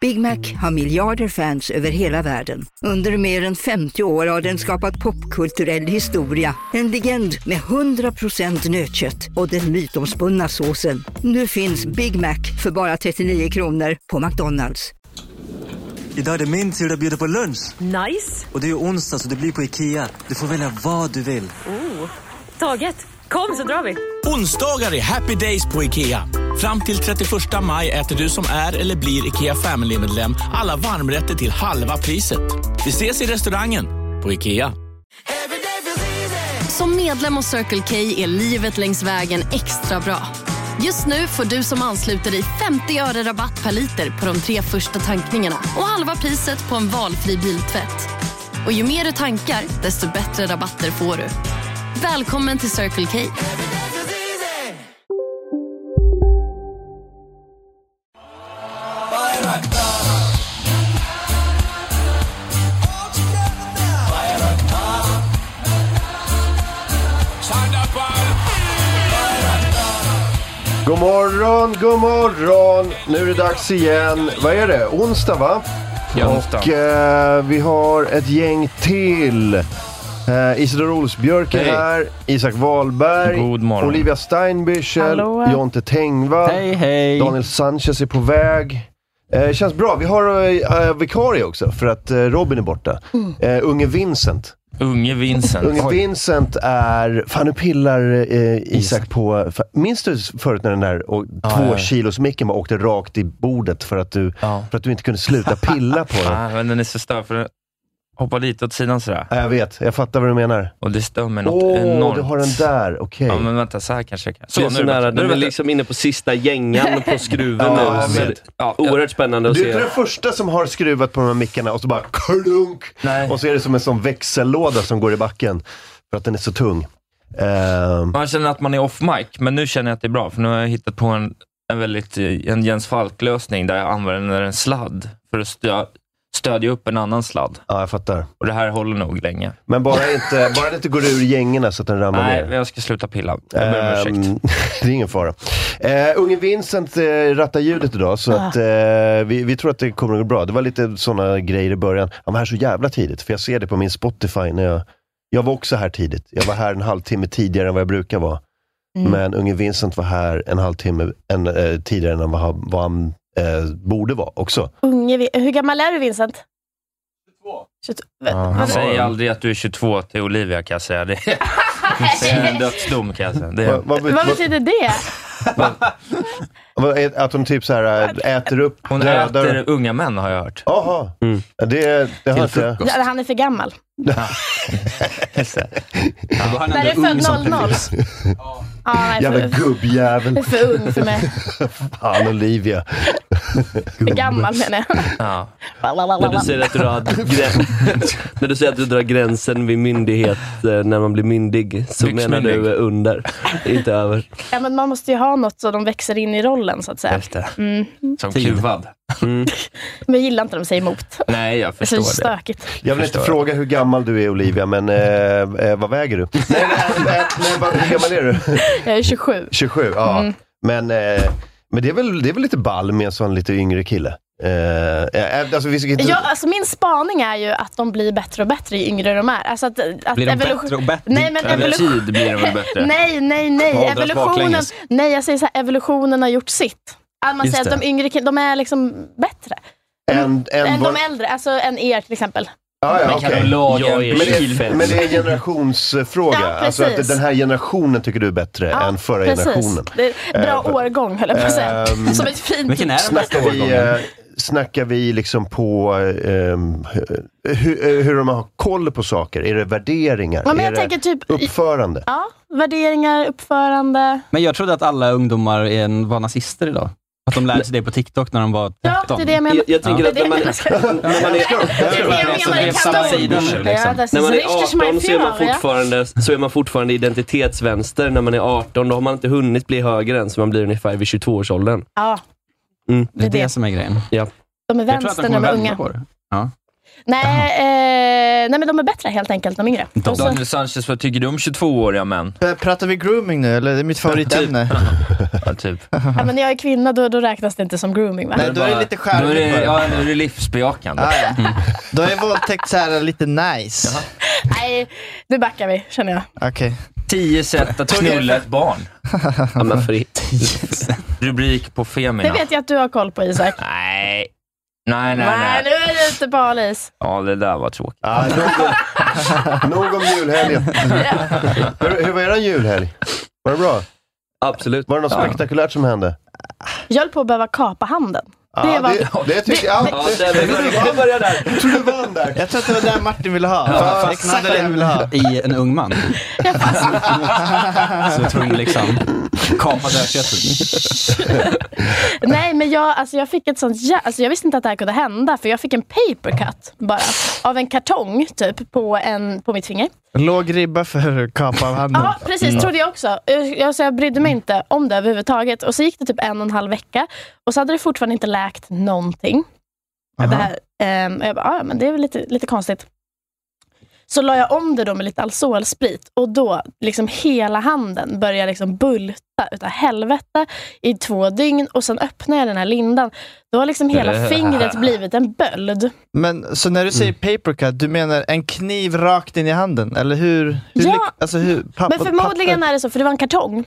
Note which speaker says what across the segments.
Speaker 1: Big Mac har miljarder fans över hela världen. Under mer än 50 år har den skapat popkulturell historia. En legend med 100% nötkött och den mytomspunna såsen. Nu finns Big Mac för bara 39 kronor på McDonalds.
Speaker 2: Idag är det min tur att bjuda på lunch.
Speaker 3: Nice!
Speaker 2: Och det är ju onsdag så det blir på IKEA. Du får välja vad du vill.
Speaker 3: Oh. Taget! Kom så drar vi!
Speaker 4: Onsdagar är happy days på IKEA. Fram till 31 maj äter du som är eller blir IKEA Family-medlem alla varmrätter till halva priset. Vi ses i restaurangen på IKEA.
Speaker 5: Som medlem hos Circle K är livet längs vägen extra bra. Just nu får du som ansluter dig 50 öre rabatt per liter på de tre första tankningarna och halva priset på en valfri biltvätt. Och ju mer du tankar, desto bättre rabatter får du. Välkommen till Circle K.
Speaker 6: God morgon, god morgon! Nu är det dags igen. Vad är det? Onsdag va?
Speaker 7: Ja, onsdag.
Speaker 6: Och eh, vi har ett gäng till. Eh, Isidor Olsbjörk är
Speaker 7: Hej.
Speaker 6: här, Isak Wahlberg,
Speaker 7: God morgon.
Speaker 6: Olivia Steinbichel,
Speaker 3: Hallå.
Speaker 6: Jonte Tengvall,
Speaker 7: Hej, hej.
Speaker 6: Daniel Sanchez är på väg. Eh, känns bra. Vi har eh, vikarie också för att eh, Robin är borta. Eh, unge Vincent.
Speaker 7: Unge Vincent.
Speaker 6: Unge Vincent är... Fan, nu pillar eh, Isak på... fa- Minns du förut när den där och, två
Speaker 7: ja, ja.
Speaker 6: kilos micken bara åkte rakt i bordet för att du,
Speaker 7: Ja.
Speaker 6: för att du inte kunde sluta pilla på den?
Speaker 7: Ah, men den är så störd för den hoppar lite åt sidan sådär.
Speaker 6: Ja, jag vet, jag fattar vad du menar.
Speaker 7: Och det stör mig något
Speaker 6: Åh,
Speaker 7: enormt.
Speaker 6: du har den där. Okej.
Speaker 7: Ja men vänta, så här kanske jag kan.
Speaker 8: Så, det är så
Speaker 7: nu är
Speaker 8: nära,
Speaker 7: det bättre.
Speaker 8: den
Speaker 7: Nu
Speaker 8: är
Speaker 7: är det
Speaker 8: liksom inne på sista gängan på skruven
Speaker 6: Ja,
Speaker 8: nu.
Speaker 6: jag
Speaker 8: Så
Speaker 6: vet.
Speaker 8: det- Ja, oerhört spännande att
Speaker 6: Du är inte
Speaker 8: se.
Speaker 6: den första som har skruvat på de här mickarna och så bara klunk!
Speaker 7: Nej.
Speaker 6: Och så är det som en sån växellåda som går i backen för att den är så tung. Ehm,
Speaker 7: Man känner att man är off mic, men nu känner jag att det är bra, för nu har jag hittat på en, en, väldigt, eh, en Jens Falk-lösning där jag använder en sladd för att stö, stödja upp en annan sladd.
Speaker 6: ja, jag fattar.
Speaker 7: Och det här håller nog länge.
Speaker 6: Men bara inte, bara det inte går ur gängorna så att den ramlar
Speaker 7: Nej,
Speaker 6: ner.
Speaker 7: jag ska sluta pilla. Jag ber om ursäkt.
Speaker 6: Ehm, det är ingen fara. Eh, unge Vincent eh, rattar ljudet idag, så att, eh, vi, vi tror att det kommer att gå bra. Det var lite sådana grejer i början. Ja, men här är så jävla tidigt, för jag ser det på min Spotify. När jag, jag var också här tidigt. Jag var här en halvtimme tidigare än vad jag brukar vara. Men unge Vincent var här en halvtimme en, eh, tidigare än vad, han- vad han eh, borde vara också.
Speaker 9: Unge, Vi- hur gammal är du Vincent? 22.
Speaker 7: Han säger aldrig att du är 22 till Olivia kan jag säga. Det är det är en dödsdom kan jag säga. Det är,
Speaker 6: Vad- vad-
Speaker 9: Vad
Speaker 6: vad-
Speaker 9: betyder det?
Speaker 6: vad- Att de typ så här äh, äter upp
Speaker 7: hon
Speaker 6: dödar-
Speaker 7: äter unga män har jag hört. Mm.
Speaker 6: Jaha, det, det har inte jag.
Speaker 9: Ja, Han är för gammal.
Speaker 8: Han
Speaker 9: Där är född 00. Ja, han är
Speaker 6: Jävla
Speaker 9: för,
Speaker 6: gubbjävel.
Speaker 9: för ung för mig.
Speaker 6: Fan Olivia.
Speaker 9: För gammal menar jag.
Speaker 7: Ja.
Speaker 8: När du säger att du drar, grä- när du säger att du drar gränsen vid myndighet, eh, när man blir myndig, så menar
Speaker 7: Byxmyndig.
Speaker 8: du eh, under, inte över.
Speaker 9: Ja, men man måste ju ha något så de växer in i rollen så att säga.
Speaker 7: Just det.
Speaker 9: Mm.
Speaker 7: Som kuvad.
Speaker 8: Mm.
Speaker 9: Men jag gillar inte när de säger emot.
Speaker 7: Nej, jag
Speaker 9: Det är så
Speaker 7: förstår det.
Speaker 9: stökigt.
Speaker 6: Jag vill inte
Speaker 7: Förstår.
Speaker 6: fråga hur gammal du är Olivia, men eh, eh, vad väger du? nej, nej, nej, nej, vad- hur gammal är du?
Speaker 9: Jag är 27.
Speaker 6: 27, ja.
Speaker 9: Mm.
Speaker 6: Men, eh, men det, är väl, det är väl lite ball med en sån lite yngre kille? Eh, eh, alltså, vi ska inte...
Speaker 9: Jag, alltså min spaning är ju att de blir bättre och bättre ju yngre de är. Alltså att, att
Speaker 7: Blir de
Speaker 9: evolution-
Speaker 7: bättre och bättre?
Speaker 9: Nej, men
Speaker 7: Över
Speaker 9: evolution...
Speaker 7: tid blir de väl bättre?
Speaker 9: Nej, nej,
Speaker 7: De
Speaker 9: nej.
Speaker 7: åldras
Speaker 9: Evolutionen,
Speaker 7: baklänges.
Speaker 9: nej, jag säger så här, evolutionen har gjort sitt. Att man
Speaker 7: Just
Speaker 9: säger att
Speaker 7: det.
Speaker 9: de yngre killarna, de är liksom bättre.
Speaker 6: en, en,
Speaker 9: än
Speaker 6: var-
Speaker 9: de äldre, alltså än er till exempel.
Speaker 6: Ah, ja, ja,
Speaker 7: Kan
Speaker 6: okej.
Speaker 7: du laga en
Speaker 8: Jag är
Speaker 6: Men
Speaker 7: bil?
Speaker 6: det, men det är en generationsfråga.
Speaker 9: Ja,
Speaker 6: alltså att
Speaker 9: precis.
Speaker 6: den här generationen tycker du är bättre
Speaker 9: Ja,
Speaker 6: än förra
Speaker 9: Precis.
Speaker 6: generationen.
Speaker 9: Det är en bra
Speaker 6: Eh, för-
Speaker 9: årgång höll jag på att säga.
Speaker 6: Ehm,
Speaker 9: Som ett fint
Speaker 7: Vilken är den bästa
Speaker 6: Snackar vi,
Speaker 7: årgången?
Speaker 6: eh, snackar vi liksom på ehm, hu- hur, hur de har koll på saker? Är det värderingar?
Speaker 9: Ja, men
Speaker 6: är
Speaker 9: jag
Speaker 6: det
Speaker 9: tänker typ
Speaker 6: uppförande?
Speaker 9: ja, värderingar, uppförande.
Speaker 10: Men jag trodde att alla ungdomar är en- var nazister idag. Att de lärde sig det på TikTok när de var 13.
Speaker 9: Ja, det är det jag menar.
Speaker 8: Jag, jag tänker
Speaker 9: Det är
Speaker 8: att
Speaker 9: det
Speaker 8: när
Speaker 9: jag
Speaker 8: man,
Speaker 9: menar.
Speaker 8: när man är Alltså,
Speaker 9: Det är det jag
Speaker 10: Som
Speaker 9: menar i
Speaker 10: är samma sida nu,
Speaker 9: kanon. Ja,
Speaker 10: liksom.
Speaker 9: das
Speaker 8: När
Speaker 9: ist
Speaker 8: man är
Speaker 9: richtig mein
Speaker 8: 18 så är man,
Speaker 9: Führer, ja.
Speaker 8: fortfarande, så är man fortfarande identitetsvänster. När man är 18 då har man inte hunnit bli höger än, så man blir ungefär vid Mm. 22-årsåldern.
Speaker 9: Ja,
Speaker 10: Det är
Speaker 9: det.
Speaker 10: det som är grejen.
Speaker 9: de är
Speaker 10: Jag tror att de
Speaker 9: vänster när de
Speaker 10: kommer
Speaker 9: är
Speaker 10: vända
Speaker 9: unga.
Speaker 10: på det.
Speaker 9: Nej, eh, nej, men de är bättre helt enkelt, de yngre. Och så-
Speaker 7: Daniel Sanchez, vad tycker du om 22-åriga män?
Speaker 11: P- Eh, Pratar vi grooming nu, eller? Det är mitt favoritämne.
Speaker 7: Ja, typ.
Speaker 9: ja, men när jag är kvinna, då, då räknas det inte som grooming va?
Speaker 11: Nej, då är det lite charmigt.
Speaker 7: Då är det, ja, då är det livsbejakande. Mm.
Speaker 11: Ja, ja. Då är våldtäkt så här lite nice.
Speaker 9: Nej, nu backar vi, känner jag.
Speaker 11: Okej.
Speaker 7: Tio sätt att knulla ett barn.
Speaker 8: Ja, men fritt.
Speaker 7: Rubrik på
Speaker 9: Det
Speaker 7: Femina.
Speaker 9: vet jag att du har koll på Isak.
Speaker 7: Nej. Nej, nej,
Speaker 9: Nej, nu
Speaker 7: nej.
Speaker 9: är du ute på hal is.
Speaker 7: Ja, det där var tråkigt.
Speaker 6: Ja, nog, nog om julhelgen. Hur, hur var eran julhelg? Var det bra?
Speaker 8: Absolut.
Speaker 6: Var det något spektakulärt som hände?
Speaker 9: Jag höll på att behöva kapa handen.
Speaker 6: Ja,
Speaker 9: var-
Speaker 6: det, det tyckte jag.
Speaker 8: Ja, där, vi börjar- vi börjar där.
Speaker 6: Jag tror du vann där.
Speaker 11: Jag tror att det var där Martin ville ha.
Speaker 6: Ja,
Speaker 11: Exakt det jag ville ha.
Speaker 10: I en ung man. Så jag tvungen liksom kapa dödköttet.
Speaker 9: Nej, men jag, alltså, jag fick ett sånt jä- alltså, Jag visste inte att det här kunde hända, för jag fick en papercut bara. Av en kartong, typ, på, en, på mitt finger.
Speaker 11: Låg ribba för kapa av handen. Mm.
Speaker 9: Ja, precis. Trodde jag också. Jag, jag- så jag brydde mig inte om det överhuvudtaget. Och så gick det typ en och en halv vecka och så hade det fortfarande inte läkt någonting. Det här, ehm, och jag bara, "Ah, ja, men det är väl lite, lite konstigt. Så la jag om det då med lite Alzol-sprit och då liksom hela handen börjar liksom bulta utav helvete i två dygn och sen öppnar jag den här lindan. Då har liksom hela fingret blivit en böld.
Speaker 11: Men så när du säger
Speaker 7: Mm.
Speaker 11: papercut, du menar en kniv rakt in i handen? Eller hur? hur
Speaker 9: Ja,
Speaker 11: lik- alltså hur, pappa,
Speaker 9: Men förmodligen
Speaker 11: papper-
Speaker 9: är det så, för det var en kartong.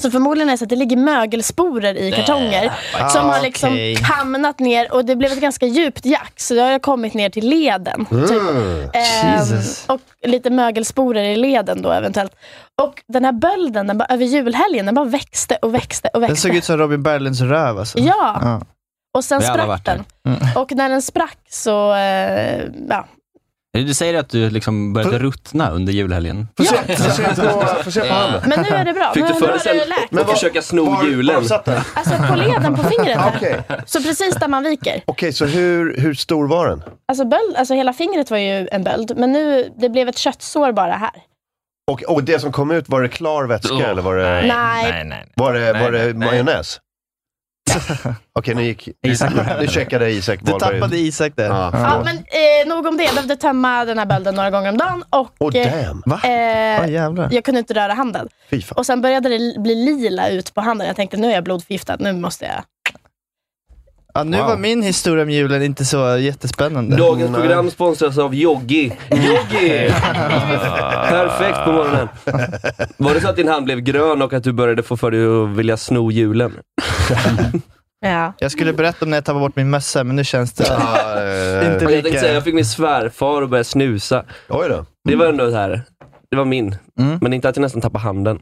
Speaker 9: Så förmodligen är det så att det ligger mögelsporer i kartonger
Speaker 11: Ah,
Speaker 9: som har liksom
Speaker 11: okej.
Speaker 9: hamnat ner och det blev ett ganska djupt jack så det har kommit ner till leden. Typ.
Speaker 6: Mm.
Speaker 9: Ehm,
Speaker 11: Jesus.
Speaker 9: och lite mögelsporer i leden då eventuellt. Och den här bölden den bara, över julhelgen, den bara växte och växte och växte.
Speaker 11: Den såg ut som Robin Berglunds röv alltså.
Speaker 9: Ja,
Speaker 11: Ja.
Speaker 9: och sen
Speaker 10: Vi har alla
Speaker 9: sprack
Speaker 10: varit där. Mm.
Speaker 9: den. Och när den sprack så, eh, ja.
Speaker 10: Du säger att du liksom började ruttna under julhelgen. Eh.
Speaker 6: Får se, får se, på, får se på handen.
Speaker 9: Men nu är det bra.
Speaker 8: Fick
Speaker 9: nu
Speaker 8: du
Speaker 9: nu
Speaker 8: för dig
Speaker 9: har det
Speaker 8: sen
Speaker 9: läkt.
Speaker 8: att försöka sno
Speaker 6: Var, var
Speaker 8: julen?
Speaker 6: satt den?
Speaker 9: Alltså på leden på fingret här.
Speaker 6: Okej,
Speaker 9: Så precis där man viker.
Speaker 6: Okej, så hur, hur stor var den?
Speaker 9: Alltså, böld, alltså hela fingret var ju en böld, men nu det blev ett köttsår bara här.
Speaker 6: Och, och det som kom ut, var det klar vätska
Speaker 7: Åh,
Speaker 6: eller var det,
Speaker 9: Nej.
Speaker 7: nej, nej.
Speaker 6: var det, var det
Speaker 7: Nej, nej.
Speaker 6: majonnäs? Okej, nu gick...
Speaker 10: Isak.
Speaker 6: Nu checkade Isak
Speaker 11: Du tappade Isak där.
Speaker 6: Ja,
Speaker 9: Ja,
Speaker 6: förlåt.
Speaker 9: men eh, nog om det. Jag behövde tömma den här bölden några gånger om dagen och
Speaker 6: Åh
Speaker 9: eh,
Speaker 6: damn,
Speaker 11: Va?
Speaker 9: eh,
Speaker 11: Ah, jävlar.
Speaker 9: jag kunde inte röra handen.
Speaker 6: fy fan.
Speaker 9: Och sen började det bli lila ut på handen. Jag tänkte nu är jag blodförgiftad, nu måste jag...
Speaker 11: Ja, nu var min historia om julen inte så jättespännande.
Speaker 8: Dagens program sponsras av Joggi. Joggi! Perfekt på morgonen. Var det så att din hand blev grön och att du började få för dig att vilja sno julen?
Speaker 9: Ja.
Speaker 11: Jag skulle berätta om när jag tappade bort min mössa, men nu känns det
Speaker 6: Ja, eh,
Speaker 11: inte
Speaker 8: Och Jag tänkte säga,
Speaker 11: lika...
Speaker 8: jag fick min svärfar att börja snusa.
Speaker 6: Oj då.
Speaker 8: Det var ändå så här. Det var min.
Speaker 11: Mm.
Speaker 8: Men inte att jag nästan tappade handen.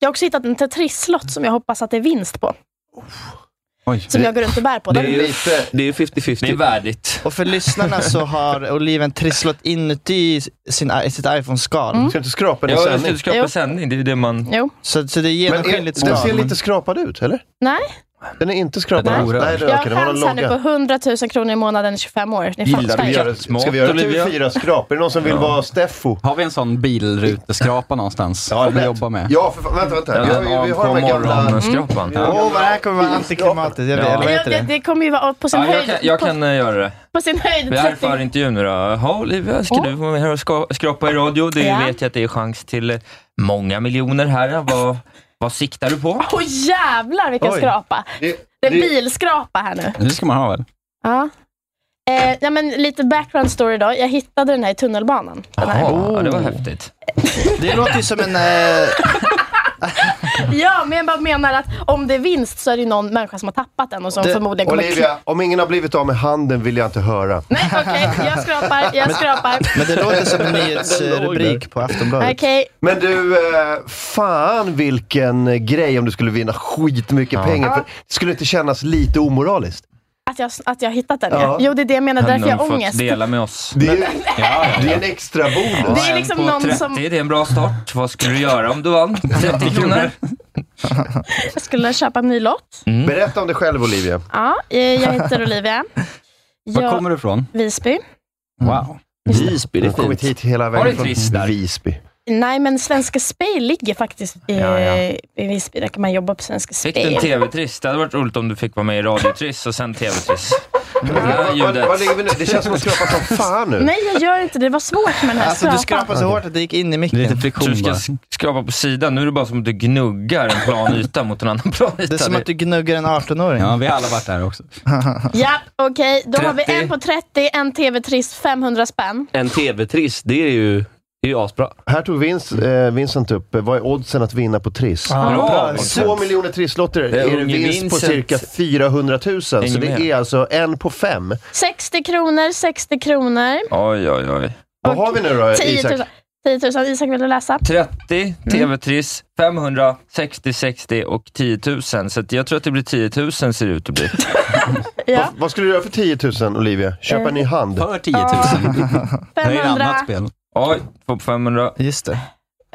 Speaker 9: Jag har också hittat en tetrisslott som jag hoppas att det är vinst på.
Speaker 10: Oj.
Speaker 9: Som jag går runt och bär på.
Speaker 8: Det
Speaker 9: Den,
Speaker 8: är ju, det är ju
Speaker 7: Det är
Speaker 8: 50-50.
Speaker 7: värdigt.
Speaker 11: Och för lyssnarna så har oliven trisslott inuti sin, sitt iPhone-skal.
Speaker 6: Ska inte skrapa den i
Speaker 7: Ja, jag skulle
Speaker 6: sändning?
Speaker 7: skapa
Speaker 9: Jo.
Speaker 7: sändning. Det är ju det man...
Speaker 9: Jo.
Speaker 11: Så, så det är
Speaker 6: Men är,
Speaker 11: genomskinligt skal.
Speaker 6: den ser lite skrapad ut, eller?
Speaker 9: Nej.
Speaker 6: Den är inte skrapad.
Speaker 10: Den är
Speaker 6: alls.
Speaker 10: orörd.
Speaker 6: Nej, det,
Speaker 9: Jag
Speaker 6: okay,
Speaker 9: har
Speaker 6: den var
Speaker 9: chans här
Speaker 6: någon
Speaker 9: nu på
Speaker 6: logga.
Speaker 9: 100 000 kronor i månaden i 25 år. Ni
Speaker 7: Gillar
Speaker 9: fattar
Speaker 7: du
Speaker 9: ju.
Speaker 7: gör-
Speaker 6: Gör, ska vi göra
Speaker 7: Olivia?
Speaker 6: TV4-skrap? Är det någon som vill vara Steffo?
Speaker 10: Har vi en sån bilruteskrapa någonstans? som vi
Speaker 6: lätt.
Speaker 10: jobbar med?
Speaker 6: Ja, för fan, vänta, vänta. Vi, har- vi har
Speaker 7: på
Speaker 6: de här gamla... Mm.
Speaker 7: morgonskrapan.
Speaker 11: Åh, vad det här kommer vara antiklimatiskt. Jag vet,
Speaker 7: Ja.
Speaker 11: eller vad
Speaker 9: Det,
Speaker 11: heter
Speaker 9: det,
Speaker 11: det?
Speaker 9: det kommer ju vara på sin
Speaker 7: Ja, jag
Speaker 9: höjd,
Speaker 7: kan, jag kan eh, göra det.
Speaker 9: på, på sin höjd
Speaker 7: Vi är här
Speaker 9: 30
Speaker 7: för intervjun nu då. Jaha Olivia, ska
Speaker 9: Ja.
Speaker 7: du vara med här och ska, skrapa i radio? Det
Speaker 9: Ja.
Speaker 7: vet jag att det är chans till eh, många miljoner här. Vad, vad siktar du på?
Speaker 9: Åh jävlar vilken
Speaker 11: Oj.
Speaker 9: skrapa.
Speaker 6: Det-
Speaker 9: Det är
Speaker 6: det-
Speaker 9: bilskrapa här nu.
Speaker 10: Det ska man ha väl?
Speaker 9: Ja. Eh, ja, men lite background story då. Jag hittade den här i tunnelbanan. Den här.
Speaker 7: Jaha, ja, det var häftigt.
Speaker 11: Oh. Det låter ju som en... Eh,
Speaker 9: Ja, men jag bara menar att om det är vinst så är det ju någon människa som har tappat den och som
Speaker 11: Det-
Speaker 9: förmodligen kommer...
Speaker 6: Olivia, om ingen har blivit av med handen vill jag inte höra.
Speaker 9: Nej, okej. jag skrapar. Jag skrapar.
Speaker 11: men det låter som en nyhetsrubrik på Aftonbladet.
Speaker 9: Okej.
Speaker 6: Men du, eh, fan vilken eh, grej om du skulle vinna skitmycket pengar. För det skulle inte kännas lite omoraliskt.
Speaker 9: Att jag, att jag har hittat den,
Speaker 6: Ja.
Speaker 9: ja. Jo, det är det jag menar. Därför jag har
Speaker 7: Hade hon fått
Speaker 9: ångest.
Speaker 7: dela med oss.
Speaker 6: Det är, ju, det är en extra bonus.
Speaker 9: Det är liksom
Speaker 7: en på
Speaker 9: någon
Speaker 7: 30,
Speaker 9: som-
Speaker 7: det är en bra start. Vad skulle du göra om du vann 30 kronor? Mm.
Speaker 9: Jag skulle köpa en ny lott.
Speaker 6: Berätta om dig själv Olivia.
Speaker 9: Ja, eh, jag heter Olivia.
Speaker 10: Var
Speaker 9: Jag,
Speaker 10: kommer du ifrån?
Speaker 9: Visby.
Speaker 6: Mm.
Speaker 10: Wow.
Speaker 8: Visby, det
Speaker 6: Du
Speaker 8: är
Speaker 6: har kommit
Speaker 8: fint.
Speaker 6: hit hela
Speaker 7: Har du
Speaker 6: vägen
Speaker 7: ett
Speaker 6: från
Speaker 7: ris där?
Speaker 6: Visby.
Speaker 9: Nej, men Svenska Spel ligger faktiskt i,
Speaker 7: Ja, ja.
Speaker 9: i Visby. Där kan man jobba på Svenska
Speaker 7: Fick du
Speaker 9: Spel.
Speaker 7: en TV-triss? Det hade varit roligt om du fick vara med i radiotriss och sen TV-triss. här ljudet.
Speaker 6: Vad ligger vi nu? Det känns som att skrapa som fan nu.
Speaker 9: Nej, jag gör inte det. Det var svårt med den här
Speaker 11: Alltså, du
Speaker 9: skrapan.
Speaker 11: skrapar så hårt att det gick in i micken.
Speaker 7: Lite friktion, du ska sk- skrapa på sidan, nu är det bara som att du gnuggar en plan yta mot en annan plan yta.
Speaker 11: Det är som att du gnuggar en 18-åring.
Speaker 10: Ja, vi har alla varit där också.
Speaker 9: Ja, okej. Då har vi
Speaker 8: 30.
Speaker 9: en på 30, en TV-trist, 500 spänn.
Speaker 8: En TV-triss, det är ju, det är ju asbra.
Speaker 6: Här tog Vince, eh, Vincent upp, eh, vad är oddsen att vinna på Triss?
Speaker 8: Ah, bra, Vincent.
Speaker 6: Två miljoner trisslotter
Speaker 8: Det är
Speaker 6: är det
Speaker 8: unge
Speaker 6: vinst på
Speaker 8: Vincent.
Speaker 6: cirka 400 000, så
Speaker 7: Hänger med.
Speaker 6: det är alltså en på fem.
Speaker 9: 60 kronor, 60 kronor.
Speaker 7: Oj, oj, oj.
Speaker 6: Vad har vi nu då,
Speaker 9: 10 000.
Speaker 6: Isak? Mm.
Speaker 9: 10 000. Isak, vill du läsa?
Speaker 7: 30, TV-triss, 500, 60, 60 och 10 000. Så att jag tror att det blir 10 000 ser det ut att bli.
Speaker 9: Ja. Eh,
Speaker 6: Vad skulle du göra för 10 000, Olivia? Köpa en ny hand?
Speaker 10: För 10 000. Det är ett
Speaker 9: 500.
Speaker 10: annat spel.
Speaker 7: Oj, två på 500.
Speaker 11: Just det.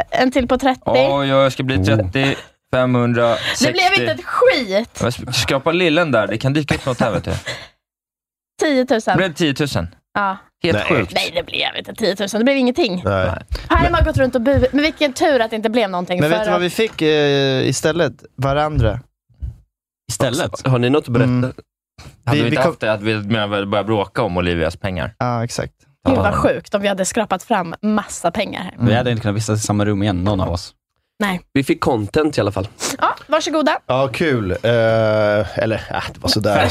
Speaker 9: En till på 30.
Speaker 7: Oj, jag ska
Speaker 6: Oh.
Speaker 7: bli 30, 500, 60.
Speaker 9: Det blev inte ett skit.
Speaker 7: Jag sk- Skrapa lillen där, det kan dyka upp något här vet du.
Speaker 9: 10
Speaker 7: Det
Speaker 9: 000.
Speaker 7: blev 10 000.
Speaker 9: Ja.
Speaker 7: Helt
Speaker 6: Nej.
Speaker 7: sjukt.
Speaker 9: Nej, det blev inte 10 000. Det blev ingenting.
Speaker 6: Nej.
Speaker 9: Här har man gått runt och burit. Men vilken tur att det inte blev någonting.
Speaker 11: Men vet
Speaker 9: för
Speaker 11: du vad vi fick eh, istället? Varandra.
Speaker 10: Istället.
Speaker 8: Har ni något att berätta?
Speaker 11: Mm.
Speaker 7: Hade vi,
Speaker 11: vi
Speaker 7: inte
Speaker 11: kom-
Speaker 7: haft det, hade vi medan vi började bråka om Olivias pengar.
Speaker 11: Ja, exakt.
Speaker 9: Gud vad sjukt om vi hade skrapat fram massa pengar. här.
Speaker 6: Mm.
Speaker 10: Vi hade inte kunnat vistas i samma rum igen, någon av oss.
Speaker 9: Nej.
Speaker 8: Vi fick content i alla fall.
Speaker 9: Ja, varsågoda.
Speaker 6: Ja, kul. Eh, eller, äh, det var sådär.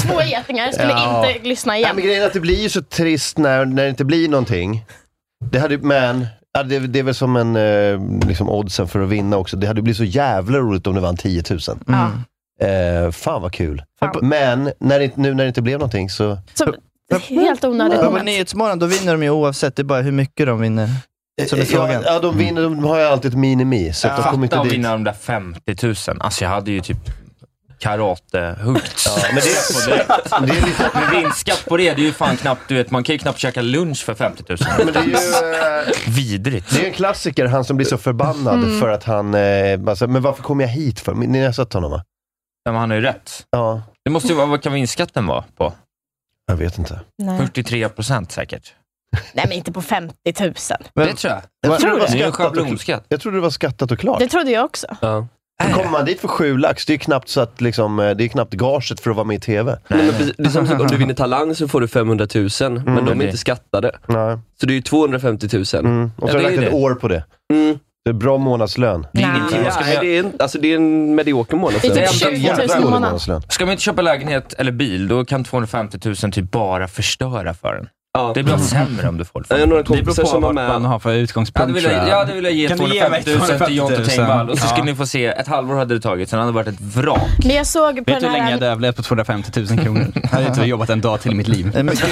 Speaker 9: Två getingar skulle
Speaker 6: Ja.
Speaker 9: inte lyssna
Speaker 6: Nej, men
Speaker 9: igen.
Speaker 6: grejen är att det blir ju så trist när, när det inte blir någonting. Det hade men, ja, det, det är väl som en, eh, liksom oddsen för att vinna också. Det hade blivit så jävla roligt om det vann 10 000.
Speaker 9: Ja.
Speaker 6: Eh, fan vad kul.
Speaker 9: Fan.
Speaker 6: Men när det, nu när det inte blev någonting så...
Speaker 9: Så, helt onödigt
Speaker 11: Men på
Speaker 9: moment.
Speaker 11: Nyhetsmorgon, då vinner de ju oavsett. Det är bara hur mycket de vinner. Som är
Speaker 6: Eh, ja,
Speaker 11: frågan.
Speaker 6: ja, de vinner, de har ju alltid ett minimi. Så att de kommer inte
Speaker 7: Fatta att
Speaker 6: dit.
Speaker 7: vinna de där 50 000. Alltså jag hade ju typ karatehuggt.
Speaker 6: Ja, men det, det är lite...
Speaker 7: Med vinstskatt på det, det är ju fan knappt, du vet, man kan ju knappt käka lunch för 50 000.
Speaker 6: Men det är ju... Eh,
Speaker 7: Vidrigt.
Speaker 6: Det är en klassiker, han som blir så förbannad för att han... Eh, bara så här, men varför kom jag hit för? Ni har sett honom va?
Speaker 7: Men han har ju rätt.
Speaker 6: Ja,
Speaker 7: Det måste ju vara, vad kan vinstskatten vara på?
Speaker 6: jag vet inte.
Speaker 9: Nej.
Speaker 7: 43 procent säkert.
Speaker 9: Nej, men inte på 50 000.
Speaker 11: Men-
Speaker 7: det tror jag.
Speaker 6: Jag
Speaker 7: Det
Speaker 6: trodde,
Speaker 7: är ju en
Speaker 6: skattat och-
Speaker 7: schablonskatt.
Speaker 6: jag trodde det var skattat och klart.
Speaker 9: Det trodde jag också.
Speaker 8: Ja.
Speaker 6: Kommer man dit för sju lax, det är knappt så att liksom, eh, det är knappt gaget för att vara med i TV.
Speaker 8: Nej, men precis, det är som om du vinner Talang så får du 500 000,
Speaker 6: Mm.
Speaker 8: men de är
Speaker 7: det-
Speaker 8: inte skattade.
Speaker 6: Nej.
Speaker 8: Så det är ju 250 000.
Speaker 6: Mm. Och så har
Speaker 7: Ja, det
Speaker 6: jag
Speaker 7: är
Speaker 6: lagt
Speaker 7: ju
Speaker 6: ett
Speaker 7: det.
Speaker 6: år på det.
Speaker 8: Mm.
Speaker 6: Det är bra månadslön.
Speaker 7: Det är
Speaker 9: Nej.
Speaker 7: ingenting. Ska
Speaker 8: Nej,
Speaker 7: man,
Speaker 8: det är en, alltså det är en medioker månad.
Speaker 9: Det är
Speaker 7: typ
Speaker 6: Jävla
Speaker 9: 20 000 i
Speaker 6: dålig
Speaker 9: månaden.
Speaker 6: månadslön.
Speaker 7: ska man inte köpa lägenhet eller bil, då kan 250 000 typ bara förstöra för en.
Speaker 8: Ja.
Speaker 7: Det blir sämre om du får det för
Speaker 6: Eh,
Speaker 8: Jag har några
Speaker 7: en.
Speaker 8: kompisar som var med.
Speaker 10: Man har för
Speaker 7: Jag hade
Speaker 10: utgångspunkt tror
Speaker 7: velat,
Speaker 10: jag.
Speaker 7: jag hade velat ge
Speaker 10: Kan du ge
Speaker 7: 250
Speaker 10: mig
Speaker 7: 000 till Jonte
Speaker 10: 250 000?
Speaker 7: Tengvall och så skulle
Speaker 10: Ja.
Speaker 7: ni få se, ett halvår hade det tagit, sen hade det varit ett vrak.
Speaker 9: Men jag såg på
Speaker 10: Vet du
Speaker 9: den
Speaker 10: hur länge
Speaker 9: här...
Speaker 10: jag överlevt på 250 000 kronor? Jag hade inte jobbat en dag till i mitt liv.
Speaker 11: Det är mycket,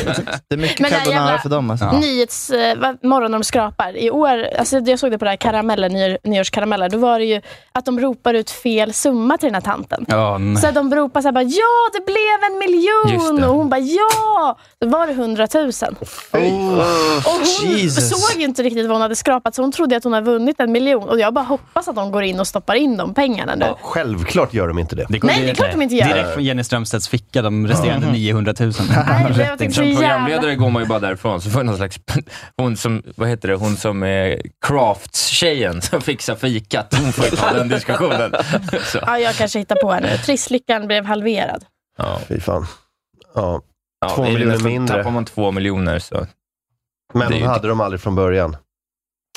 Speaker 11: det är
Speaker 9: Men
Speaker 11: mycket
Speaker 9: det här
Speaker 11: carbonara
Speaker 9: jävla-
Speaker 11: för dem alltså.
Speaker 10: Ja.
Speaker 9: Nyhets, eh, vad- morgon de skrapar. I år, alltså jag såg det på det här karameller, nyår, nyårskarameller, då var det ju att de ropar ut fel summa till den här tanten.
Speaker 10: Ja, nej.
Speaker 9: Så att de ropar så här bara, ja det blev en
Speaker 7: Just
Speaker 9: miljon!
Speaker 7: det.
Speaker 9: Och hon bara, ja! Då var det hundratusen.
Speaker 12: Oh.
Speaker 9: Och hon
Speaker 11: Jesus.
Speaker 9: såg ju inte riktigt vad hon hade skrapat, så hon trodde att hon hade vunnit en miljon. Och jag bara hoppas att de går in och stoppar in de pengarna nu.
Speaker 6: Självklart gör de inte det.
Speaker 10: Det går
Speaker 9: Nej, det är
Speaker 10: direkt-
Speaker 9: klart de inte gör.
Speaker 10: Direkt från Jenny Strömstedts ficka, de resterande 900 000.
Speaker 9: Mm. Nej, det var typ så
Speaker 7: Som
Speaker 9: jävla...
Speaker 7: programledare går man ju bara därifrån, så får jag någon slags, hon som, vad heter det, hon som är Crafts-tjejen som fixar fikat, hon får ju ta den diskussionen. Så.
Speaker 9: Ja, jag kanske hittar på henne. Trisslyckan blev halverad.
Speaker 7: Ja.
Speaker 6: Fy fan. Ja.
Speaker 7: Ja,
Speaker 6: Två
Speaker 7: det är ju
Speaker 6: miljoner
Speaker 7: nästan-
Speaker 6: mindre.
Speaker 7: Tappar man två miljoner så,
Speaker 6: Men
Speaker 7: Det är
Speaker 6: de
Speaker 7: ju-
Speaker 6: hade de aldrig från början.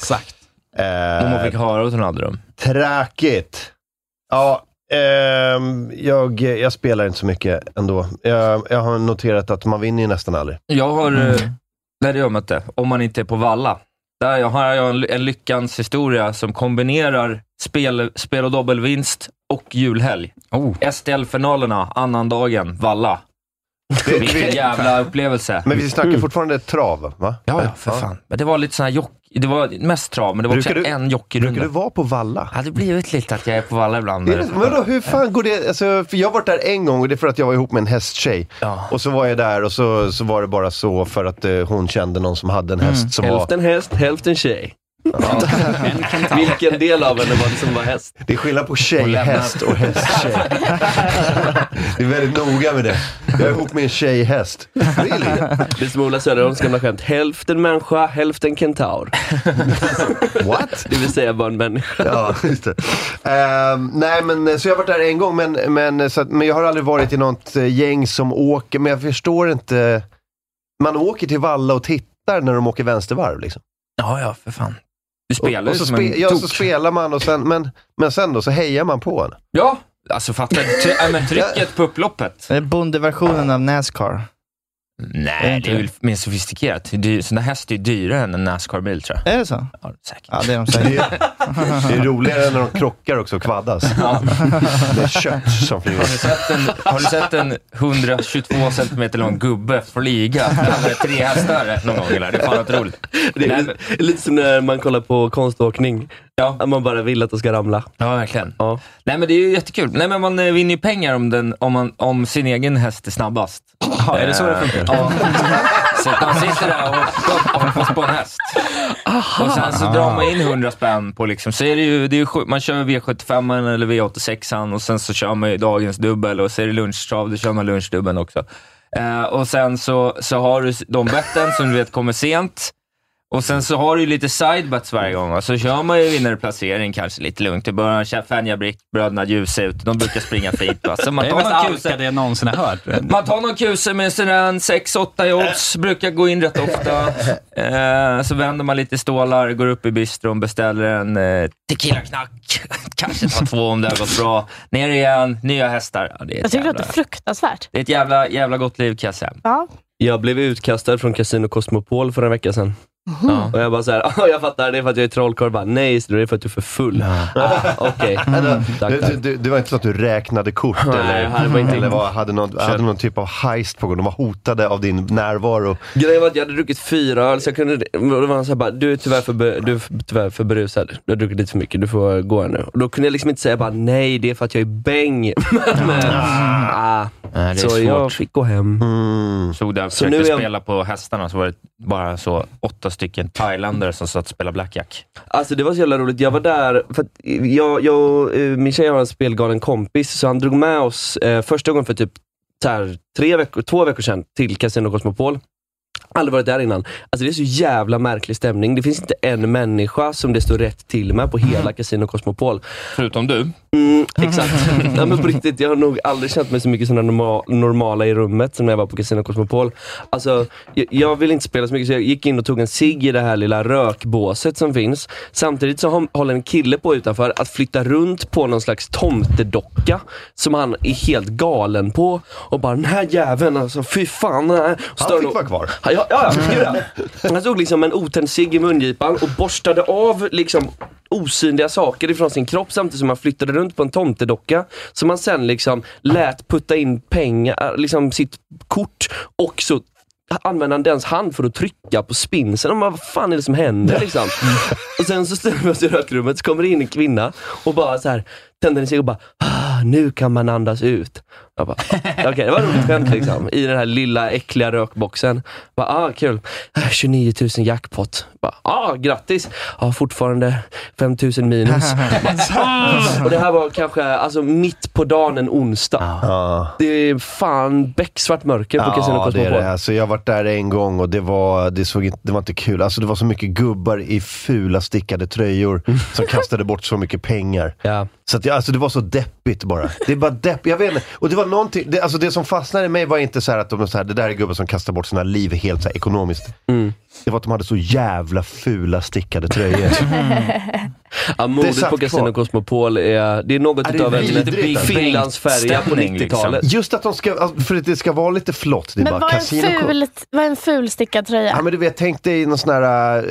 Speaker 10: Exakt.
Speaker 7: om hon
Speaker 6: Eh,
Speaker 7: fick höra att hon hade dem.
Speaker 6: tråkigt. Ja, ehm, jag, jag spelar inte så mycket ändå. Jag, jag har noterat att man vinner ju nästan aldrig.
Speaker 7: Jag har, eh, nej det gör man inte, om man inte är på valla. Där jag har jag en, ly- en lyckans historia som kombinerar spel, spel och dobbelvinst och julhelg.
Speaker 10: Oh.
Speaker 7: STL-finalerna, annandagen, valla. Vilken jävla upplevelse.
Speaker 6: Men vi snackar fortfarande trav, va?
Speaker 7: Mm. Ja, ja, för fan. Men det var lite sån här jock... Det var mest trav, men det var
Speaker 6: Brukar
Speaker 7: också
Speaker 6: du-
Speaker 7: en
Speaker 6: Brukar du
Speaker 7: jockeyrunda.
Speaker 6: vara på valla?
Speaker 7: Ja, det blivit lite att jag är på valla ibland.
Speaker 6: Är det- Men då, hur fan går det? Alltså, för jag har varit där en gång och det är för att jag var ihop med en hästtjej.
Speaker 7: Ja.
Speaker 6: Och så var jag där och
Speaker 7: Mm.
Speaker 6: så, så var det bara så för att eh, hon kände någon som hade en häst som var...
Speaker 8: Hälften häst, hälften tjej. Vilken del av henne var det som var häst?
Speaker 6: Det är skillnad på tjej,
Speaker 8: lämnat.
Speaker 6: häst och hästtjej. Det är väldigt noga med det. Jag är ihop med en tjej, häst.
Speaker 8: Det är som Ola Söderholms gamla skämt. Hälften människa, hälften kentaur.
Speaker 6: What?
Speaker 8: Det vill säga bara en människa.
Speaker 6: Ja, just det. Ehm, nej, men eh, så jag har varit där en gång, men, men, eh, så att, men jag har aldrig varit i något eh, gäng som åker, men jag förstår inte. Man åker till Valla och tittar när de åker vänstervarv liksom.
Speaker 7: Ja, ja, för fan. Du spelar
Speaker 6: och
Speaker 7: ju
Speaker 6: så
Speaker 7: som
Speaker 6: spe,
Speaker 7: en
Speaker 6: Ja, så
Speaker 7: tok.
Speaker 6: spelar man och sen, men, men sen då så hejar man på en.
Speaker 7: Ja, alltså fattar du? Try- ja, men trycket på upploppet.
Speaker 11: Det är bondeversionen av Nascar.
Speaker 7: Nej, det är väl mer sofistikerat. Det är ju- Sån där häst är ju dyrare än en Nascar-bil tror jag.
Speaker 11: Är det så?
Speaker 7: Ja, säkert.
Speaker 11: Ja, det är de
Speaker 6: Det
Speaker 11: säkert.
Speaker 6: är, det är roligare när de krockar också och kvaddas. Det är kött som flyger.
Speaker 7: Har du sett en, har du sett en 122 centimeter lång gubbe flyga över tre hästar någon gång? Eller? Det är fan otroligt.
Speaker 8: Det är
Speaker 7: Nej,
Speaker 8: lite- lite som när man kollar på konståkning.
Speaker 7: Ja.
Speaker 8: Att man bara vill att de ska ramla.
Speaker 7: Ja, verkligen.
Speaker 8: Ja.
Speaker 7: Nej, men det är ju jättekul. Nej, men man eh, vinner ju pengar om, den, om, man, om sin egen häst är snabbast. Ja, är det så det funkar? Ja. Så att man sitter där och hoppas på en häst. Och sen så drar man in 100 spänn på liksom, så är det ju, det är ju sju- man kör V75 eller V86 och sen så kör man ju dagens dubbel och så är det lunchtrav, då kör man lunchdubbeln också. Eh, och sen så, så har du s- de betten som du vet kommer sent. Och sen så har du ju lite sidebets varje gång. va. Så kör man ju vinnarplacering kanske lite lugnt i början. Kör Fenja Brick, bröderna Ljusut. De brukar springa fint. Va? Så man
Speaker 10: Det är
Speaker 7: tar
Speaker 10: mest
Speaker 7: någon
Speaker 10: allt
Speaker 7: kuse.
Speaker 10: det jag någonsin har hört.
Speaker 7: Man tar någon kuse med sådär en 6-8 i odds. Brukar gå in rätt ofta. Eh, så vänder man lite stålar, går upp i bistron, beställer en eh, tequila-knack. kanske tar två om det har gått bra. Ner igen, nya hästar. Ja, det, är
Speaker 9: Jag
Speaker 7: ett
Speaker 9: tycker det
Speaker 7: jävla,
Speaker 9: låter fruktansvärt.
Speaker 7: det är ett jävla, jävla gott liv kan jag säga.
Speaker 9: Ja.
Speaker 8: Jag blev utkastad från Casino Cosmopol för en vecka sedan.
Speaker 7: Ja.
Speaker 8: Och jag bara såhär, "Ah, jag fattar, det är för att jag är trollkarl. Bara, Nej, just det det är för att du är för full. Ah, Okej, tack.
Speaker 6: Alltså, Du,
Speaker 8: tack.
Speaker 6: du, du, det var inte så att du räknade kort
Speaker 8: Nej, det var
Speaker 6: eller,
Speaker 8: inte-
Speaker 6: eller var, hade, någon, hade någon typ av heist på gång. De var hotade av din närvaro.
Speaker 8: Grejen var att jag hade druckit fyra öl, så jag kunde, och då var han såhär bara, du är tyvärr för, be, du är för- tyvärr för berusad. Du har druckit lite för mycket, du får gå här nu. Och då kunde jag liksom inte säga bara, nej det är för att jag är bäng. Men, men, ah.
Speaker 7: Nej, det är
Speaker 8: Så
Speaker 7: svårt.
Speaker 8: jag fick gå hem.
Speaker 6: Mm.
Speaker 7: stod där och
Speaker 8: Så
Speaker 7: försökte
Speaker 8: nu är jag-
Speaker 7: spela på hästarna, så var det bara så åtta stycken thailändare som satt och spelade blackjack.
Speaker 8: Alltså det var så jävla roligt. Jag var där, för att jag, jag, eh, min tjej har en spelgalen kompis, så han drog med oss eh, första gången för typ så här, tre veckor, två veckor sedan till Casino Cosmopol. Aldrig varit där innan. Alltså det är så jävla märklig stämning. Det finns inte en människa som det står rätt till med på hela Casino Cosmopol.
Speaker 7: Mm. Förutom du.
Speaker 8: Mm, exakt. Nej, men på riktigt, jag har nog aldrig känt mig så mycket som den norma- normala i rummet som när jag var på Casino Cosmopol. Alltså, jag, jag vill inte spela så mycket så jag gick in och tog en cigg i det här lilla rökbåset som finns. Samtidigt så hå- håller en kille på utanför att flytta runt på någon slags tomtedocka som han är helt galen på. Och bara den här jäveln alltså, fy fan. den här."
Speaker 6: Han
Speaker 8: Stör
Speaker 6: fick
Speaker 8: nog-
Speaker 6: vara kvar.
Speaker 8: Mm. Ja, ja, ja gud ja. Han tog liksom en otänd cigg i mungipan och borstade av liksom osynliga saker ifrån sin kropp samtidigt som han flyttade runt på en tomtedocka som han sen liksom lät putta in pengar, liksom sitt kort och så använde han dens hand för att trycka på spinsen. Och man, vad fan är det som händer liksom? och sen så ställer vi oss i rökrummet, så kommer det in en kvinna och bara så här tänder en cigg och bara ah, nu kan man andas ut. Jag bara, "Ah, okej det var ett roligt skämt liksom. I den här lilla äckliga rökboxen. Bara, ah kul. "Ah, 29 000 jackpot. Bara, ah grattis. Ja ah, fortfarande 5 000 minus. Bara, "Ah." och det här var kanske alltså mitt på dagen en onsdag.
Speaker 6: Ja.
Speaker 8: Det är fan becksvart mörker på Casino
Speaker 6: Ja, det är
Speaker 8: Cosmopol.
Speaker 6: det. Alltså, jag har varit där en gång och det var, det såg inte, det var inte kul. Alltså, det var så mycket gubbar i fula stickade tröjor som kastade bort så mycket pengar.
Speaker 8: Ja.
Speaker 6: Så att, jag- alltså, det var så deppigt bara. Det är bara depp, jag vet inte. Och det var någonting, det, alltså, det som fastnade i mig var inte så här att de så här, det där är gubbar som kastar bort sina liv helt så här, ekonomiskt.
Speaker 8: Mm.
Speaker 6: Det var att de hade så jävla fula stickade tröjor.
Speaker 8: Ja,
Speaker 6: Det är
Speaker 8: modet
Speaker 6: satt
Speaker 8: på Casino
Speaker 6: kvar.
Speaker 8: Cosmopol är, det är något
Speaker 6: Ja, det är
Speaker 8: utav
Speaker 6: vidrigt,
Speaker 8: en
Speaker 6: alltså.
Speaker 8: Finlands färja
Speaker 11: liksom.
Speaker 8: på
Speaker 7: Stämning, liksom.
Speaker 8: 90-talet.
Speaker 6: Just att de ska, alltså, för att det ska vara lite flott. Det är
Speaker 9: Men
Speaker 6: bara
Speaker 9: vad är, en
Speaker 6: kasino.
Speaker 9: ful, vad är en ful stickad
Speaker 6: Ja,
Speaker 9: tröja?
Speaker 6: men du vet, tänk dig någon sån här, eh,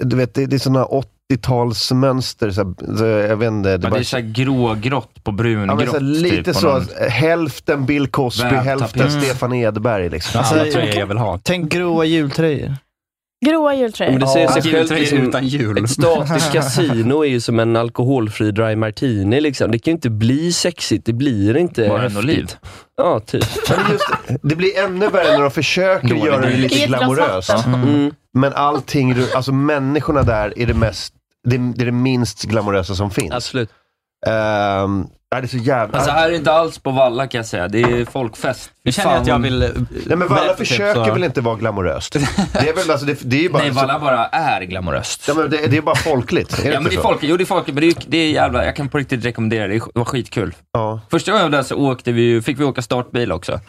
Speaker 6: du vet, det, det är såna 80-talsmönster, så här, så, jag vet inte.
Speaker 7: Det,
Speaker 6: bara-
Speaker 7: det är såhär grågrått på
Speaker 6: ja,
Speaker 7: brungrått.
Speaker 6: men så här, lite
Speaker 7: typ,
Speaker 6: så,
Speaker 7: och någon- Mm.
Speaker 6: att hälften Bill Cosby,
Speaker 7: Vävtapet.
Speaker 6: hälften Stefan Edberg. Liksom.
Speaker 11: Alltså,
Speaker 10: Alla tröjor jag vill ha.
Speaker 11: Tänk gråa jultröjor.
Speaker 9: Gråa
Speaker 8: Men
Speaker 9: jultröjor.
Speaker 8: det säger sig självt.
Speaker 10: Jultröjor
Speaker 8: liksom,
Speaker 10: utan jul.
Speaker 8: Ett statiskt kasino är ju som en alkoholfri dry martini. Liksom. Det kan ju inte bli sexigt. Det blir inte
Speaker 7: Bara en
Speaker 8: häftigt.
Speaker 7: oliv.
Speaker 8: Ja, typ.
Speaker 6: Men just, det blir ännu värre när de försöker
Speaker 7: Dålig
Speaker 6: göra det
Speaker 7: idé.
Speaker 6: lite
Speaker 9: Idrottsvatten.
Speaker 6: glamoröst.
Speaker 8: Mm.
Speaker 6: Men allting, ru- alltså människorna där är det mest det, det är det minst glamorösa som finns. Ehm,
Speaker 7: Absolut.
Speaker 6: det är så jävla...
Speaker 7: Alltså här är det inte alls på Valla kan jag säga. Det är folkfest. Fy
Speaker 6: Nu känner jag
Speaker 7: fan.
Speaker 6: att jag vill, eh, Nej men Valla
Speaker 7: typ
Speaker 6: försöker väl inte vara glamoröst? Det är väl alltså, det, det är ju bara...
Speaker 7: Nej, Valla bara är glamoröst.
Speaker 6: Ja men det, det är bara folkligt.
Speaker 7: Ja men det är folk, jo det är folk, men det är, det är jävla, jag kan på riktigt rekommendera det, det var skitkul. Första gången jag var där så åkte vi ju, fick vi åka startbil också.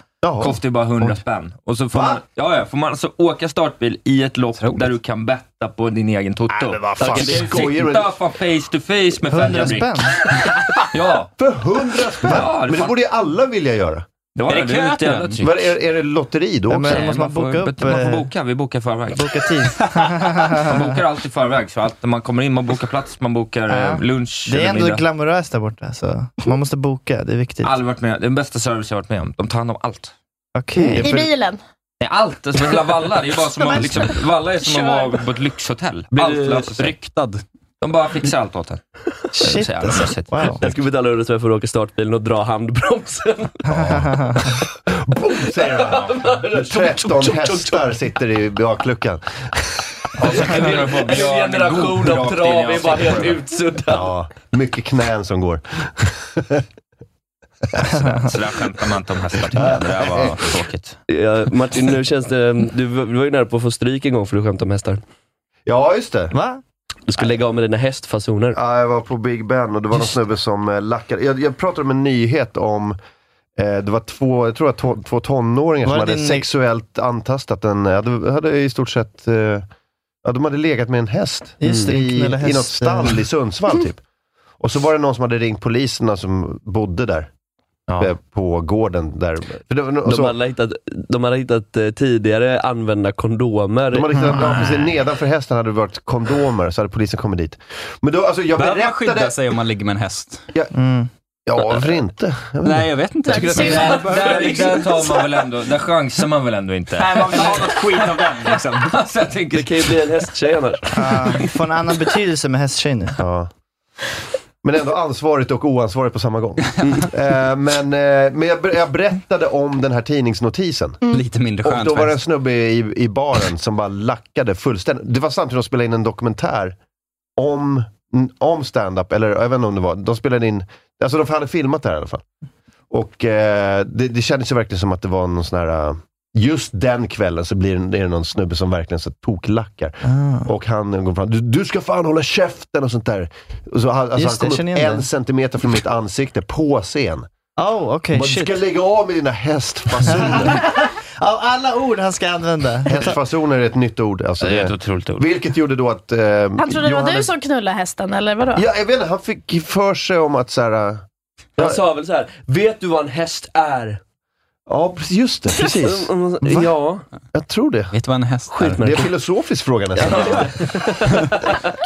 Speaker 7: Kostade ju bara 100 spänn. Och så får man, ja, ja, får man alltså åka startbil i ett lopp där du kan betta på din egen toto. Nej men vad
Speaker 6: fan, skojar du?
Speaker 7: Sitta fan face to face
Speaker 6: 100
Speaker 7: med Fenja Brick.
Speaker 6: spänn?
Speaker 7: Ja.
Speaker 6: För 100 spänn?
Speaker 7: Ja, det
Speaker 6: men det
Speaker 7: fan-
Speaker 6: borde ju alla vilja göra.
Speaker 7: Det var Är det det, det är kö ett till jävla den? tryck.
Speaker 6: Vad Är, är det lotteri då
Speaker 7: Nej,
Speaker 6: också?
Speaker 7: men måste man boka upp,
Speaker 6: eh,
Speaker 7: man får boka, vi bokar i förväg.
Speaker 11: Boka tid.
Speaker 7: Man bokar allt i förväg, så allt, när man kommer in, man bokar plats, man bokar eh, lunch
Speaker 11: Det är
Speaker 7: eller
Speaker 11: ändå
Speaker 7: middag.
Speaker 11: glamoröst där borta. Så man måste boka, det är viktigt.
Speaker 7: Aldrig varit med, det är den bästa service jag varit med om. De tar hand om allt.
Speaker 11: Okej.
Speaker 9: I bilen.
Speaker 7: Nej, allt. Alltså, hela Valla, det är ju bara som att, liksom, Valla är som att vara på ett lyxhotell.
Speaker 10: Blir
Speaker 7: allt
Speaker 10: du
Speaker 7: löser sig.
Speaker 10: ryktad?
Speaker 7: De bara fixar allt åt en. Shit alltså.
Speaker 11: Wow.
Speaker 8: Jag skulle betala 100 spänn för att åka startbilen och dra handbromsen.
Speaker 6: Säger han. 13 hästar sitter i bakluckan.
Speaker 8: En generation av trav är bara helt utsuddad.
Speaker 6: Ja, mycket knän som går.
Speaker 7: Så där skämtar man inte om hästar tycker jag. Det där var tråkigt.
Speaker 8: Ja, Martin, nu känns det... Du, var- du var ju nära på att få stryk en gång för du skämtade om hästar.
Speaker 6: Ja, just det.
Speaker 11: Va?
Speaker 8: Du skulle lägga av med dina hästfasoner.
Speaker 6: Ja, jag var på Big Ben och det var någon snubbe som eh, lackade. Jag, jag pratade om en nyhet om, eh, det var två, jag tror att två, två tonåringar
Speaker 11: Var
Speaker 6: som
Speaker 11: det
Speaker 6: hade
Speaker 11: din-
Speaker 6: sexuellt antastat en, eh, hade, hade i stort sett, eh, ja, de hade legat med en häst.
Speaker 11: Just det,
Speaker 6: i,
Speaker 11: knälla
Speaker 6: I
Speaker 11: häst,
Speaker 6: något stall
Speaker 11: eh.
Speaker 6: i Sundsvall typ. Och så var det någon som hade ringt poliserna som bodde där. eh, På gården där. För det var no-
Speaker 8: De
Speaker 6: så-
Speaker 8: hade hittat, de hade hittat eh, tidigare använda kondomer.
Speaker 6: De hade liksom,
Speaker 8: Ah.
Speaker 6: ja, precis, nedanför hästen hade det varit kondomer, så hade polisen kommit dit. Men då, alltså, jag
Speaker 10: Behöver man skydda
Speaker 6: berättade...
Speaker 10: sig om man ligger med en häst?
Speaker 11: Mm.
Speaker 6: Ja, varför inte? Jag vet
Speaker 10: Nej, jag vet inte. Jag tycker att det
Speaker 7: Där, där, där tar man väl ändå, där chansar man väl ändå inte.
Speaker 10: Nej, man vill ha något skit av den liksom.
Speaker 7: Alltså, jag tänker,
Speaker 8: Det kan ju bli en hästtjej annars.
Speaker 11: Ah, får en annan betydelse med hästtjej nu.
Speaker 6: Ja. Men ändå ansvarigt och oansvarigt på samma gång.
Speaker 11: Mm.
Speaker 6: Eh, men eh, men jag, ber- jag berättade om den här tidningsnotisen.
Speaker 11: Mm.
Speaker 10: Lite mindre
Speaker 6: Och
Speaker 10: skönt
Speaker 6: då var det en
Speaker 10: faktiskt.
Speaker 6: snubbe i, i baren som bara lackade fullständigt. Det var samtidigt de spelade in en dokumentär om, om stand-up, eller jag vet inte om det var. De spelade in, alltså de hade filmat det här i alla fall. Och eh, det, det kändes ju verkligen som att det var någon sån här... eh, Just den kvällen så blir det, är det någon snubbe som verkligen så toklackar.
Speaker 11: Ah.
Speaker 6: Och han går fram, du, du ska fan hålla käften och sånt där. Och så, han- alltså,
Speaker 11: Just
Speaker 6: han
Speaker 11: det,
Speaker 6: kom
Speaker 11: jag känner
Speaker 6: upp
Speaker 11: igen
Speaker 6: en
Speaker 11: det.
Speaker 6: centimeter från mitt ansikte på scen.
Speaker 11: Oh, okej.
Speaker 6: Bara, du ska
Speaker 11: shit.
Speaker 6: lägga av med dina hästfasoner.
Speaker 11: Av alla ord han ska använda.
Speaker 6: Hästfasoner är ett nytt ord. Alltså,
Speaker 7: det är ett
Speaker 6: det,
Speaker 7: otroligt ord.
Speaker 6: vilket gjorde då att... Eh,
Speaker 9: Han trodde det var
Speaker 6: Johannes-
Speaker 9: du som knullade hästen, eller vadå?
Speaker 6: Ja, jag vet inte, han fick för sig om att så här... eh,
Speaker 8: Han sa väl så här: vet du vad en häst är?
Speaker 6: Ja, precis, just det. Precis.
Speaker 8: Mm, mm, Ja.
Speaker 6: Jag tror det.
Speaker 10: Vet du vad en häst är?
Speaker 6: Det är en filosofisk fråga nästan.
Speaker 7: Kan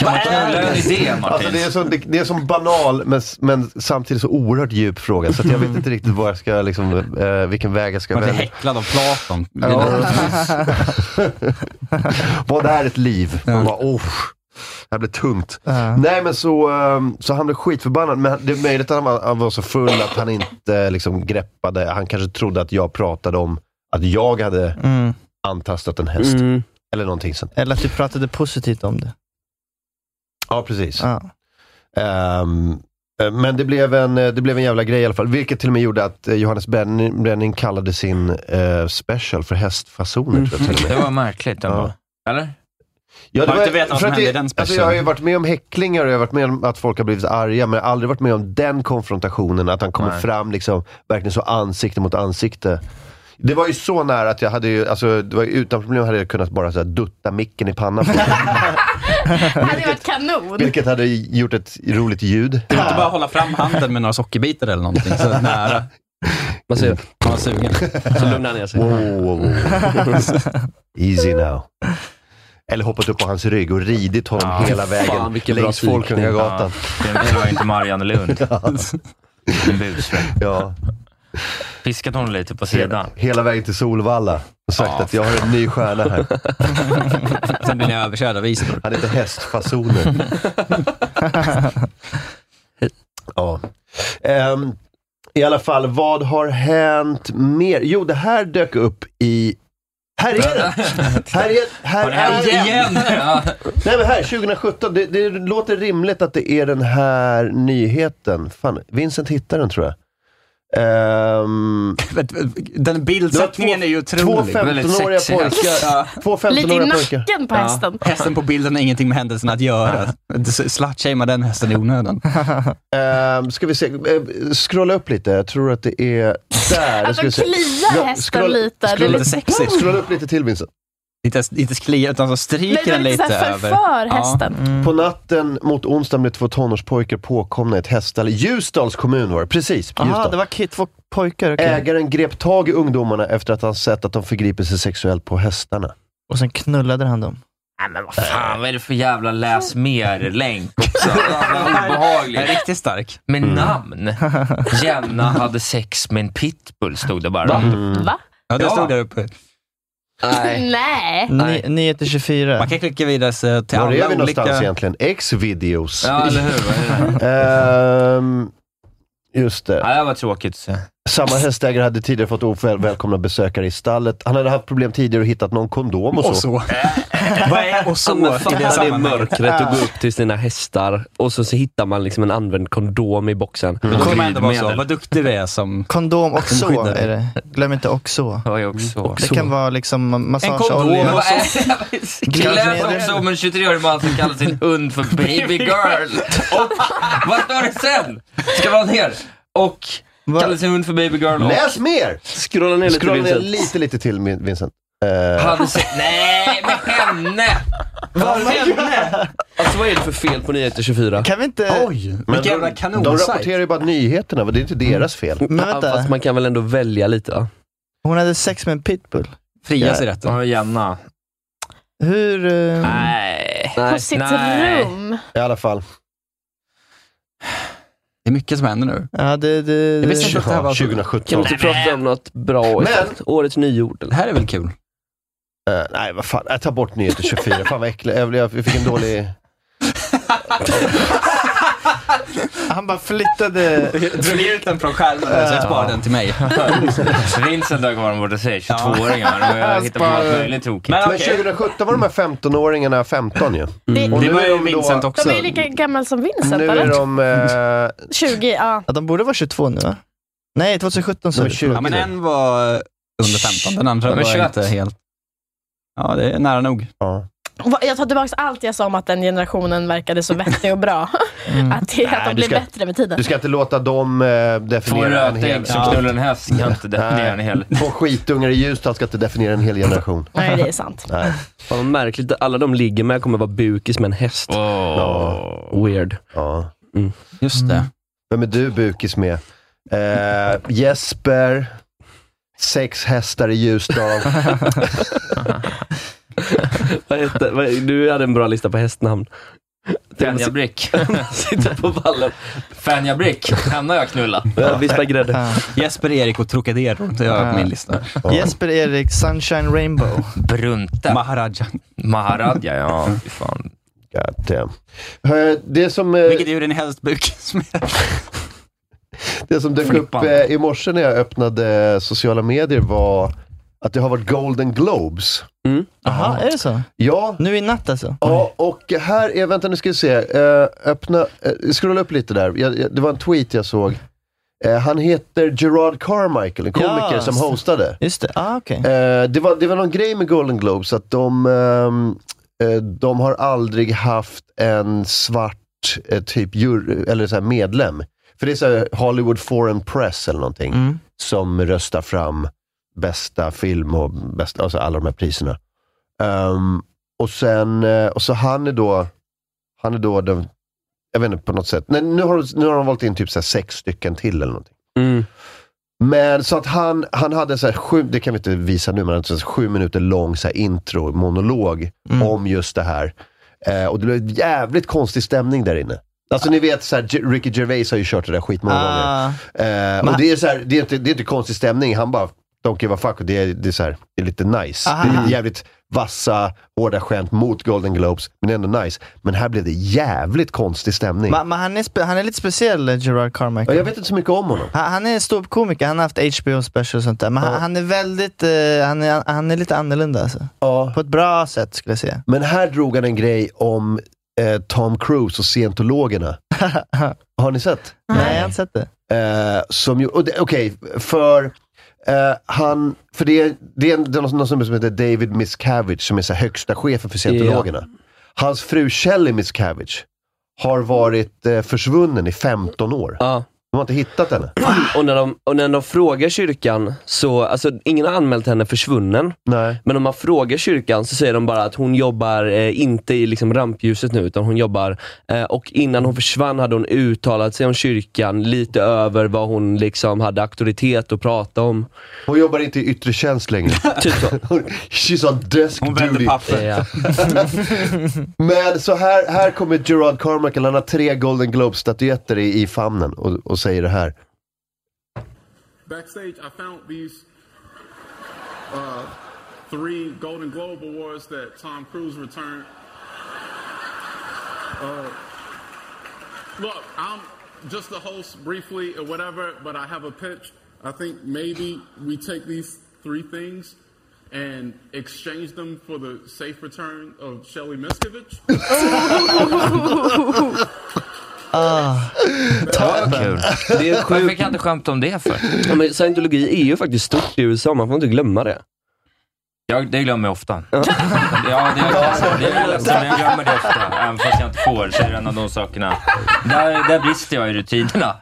Speaker 7: man knulla en idé,
Speaker 6: Alltså, det,
Speaker 7: Martin?
Speaker 6: är så, det, det är som banal, men, men samtidigt så oerhört djup fråga. Så att jag vet inte riktigt vad jag ska, liksom, eh, vilken väg jag ska
Speaker 10: Man blir
Speaker 6: välja.
Speaker 10: häcklad av Platon.
Speaker 6: Ja. Vad är ett liv? Man bara, oh, det här blev tungt.
Speaker 11: Ja.
Speaker 6: Nej men så, ehm, så han blev skitförbannad. Men det är möjligt att han var, han var så full att han inte liksom, greppade. Han kanske trodde att jag pratade om att jag hade
Speaker 11: Mm.
Speaker 6: antastat en häst.
Speaker 8: Mm.
Speaker 6: Eller någonting sånt.
Speaker 11: Eller att du pratade positivt om det.
Speaker 6: Ja, precis.
Speaker 11: Ja.
Speaker 6: Ehm, eh, men det blev, en, eh, det blev en jävla grej i alla fall. Vilket till och med gjorde att eh, Johannes Brenning, Brenning kallade sin eh, special för hästfasoner.
Speaker 11: Mm.
Speaker 6: Tror jag, till och
Speaker 7: Det
Speaker 6: med.
Speaker 7: var märkligt ändå. Eller?
Speaker 6: Ja,
Speaker 10: Man inte vet vad
Speaker 6: för att
Speaker 10: som hände
Speaker 6: det-
Speaker 10: i den
Speaker 6: alltså, Jag har ju varit med om häcklingar och jag har varit med om att folk har blivit arga, men jag har aldrig varit med om den konfrontationen, att han kommer
Speaker 7: Nej.
Speaker 6: fram liksom, verkligen så ansikte mot ansikte. Det var ju så nära att jag hade ju, alltså, det var ju, utan problem hade jag kunnat bara så här, dutta micken i pannan på honom,
Speaker 9: Det hade ju varit kanon.
Speaker 6: vilket hade gjort ett roligt ljud.
Speaker 10: Du kan inte bara hålla fram handen med några sockerbitar eller någonting så nära.
Speaker 8: Man säger,
Speaker 10: Man var sugen.
Speaker 8: så lugnar han ner sig.
Speaker 6: Mm. Wow, wow, wow. Easy now. Eller hoppat upp på hans rygg och ridit honom
Speaker 7: Ja,
Speaker 6: hela vägen
Speaker 8: fan, vilken bra
Speaker 6: längs Folkungagatan.
Speaker 7: Ja, det var ju inte Marianne Lund. En busring.
Speaker 6: Ja.
Speaker 7: Fiskat honom lite på
Speaker 6: Hela,
Speaker 7: sidan.
Speaker 6: hela vägen till Solvalla och sagt
Speaker 10: Ja,
Speaker 6: att jag har en ny stjärna här.
Speaker 10: Sen blir ni överkörda av Isidor.
Speaker 6: Han heter hästfasoner. ja. Ehm, I alla fall, vad har hänt mer? Jo, det här dök upp i Här är den! Här är, här
Speaker 7: Har det hänt
Speaker 6: är
Speaker 7: igen? Ja.
Speaker 6: Nej men här, 2017. Det, det låter rimligt att det är den här nyheten. Fan, Vincent hittar den tror jag. Ehm,
Speaker 10: Den bildsättningen är ju otrolig.
Speaker 6: två 15-åriga pojkar. Två 15-åriga pojkar.
Speaker 10: Ja. Hästen på bilden har ingenting med händelsen att göra. Slutshamea den hästen i onödan.
Speaker 6: Ehm, ska vi se, eh, scrolla upp lite. Jag tror att det är där.
Speaker 9: Att
Speaker 6: Ska vi
Speaker 9: de
Speaker 6: se.
Speaker 9: kliar
Speaker 6: Ja,
Speaker 9: hästen
Speaker 6: scrolla-
Speaker 9: lite. Det är
Speaker 6: Scrolla,
Speaker 9: lite sexigt.
Speaker 6: scrolla upp lite till Vincent.
Speaker 10: Inte, ens- inte ens klia, utan så
Speaker 9: Nej,
Speaker 10: stryker
Speaker 9: det är
Speaker 10: den
Speaker 9: lite
Speaker 10: lite
Speaker 9: så här
Speaker 10: över. Mm.
Speaker 9: förför hästen.
Speaker 6: På natten mot onsdagen blev två tonårspojkar påkomna i ett häststall. i Ljusdals kommun var det, precis.
Speaker 11: Jaha,
Speaker 6: Ljusdal.
Speaker 11: det var kid, två pojkar. okej.
Speaker 6: Ägaren grep tag i ungdomarna efter att han sett att de förgripit sig sexuellt på hästarna.
Speaker 11: Och sen knullade han dem.
Speaker 7: Nej men vad fan, vad är det för jävla läs mer-länk också? Jävla
Speaker 10: Den är
Speaker 7: obehagligt.
Speaker 10: riktigt stark.
Speaker 7: Med namn. Jenna hade sex med en pitbull, stod det bara. Mm.
Speaker 9: Va? Mm.
Speaker 10: Ja, det
Speaker 7: Ja.
Speaker 10: stod där uppe.
Speaker 7: Nej.
Speaker 9: Nej.
Speaker 11: Ni- 9 till 24.
Speaker 10: Man kan klicka vidare så till
Speaker 6: Var är vi
Speaker 10: alla
Speaker 6: någonstans
Speaker 10: olika...
Speaker 6: egentligen? X-videos.
Speaker 7: Ja, eller hur? Vad är det?
Speaker 6: Ehm, just det.
Speaker 7: Ja, det här var tråkigt att se.
Speaker 6: Samma hästägare hade tidigare fått ovälkomna besökare i stallet. Han hade haft problem tidigare att hittat någon kondom och så.
Speaker 10: Och så. Vad är och så
Speaker 8: Ja, men
Speaker 10: i det
Speaker 8: fatta det
Speaker 10: sammanhanget?
Speaker 8: mörkret och gå upp till sina hästar och så, så hittar man liksom en använd kondom i boxen.
Speaker 10: Då kommer man ändå vara så,
Speaker 7: Mm. Glidmedel.
Speaker 10: vad duktig du är som...
Speaker 11: Kondom och så
Speaker 10: skyddar dig.
Speaker 11: är det. Glöm inte och så.
Speaker 7: Hör jag
Speaker 6: Mm,
Speaker 7: också.
Speaker 11: Det kan vara liksom
Speaker 10: kondom
Speaker 11: massageolja.
Speaker 10: och-
Speaker 7: Vad är det? Glöm också om en 23-årig man som kallar sin hund för baby girl. Och vad står det sen? Ska vara ner. Och
Speaker 11: Va?
Speaker 7: kallar sin hund för baby girl. Och
Speaker 6: Läs mer!
Speaker 8: Scrolla ner lite
Speaker 6: Scrolla ner
Speaker 8: Vincent.
Speaker 6: lite, lite till Min- Vincent. Eh,
Speaker 7: hade se- Nej, med henne!
Speaker 8: Alltså vad är det för fel på nyheter 24?
Speaker 11: Kan vi inte...
Speaker 10: Oj,
Speaker 6: men
Speaker 10: vilken jävla
Speaker 6: de, de
Speaker 10: kanonsajt.
Speaker 6: rapporterar ju bara nyheterna, va? det är inte deras fel.
Speaker 11: Men
Speaker 8: Ja,
Speaker 11: vänta.
Speaker 8: Mm. Fast man kan väl ändå välja lite? va?
Speaker 11: Hon hade sex med en pitbull.
Speaker 10: Fria sig rätten.
Speaker 7: Ja, Jenna.
Speaker 11: Hur... eh,
Speaker 7: Nej.
Speaker 9: På sitt
Speaker 7: Nej.
Speaker 9: rum.
Speaker 6: I alla fall.
Speaker 10: Det är mycket som händer nu.
Speaker 11: Ja, det... det,
Speaker 10: Det
Speaker 11: det.
Speaker 10: blir så- det här var-
Speaker 6: 2017.
Speaker 8: Kan vi inte prata om något bra?
Speaker 6: Men-
Speaker 8: Årets nyord.
Speaker 10: Det här är väl kul?
Speaker 6: Eh, nej, vad fan. Jag tar bort nyheter 24. fan vad äckligt. Jag, jag fick en dålig...
Speaker 11: Han bara flyttade...
Speaker 10: Drog ut den från skärmen så jag sparar den till mig.
Speaker 7: Vincent har kvar borta sig, 22-åringar. De har hittat på allt möjligt tokigt.
Speaker 10: Men
Speaker 6: Men 2017 var de här 15-åringarna 15 ju. Mm. Och
Speaker 10: Det
Speaker 6: nu
Speaker 10: var
Speaker 6: är
Speaker 10: ju
Speaker 6: de
Speaker 10: Vincent
Speaker 6: då-
Speaker 10: också.
Speaker 9: De är ju lika gamla som Vincent,
Speaker 6: Nu är
Speaker 9: eller?
Speaker 6: de... Eh,
Speaker 9: 20, ja.
Speaker 11: Ja, de borde vara 22 nu va? Nej, 2017 så
Speaker 6: de är 20
Speaker 10: Ja, men
Speaker 6: nu.
Speaker 10: en var under 15, den andra
Speaker 7: De är
Speaker 10: var
Speaker 7: 21.
Speaker 10: inte helt... Ja, det är nära nog.
Speaker 6: Ja.
Speaker 9: Va- Jag tar tillbaka allt jag sa om att den generationen verkade så vettig och bra. Att, det, att
Speaker 6: Nej,
Speaker 9: de
Speaker 6: du
Speaker 9: blir
Speaker 6: ska-
Speaker 9: bättre med tiden.
Speaker 6: Du ska inte låta dem eh,
Speaker 7: Två
Speaker 6: definiera en hel...
Speaker 7: rötägg som knullar en häst kan inte definiera en hel.
Speaker 6: Två skitungar i Ljusdal ska inte definiera en hel generation.
Speaker 9: Nej, det är sant.
Speaker 6: Nej.
Speaker 8: Fan vad märkligt. Alla de ligger med kommer vara bukis med en häst.
Speaker 6: Ja.
Speaker 8: Weird.
Speaker 6: Ja. Mm.
Speaker 10: Just det.
Speaker 6: Vem är du bukis med? Eh, Jesper. Sex hästar i Ljusdal.
Speaker 8: Vad heter, vad, du hade en bra lista på hästnamn.
Speaker 7: Fenja Brick.
Speaker 8: Sitta på vallen.
Speaker 7: Fenja Brick. Henne har jag knullat.
Speaker 8: Vispa grädde.
Speaker 11: Ja.
Speaker 10: Jesper, Erik och Trocadero. Det är på min lista.
Speaker 11: Jesper Erik, Sunshine Rainbow.
Speaker 7: Brunte.
Speaker 10: Maharaja.
Speaker 7: Maharadja, ja. Fy fan.
Speaker 6: God damn. Eh, Det som, eh,
Speaker 10: Vilket djur är ni helst bukis med?
Speaker 6: det som dök upp
Speaker 7: Flippan.
Speaker 6: eh, i morse när jag öppnade eh, sociala medier var att det har varit Golden Globes.
Speaker 11: Jaha, är det så?
Speaker 6: Ja,
Speaker 11: Nu i natt alltså?
Speaker 6: Ja, och här är, vänta nu ska vi se, Eh, öppna, uh, scrolla upp lite där. Jag, jag, det var en tweet jag såg. Eh, han heter Gerard Carmichael, en komiker
Speaker 11: Ja,
Speaker 6: som
Speaker 11: just det.
Speaker 6: hostade.
Speaker 11: Just det, ah, okej.
Speaker 6: Eh, det, var, det var någon grej med Golden Globes, att de, ehm, eh, de har aldrig haft en svart eh, typ jury, eller så här medlem. För det är så här Hollywood Foreign Press eller någonting,
Speaker 11: Mm.
Speaker 6: som röstar fram bästa film och bästa, alltså alla de här priserna. Ehm, och sen, eh, och så han är då, han är då den, jag vet inte på något sätt, nej, nu, har, de- nu har de valt in typ så här sex stycken till eller någonting.
Speaker 8: Mm.
Speaker 6: Men så att han, han hade så här sju, det kan vi inte visa nu, men han hade så här sju minuter lång så här intro, monolog om just det här. Eh, och det blev jävligt konstig stämning där inne. Alltså ni vet, så här, Ge- Ricky Gervais har ju kört det där skitmånga gånger.
Speaker 11: Ah,
Speaker 6: Eh, och det är, så här, det, är inte, det är inte konstig stämning, han bara don't give a fuck. Och det, är, det, är så här, det är lite nice.
Speaker 11: Aha.
Speaker 6: Det är jävligt vassa, hårda skämt mot Golden Globes, men ändå nice. Men här blev det jävligt konstig stämning.
Speaker 11: Men, men han, är spe- han är lite speciell, eh, Gerard Carmichael.
Speaker 6: Ja, jag vet inte så mycket om honom.
Speaker 11: Han, han är ståuppkomiker, han har haft HBO special och sånt där. Men han, han är väldigt, eh, han, är, han är lite annorlunda alltså. På ett bra sätt skulle jag säga.
Speaker 6: Men här drog han en grej om eh, Tom Cruise och scientologerna. Har ni sett?
Speaker 11: Nej, jag har inte sett det.
Speaker 6: Eh, som ju, och det- okej, för eh, han, för det, är- det är en- det är någon, någon snubbe som heter David Miscavige som är så här högsta chefen för scientologerna. Hans fru Shelley Miscavige har varit eh, försvunnen i 15 år. De har inte hittat henne.
Speaker 8: Och när, de, och när de frågar kyrkan, så, alltså ingen har anmält henne försvunnen.
Speaker 6: Nej.
Speaker 8: Men om man frågar kyrkan så säger de bara att hon jobbar eh, inte i liksom rampljuset nu, utan hon jobbar. Eh, och innan hon försvann hade hon uttalat sig om kyrkan lite över vad hon liksom hade auktoritet att prata om.
Speaker 6: Hon jobbar inte i yttre tjänst längre.
Speaker 8: typ så.
Speaker 6: She's on desk Hon vänder papper.
Speaker 8: Ja.
Speaker 6: Men så här, här kommer Gerard Carmichael, han har tre Golden Globe-statyetter i, i famnen och, och säger det här.
Speaker 13: Backstage, I found these uh, three Golden Globe Awards that Tom Cruise returned. Uh, look, I'm just the host briefly or whatever, but I have a pitch. I think maybe we take these three things and exchange them for the safe return of Shelly Miskovich.
Speaker 6: Ah,
Speaker 7: Kul.
Speaker 8: Det är
Speaker 7: Varför kan jag inte skämta om det för?
Speaker 8: Ja, men scientologi är ju faktiskt stort i USA, man får inte glömma det.
Speaker 7: Jag, det glömmer jag ofta. Ja, det är jag ledsen- det är jag ledsen, men jag glömmer det ofta. Även fast jag inte får, så är det en av de sakerna. Där, där brister jag i rutinerna.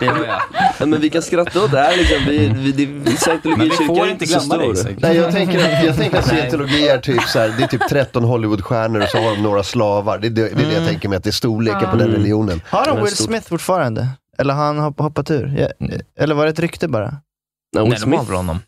Speaker 7: Det gör jag.
Speaker 8: Ja, men vi kan skratta åt det här liksom. Vi, vi, det,
Speaker 7: Men vi
Speaker 8: scientologikyrkan
Speaker 7: får
Speaker 8: är
Speaker 7: inte
Speaker 8: inte så
Speaker 7: glömma det,
Speaker 8: stor.
Speaker 7: Isak.
Speaker 6: Nej, jag tänker att, jag tänker att scientologi är typ så här, det är typ 13 Hollywoodstjärnor och så har de några slavar. Det, det, det är det jag tänker mig, att det är storleken på den religionen.
Speaker 11: Har
Speaker 8: Men
Speaker 11: de Will
Speaker 8: stort.
Speaker 11: Smith fortfarande? Eller har han hopp- hoppat ur? Ja, eh, Eller var det ett rykte bara?
Speaker 8: Nej,
Speaker 7: Nej, de
Speaker 8: Will
Speaker 7: har
Speaker 8: Smith.
Speaker 7: väl honom.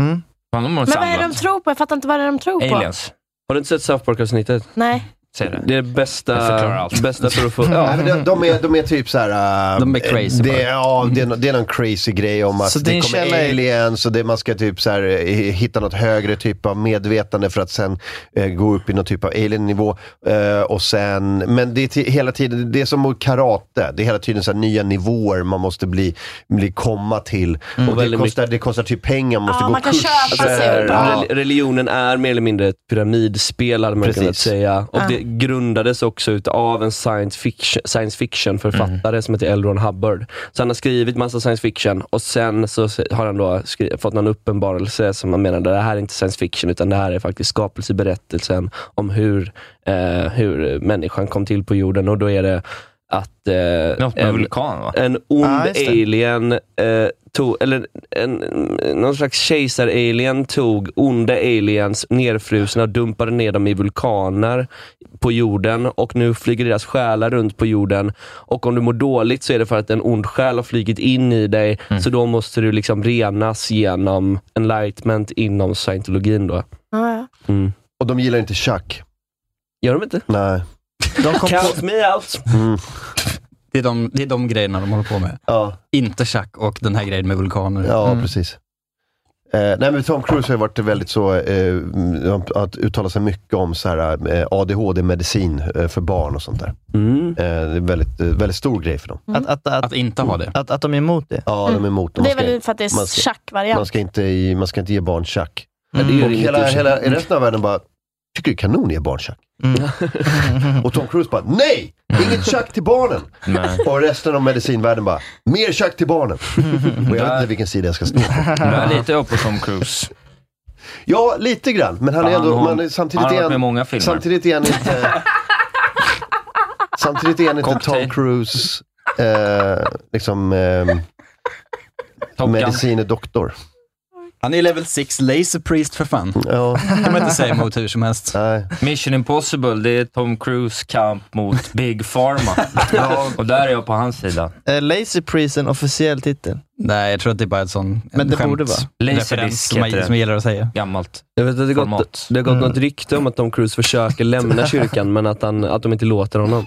Speaker 11: Mm.
Speaker 7: Fan, de har
Speaker 9: Men vad är det de
Speaker 7: samlat.
Speaker 9: tror på? Jag fattar inte vad det är de tror på.
Speaker 7: Aliens,
Speaker 8: Har du inte sett South Park-avsnittet?
Speaker 9: Nej.
Speaker 7: säger det.
Speaker 8: Det är det
Speaker 7: Det förklarar
Speaker 8: bästa,
Speaker 7: allt.
Speaker 8: bästa för att få...
Speaker 6: Ja,
Speaker 8: Ja.
Speaker 6: men de, de, är, de är typ så här. äh,
Speaker 10: De är crazy
Speaker 6: Det,
Speaker 10: bara.
Speaker 6: ja, det, är, nå- det är någon crazy grej om att
Speaker 11: Så
Speaker 6: det
Speaker 11: din
Speaker 6: kommer
Speaker 11: källa är-
Speaker 6: aliens och det, man ska typ så här, eh, hitta något högre typ av medvetande för att sen eh, gå upp i någon typ av alien-nivå. Eh, och sen, men det är ti- hela tiden, det är som mot karate. Det är hela tiden så här nya nivåer man måste bli, bli komma till.
Speaker 11: Mm.
Speaker 6: Och det
Speaker 8: väldigt
Speaker 6: kostar, det kostar typ pengar, man måste
Speaker 9: Ja,
Speaker 6: gå
Speaker 9: man kan
Speaker 6: kurser.
Speaker 9: köpa sig upp.
Speaker 6: Ja.
Speaker 8: Alltså, Rel- Religionen är mer eller mindre ett pyramidspel hade man
Speaker 6: Precis.
Speaker 8: kunnat säga. Och det grundades också utav en science fiction, science fiction
Speaker 9: Mm.
Speaker 8: författare som heter L. Ron Hubbard. Så han har skrivit massa science fiction och sen så se- har han då skri- fått någon uppenbarelse som han menade, det här är inte science fiction utan det här är faktiskt skapelseberättelsen om hur, eh, hur människan kom till på jorden. Och då är det att eh,
Speaker 7: Något med
Speaker 8: en-
Speaker 7: vulkan va?
Speaker 8: en ond
Speaker 11: Ja, just det.
Speaker 8: alien, eh, tog, eller en, en- någon slags kejsar-alien tog onda aliens nerfrusna och dumpade ner dem i vulkaner på jorden och nu flyger deras själar runt på jorden. Och om du mår dåligt så är det för att en ond själ har flugit in i dig,
Speaker 7: Mm.
Speaker 8: så då måste du liksom renas genom enlightenment inom scientologin. Då. Mm.
Speaker 9: Ja, ja.
Speaker 6: Och de gillar inte schack.
Speaker 8: Gör de inte?
Speaker 6: Nej. Mm.
Speaker 11: De kom på,
Speaker 8: Count me out!
Speaker 10: Det är, de, det är de grejerna de håller på med.
Speaker 6: Ja,
Speaker 10: Inte schack och den här grejen med vulkaner.
Speaker 6: ja
Speaker 8: Mm.
Speaker 6: precis. Eh, nej men Tom Cruise har ju varit väldigt så, eh, att uttala sig mycket om så här, eh, ADHD-medicin eh, för barn och sånt där.
Speaker 8: Mm.
Speaker 6: Eh, det är en väldigt, eh, väldigt stor grej för dem.
Speaker 11: att, att, att,
Speaker 10: Att inte ha det.
Speaker 11: Mm. att, att de är emot det.
Speaker 6: Ja, de är emot dem.
Speaker 9: Det är
Speaker 6: Man ska,
Speaker 9: väl för att det
Speaker 6: man
Speaker 9: är
Speaker 6: ska- man
Speaker 9: schackvariant.
Speaker 6: ska, inte, ge- man ska inte ge barn schack.
Speaker 8: Ja, det gör
Speaker 6: Och
Speaker 8: inget
Speaker 6: hela,
Speaker 8: i och för
Speaker 6: hela
Speaker 8: sig.
Speaker 6: resten av världen bara, tycker det är kanon att ge barn schack. och Tom Cruise bara, nej! Inget schack till barnen!
Speaker 7: Nej.
Speaker 6: Och resten av medicinvärlden bara, mer schack till barnen! och jag vet inte vilken sida jag ska stå på.
Speaker 7: Men lite upp på Tom Cruise.
Speaker 6: Ja, lite grann. Men han är
Speaker 7: Han
Speaker 6: ändå,
Speaker 7: har-
Speaker 6: man, är- samtidigt
Speaker 7: han har
Speaker 6: är
Speaker 7: varit med i många filmer.
Speaker 6: Samtidigt är han inte... samtidigt är han inte Tom
Speaker 7: Cocktail.
Speaker 6: Cruise, eh, liksom, eh,
Speaker 7: Top Gun.
Speaker 6: medicinedoktor.
Speaker 10: Han är level 6 laser priest för fan.
Speaker 6: Ja,
Speaker 10: kan man inte säga emot hur som helst.
Speaker 6: nej.
Speaker 7: Mission Impossible, det är Tom Cruise kamp mot Big Pharma. Och där är jag på hans sida.
Speaker 11: Eh, Lazy Priest är en officiell titel.
Speaker 10: Nej, jag tror att det är bara ett sån
Speaker 11: Men
Speaker 10: en
Speaker 11: det borde vara.
Speaker 10: skämtreferens
Speaker 7: Laserdisc
Speaker 10: som, man-
Speaker 7: heter det.
Speaker 10: som jag gillar att säga.
Speaker 7: Gammalt.
Speaker 8: Jag vet att det har gått,
Speaker 7: Format.
Speaker 8: det har
Speaker 6: Mm.
Speaker 8: gått något rykte om att Tom Cruise försöker lämna kyrkan, men att, han, att de inte låter honom.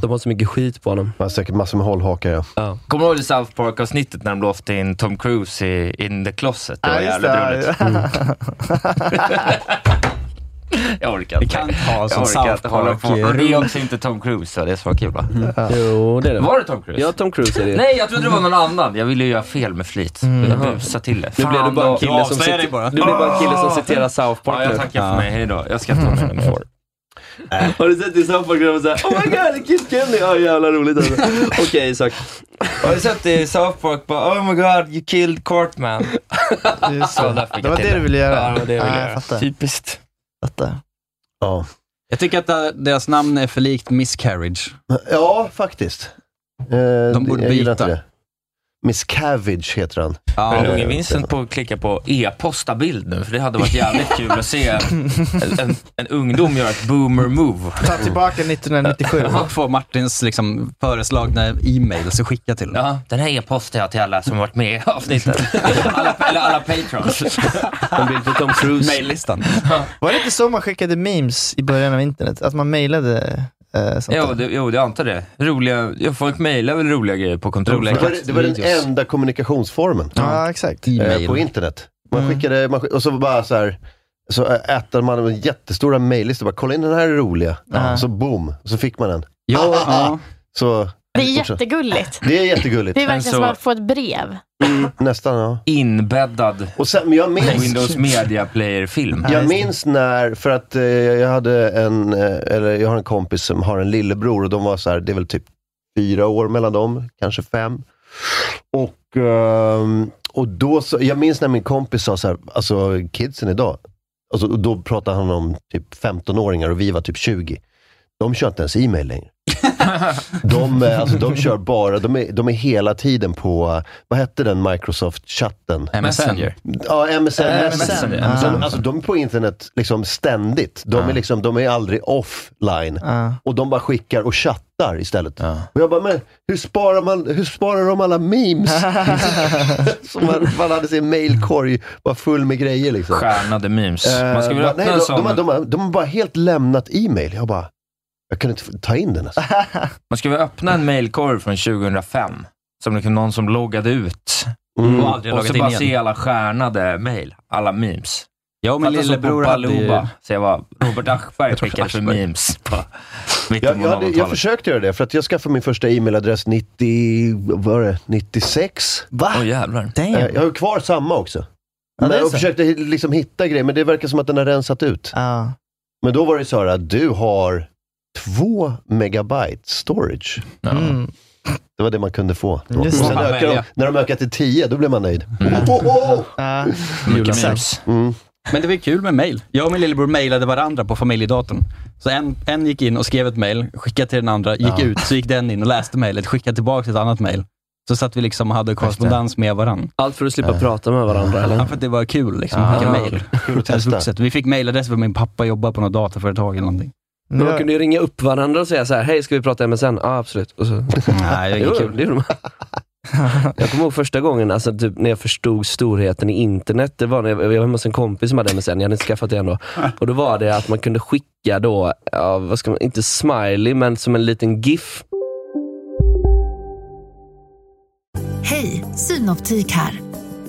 Speaker 8: De har så mycket skit på honom.
Speaker 6: Man har Mm. säkert massor med hållhakar. Ja.
Speaker 7: Kommer du ihåg det South Park-avsnittet när de låste in Tom Cruise i In the Closet? Det var jävligt roligt. Jag orkar inte.
Speaker 10: kan ta
Speaker 7: Jag
Speaker 10: som
Speaker 7: orkar
Speaker 10: South
Speaker 7: inte hålla på.
Speaker 10: Park-
Speaker 7: Och Det är också inte Tom Cruise, så det är så kul va?
Speaker 8: Jo, det är det.
Speaker 7: Var det Tom Cruise?
Speaker 8: Ja, Tom Cruise är det.
Speaker 7: Nej, jag trodde det var någon annan. Jag ville ju göra fel med flit. Jag busade till det.
Speaker 8: Mm. Nu
Speaker 7: Fan
Speaker 8: blev du bara en
Speaker 7: då.
Speaker 8: kille som citer- Du blev bara en kille som citerar South Park
Speaker 7: Ah. Ja, jag
Speaker 8: nu. Ah. Äh.
Speaker 7: tackar för mig. Hej då. Jag ska ta med den får.
Speaker 8: Har du sett i South Park när de säger Oh my god, Kiss Kenny! Ja, jävla roligt alltså. Okej Isak.
Speaker 7: Har du sett i South Park bara Oh my god, you killed Cartman.
Speaker 11: så. Det var det du ville göra.
Speaker 7: Ja, det var det jag
Speaker 11: Ja,
Speaker 7: ville
Speaker 11: jag
Speaker 7: göra.
Speaker 11: fattar.
Speaker 7: Typiskt.
Speaker 6: Ja.
Speaker 10: Jag tycker att eh, deras namn är för likt Miscarriage.
Speaker 6: Ja, faktiskt. De
Speaker 10: borde
Speaker 6: jag gillar inte
Speaker 10: byta.
Speaker 6: det. Miss Cavage heter han. Eh,
Speaker 7: Höll unge Vincent på att klicka på e-posta bild nu? För det hade varit jävligt kul att se en, en, en ungdom göra ett boomer move.
Speaker 11: Ta tillbaka 1997.
Speaker 10: Jag får Martins liksom, föreslagna e-mails och skicka till dem.
Speaker 7: Ja, den här e-postar jag till alla som varit med i avsnittet. Alla, eller alla patrons.
Speaker 8: En bild på Tom Cruise.
Speaker 10: Maillistan.
Speaker 11: Var det inte så man skickade memes i början av internet? Att man mejlade eh, sånt
Speaker 7: Jo,
Speaker 11: där?
Speaker 7: det, jo, jag antar det. Roliga, ja, folk mejlar väl roliga grejer på kontoret.
Speaker 6: Det var, det var den enda kommunikationsformen
Speaker 11: Ja, exakt.
Speaker 6: eh, på internet.
Speaker 7: Mm.
Speaker 6: Man skickade, man skickade, och så bara så här, så ätade man en jättestora mejllistor. Bara, kolla in den här roliga. Så boom, så fick man den.
Speaker 10: Ja, ja.
Speaker 6: Så,
Speaker 9: Det är jättegulligt.
Speaker 6: det är jättegulligt.
Speaker 9: Det är verkligen
Speaker 7: så-
Speaker 9: som att få ett brev.
Speaker 6: Nästan, ja.
Speaker 7: Inbäddad
Speaker 6: Och sen, men jag minns,
Speaker 7: Windows Media Player-film.
Speaker 6: Jag minns när, för att eh, jag hade en, eh, eller jag har en kompis som har en lillebror och de var så här, det är väl typ fyra år mellan dem, kanske fem. Och, ehm, och då så, jag minns när min kompis sa så här, alltså kidsen idag, alltså, och då pratade han om typ 15-åringar och vi var typ 20. De kör inte ens e-mail längre. De, eh, alltså, de kör bara, de är, de är hela tiden på, eh, vad hette den Microsoft-chatten?
Speaker 7: Messenger.
Speaker 6: Ja, MSN.
Speaker 7: MSN,
Speaker 6: MSN.
Speaker 7: Eh, ja.
Speaker 6: De, Äh, alltså, de är på internet liksom ständigt. De, är liksom, de är aldrig offline.
Speaker 11: Ja.
Speaker 6: Och de bara skickar och chattar istället. Och jag bara, men hur sparar, man, hur sparar de alla memes? Som man, man hade sin mailkorg, var full med grejer liksom.
Speaker 7: Stjärnade memes. Man ska väl
Speaker 6: Eh,
Speaker 7: öppna
Speaker 6: nej,
Speaker 7: en
Speaker 6: de, de, har-
Speaker 7: sån.
Speaker 6: de, har- de har bara helt lämnat e-mail. Jag bara, jag kunde inte ta in den alltså.
Speaker 7: Man ska väl öppna en mailkorg från 2005. Som liksom någon som loggade ut.
Speaker 6: Mm.
Speaker 10: Och aldrig
Speaker 7: Och
Speaker 10: loggat
Speaker 7: så
Speaker 10: in
Speaker 7: bara
Speaker 10: igen.
Speaker 7: se alla stjärnade mail. Alla memes.
Speaker 10: Jag och min
Speaker 7: Fattar som
Speaker 10: lillebror
Speaker 7: på
Speaker 10: hade ju...
Speaker 7: Baluba. Så jag var Robert Aschberg skickade för memes på mitten
Speaker 6: Jag,
Speaker 7: på
Speaker 6: jag, hade, jag
Speaker 7: 00-talet.
Speaker 6: försökte göra det, för att jag skaffade min första e-mailadress 90, vad var det, 96.
Speaker 11: Va?
Speaker 7: Åh jävlar.
Speaker 6: Eh,
Speaker 11: Damn.
Speaker 6: Jag har ju kvar samma också.
Speaker 11: Ja, det
Speaker 6: men
Speaker 11: är
Speaker 6: jag
Speaker 11: så.
Speaker 6: försökte hi- liksom hitta grejer, men det verkar som att den har rensat ut.
Speaker 11: Ja.
Speaker 6: Men då var det så här att du har två megabyte storage.
Speaker 11: Mm.
Speaker 6: Det var det man kunde få. då.
Speaker 11: Just det.
Speaker 6: Sen
Speaker 10: Man
Speaker 6: ökar de,
Speaker 10: välja.
Speaker 6: när de ökar till tio, då blir man nöjd. Oh, oh, oh!
Speaker 11: Ja.
Speaker 7: Mm, Mycket memes.
Speaker 6: Mm.
Speaker 10: Men det var ju kul med mail. Jag och min lillebror mejlade varandra på familjedatorn. Så en, en gick in och skrev ett mejl, skickade till den andra, gick
Speaker 6: Ja.
Speaker 10: ut, så gick den in och läste mejlet, skickade tillbaka till ett annat mejl. Så satt vi liksom och hade korrespondens med varandra.
Speaker 8: Allt för att slippa prata med varandra eller?
Speaker 10: Ja, för att det var kul liksom.
Speaker 6: Eh. Ah,
Speaker 10: Skicka
Speaker 6: okej.
Speaker 10: mejl.
Speaker 6: Kul att
Speaker 10: Som
Speaker 6: testa.
Speaker 10: vuxet. Vi fick mejladress för min pappa jobbar på något dataföretag eller någonting.
Speaker 8: Men
Speaker 11: Nu-
Speaker 8: de kunde ju ringa upp varandra och säga så här: hej ska vi prata MSN? Ja absolut. Och så,
Speaker 10: Nej, det var
Speaker 8: jo,
Speaker 10: inget kul.
Speaker 8: det gjorde man. Jag kommer ihåg första gången alltså, typ, när jag förstod storheten i internet. Det var när jag, jag var hemma hos en kompis som hade MSN, jag hade inte skaffat det än då. Och då var det att man kunde skicka då, ja, vad ska man, inte smiley, men som en liten GIF.
Speaker 14: Hej, Synoptik här.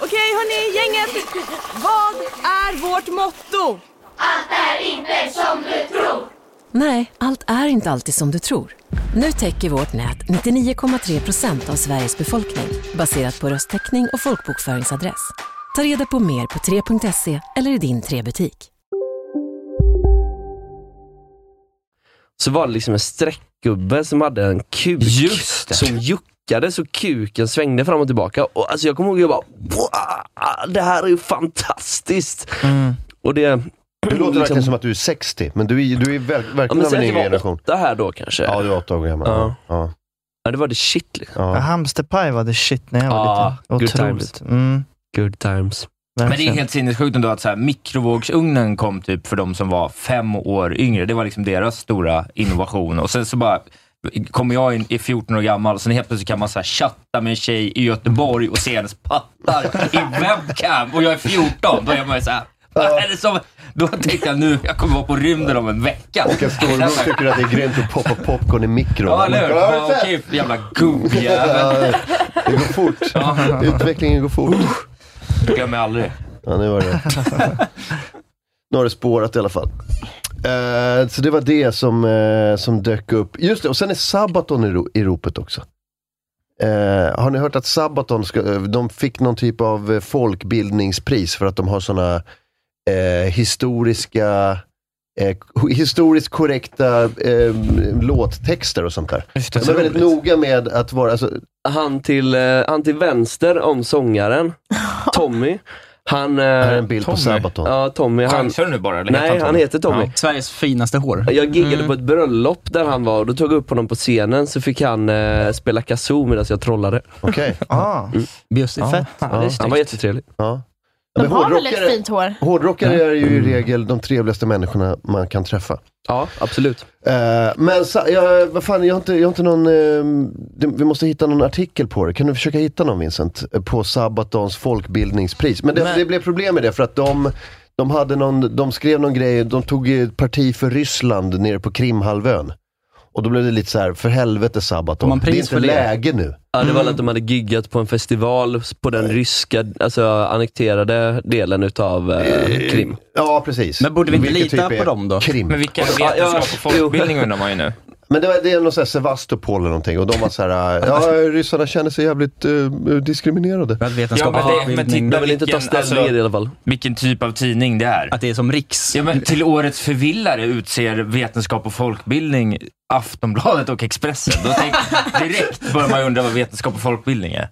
Speaker 15: Okej hörni, gänget! Vad är vårt motto?
Speaker 16: Nej, allt är inte alltid som du tror. Nu täcker vårt nät 99,3 procent av Sveriges befolkning baserat på röstteckning och folkbokföringsadress. Ta reda på mer på 3.se eller i din 3-butik.
Speaker 8: så var det liksom en streckgubbe som hade en kuk som juckade så kuken svängde fram och tillbaka. Och alltså jag kommer ihåg, jag bara "Wow, det här är ju fantastiskt. Och det,
Speaker 6: Det låter
Speaker 11: liksom-
Speaker 6: verkligen som att du är 60, men du är, du är ver-
Speaker 8: Ja,
Speaker 6: verkligen
Speaker 8: men
Speaker 6: av
Speaker 8: säg
Speaker 6: en
Speaker 8: att jag
Speaker 6: yngre
Speaker 8: var
Speaker 6: generation.
Speaker 8: åtta här då kanske. Ja,
Speaker 6: du var åtta år gammal.
Speaker 8: Ja.
Speaker 6: Ja.
Speaker 8: det var det shit liksom.
Speaker 11: Ja. Hamsterpaj var det shit när jag var
Speaker 7: Ja,
Speaker 11: liten.
Speaker 7: good
Speaker 11: Otroligt.
Speaker 7: times.
Speaker 11: Mm.
Speaker 8: Good times.
Speaker 7: Men det är helt sinnessjukt ändå att så här, mikrovågsugnen kom typ för de som var fem år yngre. Det var liksom deras stora innovation. Och sen så bara kommer jag in i 14 år gammal, sen helt plötsligt kan man så här chatta med en tjej i Göteborg och se hennes pattar i webcam och jag är 14. Då är man ju så här, vad är det som... Då tänkte jag nu, jag kommer vara på rymden om en vecka.
Speaker 6: Och en storbror tycker att det är grymt att poppa popcorn i mikron.
Speaker 7: Ja, eller hur?
Speaker 6: Kolla, har du
Speaker 7: Ja,
Speaker 6: sett?
Speaker 7: Okej, jävla gubbjävel.
Speaker 6: Det går fort. Utvecklingen går fort.
Speaker 7: Glömmer aldrig.
Speaker 6: Ja, nu var det Nu har det spårat i alla fall. Eh, så det var det som, eh, som dök upp. Just det, och sen är Sabaton i, ro- i ropet också. Eh, har ni hört att Sabaton ska, eh, de fick någon typ av eh, folkbildningspris för att de har såna eh, historiska eh, ko- historiskt korrekta eh, låttexter och sånt där. De är väldigt noga med att vara... Alltså,
Speaker 8: Han till, eh, han till vänster om sångaren, Tommy. Han, eh,
Speaker 6: Här är en bild på Tommy. Sabaton.
Speaker 8: Ja, Tommy. Han,
Speaker 7: Chansar du nu bara, eller heter
Speaker 8: Nej,
Speaker 7: han
Speaker 8: han,
Speaker 7: Tommy?
Speaker 8: heter Tommy.
Speaker 7: Ja.
Speaker 8: Sveriges finaste hår. Jag giggade
Speaker 7: Mm.
Speaker 8: på ett bröllop där han var och då tog jag upp honom på scenen så fick han eh, spela kazoo medan jag trollade.
Speaker 6: Okej.
Speaker 11: Ah.
Speaker 8: Mm.
Speaker 11: Bjussigt. Fett.
Speaker 8: Ja, han var jättetrevlig.
Speaker 6: Ja.
Speaker 9: De
Speaker 6: Men
Speaker 9: har
Speaker 6: hårdrockare-
Speaker 9: väldigt fint hår.
Speaker 6: Hårdrockare är ju i
Speaker 8: Mm.
Speaker 6: regel de trevligaste människorna man kan träffa. Eh,
Speaker 8: Ja, absolut.
Speaker 6: men sa, jag, vad fan, jag har inte, jag har inte någon... eh, det- vi måste hitta någon artikel på det. Kan du försöka hitta någon Vincent? Eh, På Sabatons folkbildningspris. Men det,
Speaker 11: Men-
Speaker 6: det blev problem med det för att de, de, hade någon, de skrev någon grej, de tog eh, parti för Ryssland nere på Krimhalvön. Och då blev det lite så här, för helvete
Speaker 8: Får man
Speaker 6: Sabaton, det är
Speaker 8: pris
Speaker 6: inte
Speaker 8: för det?
Speaker 6: läge nu.
Speaker 8: Ja, det var väl
Speaker 6: Mm.
Speaker 8: att de hade giggat på en festival på den ryska, alltså annekterade delen utav eh, Krim.
Speaker 6: Ja, precis.
Speaker 8: Men borde vi inte
Speaker 6: Vilken
Speaker 8: lita
Speaker 6: typ
Speaker 8: på
Speaker 6: är
Speaker 8: dem då?
Speaker 6: Krim.
Speaker 8: Men vilka vetenskap och folkbildning undrar man ju nu.
Speaker 6: Men det, var, det är någon sån här Sevastopol eller någonting och de var så här, äh, ja ryssarna känner sig jävligt eh, diskriminerade.
Speaker 7: alltså- Vilken typ av tidning det är. Att det är som Riks. Ja, men till årets förvillare utser Vetenskap och folkbildning Aftonbladet och Expressen. Då tänk, direkt börjar man ju undra vad Vetenskap och folkbildning är.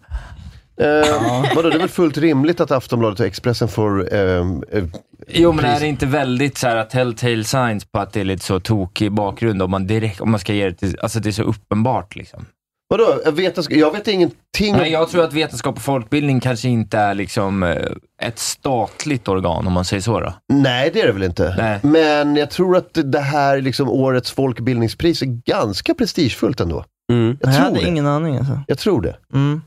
Speaker 6: Eh, vadå, det är väl fullt rimligt att Aftonbladet och Expressen får... ehm, eh,
Speaker 7: Jo, men
Speaker 6: pris.
Speaker 7: är det inte väldigt så här telltale signs på att det är lite så tokig bakgrund om man direkt, om man ska ge det till, alltså det är så uppenbart liksom.
Speaker 6: Vadå, jag vet, jag vet ingenting.
Speaker 7: Nej, jag tror att vetenskap och folkbildning kanske inte är liksom eh, ett statligt organ om man säger så då.
Speaker 6: Nej, det är det väl inte. Men jag tror att det här liksom, årets folkbildningspris är ganska prestigefullt ändå.
Speaker 7: Mm.
Speaker 6: Jag,
Speaker 11: Jag
Speaker 6: tror
Speaker 11: hade
Speaker 6: det.
Speaker 11: ingen aning alltså.
Speaker 6: jag tror det.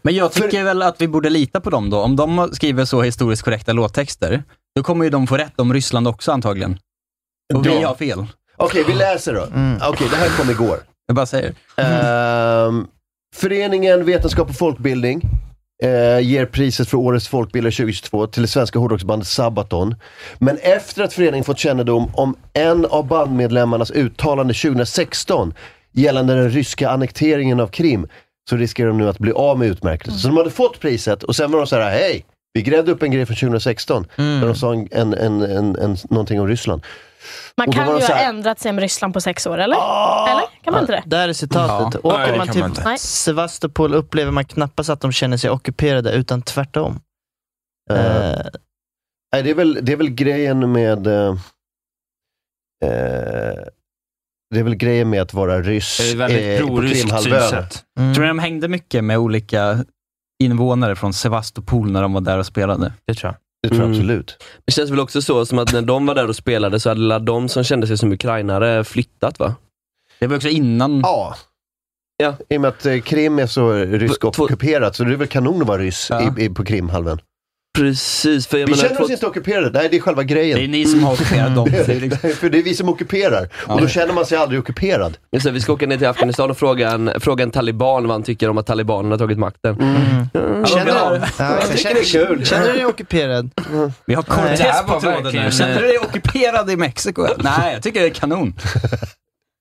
Speaker 10: Men jag tycker väl att vi borde lita på dem då. Om de skriver så historiskt korrekta låttexter, då kommer ju de få rätt om Ryssland också antagligen. Och vi
Speaker 6: Ja.
Speaker 10: har fel. Mm.
Speaker 6: Okej, vi läser då. Okej, det här kom igår.
Speaker 10: Jag bara säger.
Speaker 6: Ehm, föreningen Vetenskap och folkbildning eh, ger priset för årets folkbildare 2022 till det svenska hårdrocksbandet Sabaton. Men efter att föreningen fått kännedom om en av bandmedlemmarnas uttalande 2016 gällande den ryska annekteringen av Krim så riskerar de nu att bli av med utmärkelsen. Så de hade fått priset och sen var de så här, hej, vi grävde upp en grej från 2016
Speaker 10: Mm.
Speaker 6: där de sa en, en, en, en, en, någonting om Ryssland.
Speaker 9: Man
Speaker 6: Och då var
Speaker 9: kan
Speaker 6: de
Speaker 9: ju
Speaker 6: så
Speaker 9: ha
Speaker 6: här- Ah!
Speaker 9: ändrat sig om Ryssland på sex år, eller? Eller? Kan man inte det?
Speaker 11: Där är citatet.
Speaker 9: Ja. Nej,
Speaker 11: Åker
Speaker 9: det
Speaker 11: man
Speaker 9: kan
Speaker 11: till
Speaker 9: man inte. Nej.
Speaker 11: Sevastopol upplever man knappast att de känner sig ockuperade, utan tvärtom.
Speaker 6: Eh, Nej, det är väl, det är väl grejen med... Eh, eh, det är väl grejen med att vara ryss
Speaker 10: Det är väldigt
Speaker 6: eh, på
Speaker 10: proryskt
Speaker 6: Krimhalvön.
Speaker 10: synsätt. Tror ni Mm. de hängde mycket med olika invånare från Sevastopol när de var där och spelade?
Speaker 7: Det tror jag.
Speaker 6: Det tror jag absolut.
Speaker 8: Det känns väl också så som att när de var där och spelade så hade alla de som kände sig som ukrainare flyttat va?
Speaker 10: Det var också innan...
Speaker 6: Ja.
Speaker 8: Ja.
Speaker 6: I och med att eh, Krim är så rysk ockuperat, så det är väl kanon att vara ryss i, i, på Krimhalvön.
Speaker 8: Precis, för jag
Speaker 6: vi
Speaker 8: menar,
Speaker 6: känner oss
Speaker 8: två-
Speaker 6: inte ockuperade, nej det är själva grejen.
Speaker 8: Det är ni som har ockuperat dem.
Speaker 6: Det är- det är- för det är vi som ockuperar, och då känner man sig aldrig ockuperad.
Speaker 8: Just det, vi ska åka ner till Afghanistan och fråga en, fråga en taliban vad han tycker om att talibanerna har tagit makten.
Speaker 6: Mm.
Speaker 7: Mm.
Speaker 11: Känner, du-
Speaker 8: Ja, jag tycker det är kul.
Speaker 11: känner du dig ockuperad?
Speaker 10: Vi har
Speaker 11: Nej, det
Speaker 10: Cortez
Speaker 11: här
Speaker 10: på
Speaker 11: var
Speaker 10: tråden nu.
Speaker 11: verkligen-
Speaker 10: Känner du dig ockuperad i Mexiko? Nej, jag tycker det är kanon.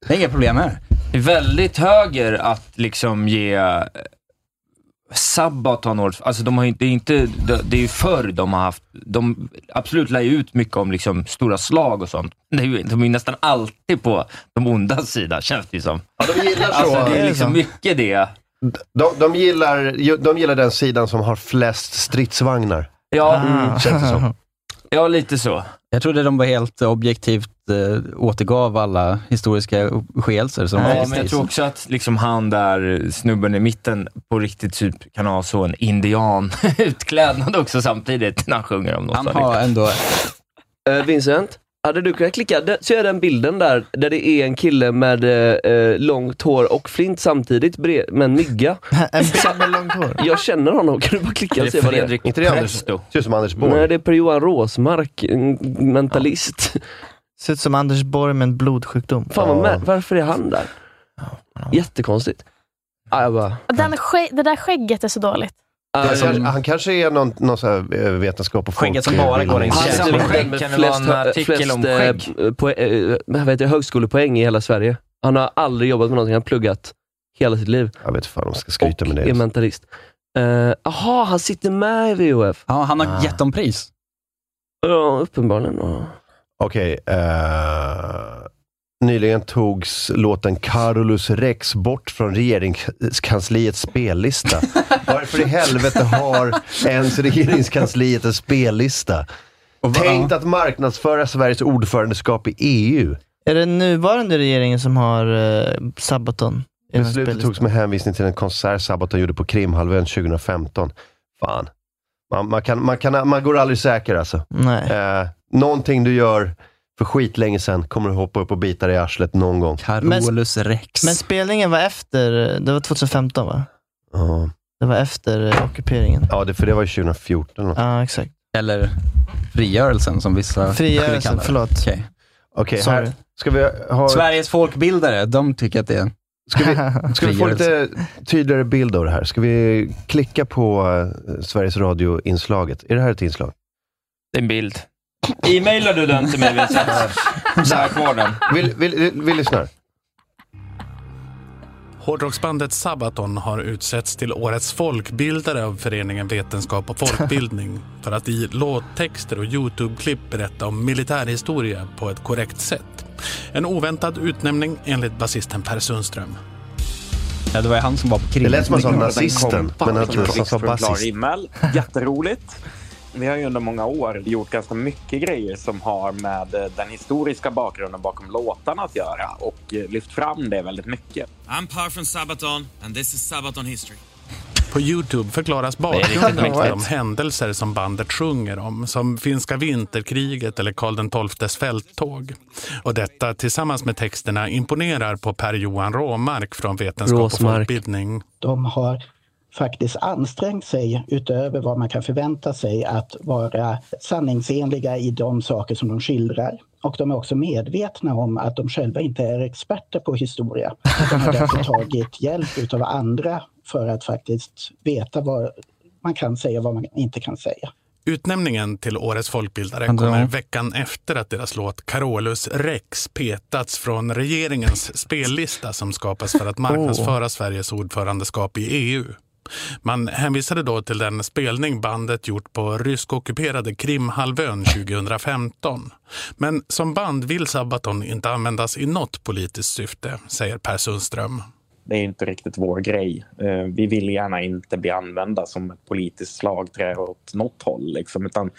Speaker 10: Det är inga problem här.
Speaker 7: Det är väldigt höger att liksom ge eh, Sabaton, Ulf, alltså de har ju inte, det är inte, det- det är ju förr de har haft, de absolut lär ju ut mycket om liksom stora slag och sånt. Det är ju, de är ju nästan alltid på de onda sida, känns det ju som. Ja,
Speaker 6: de gillar så.
Speaker 7: Alltså, det
Speaker 6: Är
Speaker 7: är
Speaker 6: det
Speaker 7: liksom
Speaker 6: så?
Speaker 7: mycket det.
Speaker 6: De, de, gillar, ju- de gillar den sidan som har flest stridsvagnar.
Speaker 7: Ja.
Speaker 6: Mm, känns det som.
Speaker 7: Ja, lite så.
Speaker 10: Jag trodde de var helt objektivt eh, återgav alla historiska upp- skeelser. som
Speaker 7: Ja,
Speaker 10: faktiskt
Speaker 7: men jag
Speaker 10: finns.
Speaker 7: tror också att liksom han där snubben i mitten på riktigt typ kan ha så en indian utklädnad också samtidigt när han sjunger om något.
Speaker 10: Han
Speaker 7: sånt.
Speaker 10: har ändå...
Speaker 8: Eh, Vincent, hade du kunnat klicka? Den, så är den bilden där, där det är en kille med eh, eh, långt hår och flint samtidigt, bre- med en mygga.
Speaker 11: en bild med långt hår?
Speaker 8: Jag känner honom, kan du bara klicka och se vad det är?
Speaker 6: Inte det Anders, ser ut som Anders Borg.
Speaker 8: Nej, det är Per-Johan Råsmark, en mentalist.
Speaker 11: Ser ut som Anders Borg med en blodsjukdom.
Speaker 8: Fan vad mär- varför är han där? Jättekonstigt. Ah, jag bara,
Speaker 9: Den skä- det där skägget är så dåligt.
Speaker 6: Han kanske- han kanske är någon, någon så här eh, vetenskap och
Speaker 10: Skägget som bara går
Speaker 6: folkbildning.
Speaker 10: in. Han
Speaker 8: Känns som
Speaker 10: skägg,
Speaker 8: den med
Speaker 10: kan det vara en
Speaker 8: flest-
Speaker 10: artikel om
Speaker 8: eh,
Speaker 10: skägg?
Speaker 8: på, eh, vad heter det, högskolepoäng i hela Sverige. Han har aldrig jobbat med någonting, han har pluggat hela sitt liv.
Speaker 6: Jag vet fan om jag ska skryta med det.
Speaker 8: är mentalist. Jaha, han sitter med i VHF.
Speaker 10: Ja, han
Speaker 6: Ah.
Speaker 10: har gett dem pris.
Speaker 8: Ja, uppenbarligen.
Speaker 6: Okej. eh, nyligen togs låten Carolus Rex bort från regeringskansliets spellista. Varför i helvete har ens regeringskansliet en spellista? Tänkt att marknadsföra Sveriges ordförandeskap i E EU.
Speaker 11: Är det nuvarande regeringen som har eh, Sabaton? i den här
Speaker 6: Beslutet
Speaker 11: spellistan?
Speaker 6: togs med hänvisning till en konsert Sabaton gjorde på Krimhalvön 2015. Fan. Man, man, kan, man, kan, man går aldrig säker alltså.
Speaker 11: Nej.
Speaker 6: Eh, någonting du gör för skitlänge sedan kommer du hoppa upp och bita dig i arslet någon gång.
Speaker 10: Carolus Rex.
Speaker 11: Men spelningen var efter, det var 2015 va?
Speaker 6: Ja.
Speaker 11: Det var efter eh, ockuperingen.
Speaker 6: Ja, det, för det var ju 2014. något.
Speaker 11: Ja, exakt.
Speaker 10: Eller frigörelsen som vissa skulle
Speaker 11: Frigörelsen,
Speaker 10: kalla det.
Speaker 11: förlåt.
Speaker 10: Okej.
Speaker 6: Okej,
Speaker 10: Sorry.
Speaker 6: här ska vi ha...
Speaker 10: Sveriges folkbildare, de tycker att det är...
Speaker 6: Ska vi, ska vi få lite tydligare bild av det här? Ska vi klicka på eh, Sveriges Radio-inslaget? Är det här ett inslag?
Speaker 7: Det är en bild. E-mailar du den till mig Vincent? Så här kvar den.
Speaker 6: Vill, vill, vill, vill lyssna?
Speaker 12: Hårdrocksbandet Sabaton har utsetts till årets folkbildare av föreningen Vetenskap och folkbildning för att i låttexter och Youtube-klipp berätta om militärhistoria på ett korrekt sätt. En oväntad utnämning enligt basisten Per Sundström.
Speaker 10: Ja, det var ju han som var på krim.
Speaker 12: Det lät som han sa nazisten, men att-
Speaker 17: Vilken
Speaker 12: han sa
Speaker 17: blixt från klar
Speaker 12: basist.
Speaker 17: himmel. Jätteroligt. Vi har ju under många år gjort ganska mycket grejer som har med eh, den historiska bakgrunden bakom låtarna att göra och eh, lyft fram det väldigt mycket.
Speaker 18: I'm Par from Sabaton, and this is Sabaton history.
Speaker 12: På Youtube förklaras
Speaker 18: riktigt
Speaker 12: bakgrunden till de
Speaker 18: mäktigt.
Speaker 12: händelser som bandet sjunger om, som finska vinterkriget eller Karl XIIs fälttåg. Och detta tillsammans med texterna imponerar på Per-Johan Råmark från Vetenskap och
Speaker 8: Råsmark.
Speaker 12: folkbildning.
Speaker 19: De har faktiskt ansträngt sig utöver vad man kan förvänta sig att vara sanningsenliga i de saker som de skildrar. Och de är också medvetna om att de själva inte är experter på historia. De har därför tagit hjälp av andra för att faktiskt veta vad man kan säga och vad man inte kan säga.
Speaker 12: Utnämningen till Årets folkbildare
Speaker 19: Ändå.
Speaker 12: kommer veckan efter att deras låt Carolus Rex petats från regeringens spellista som skapas för att marknadsföra Sveriges ordförandeskap i EU. Man hänvisade då till den spelning bandet gjort på ryskockuperade Krimhalvön 2015. Men som band vill Sabaton inte användas i något politiskt syfte, säger Per Sundström.
Speaker 17: Det är inte riktigt vår grej. Eh, Vi vill gärna inte bli använda som ett politiskt slagträ åt något håll. Liksom, utan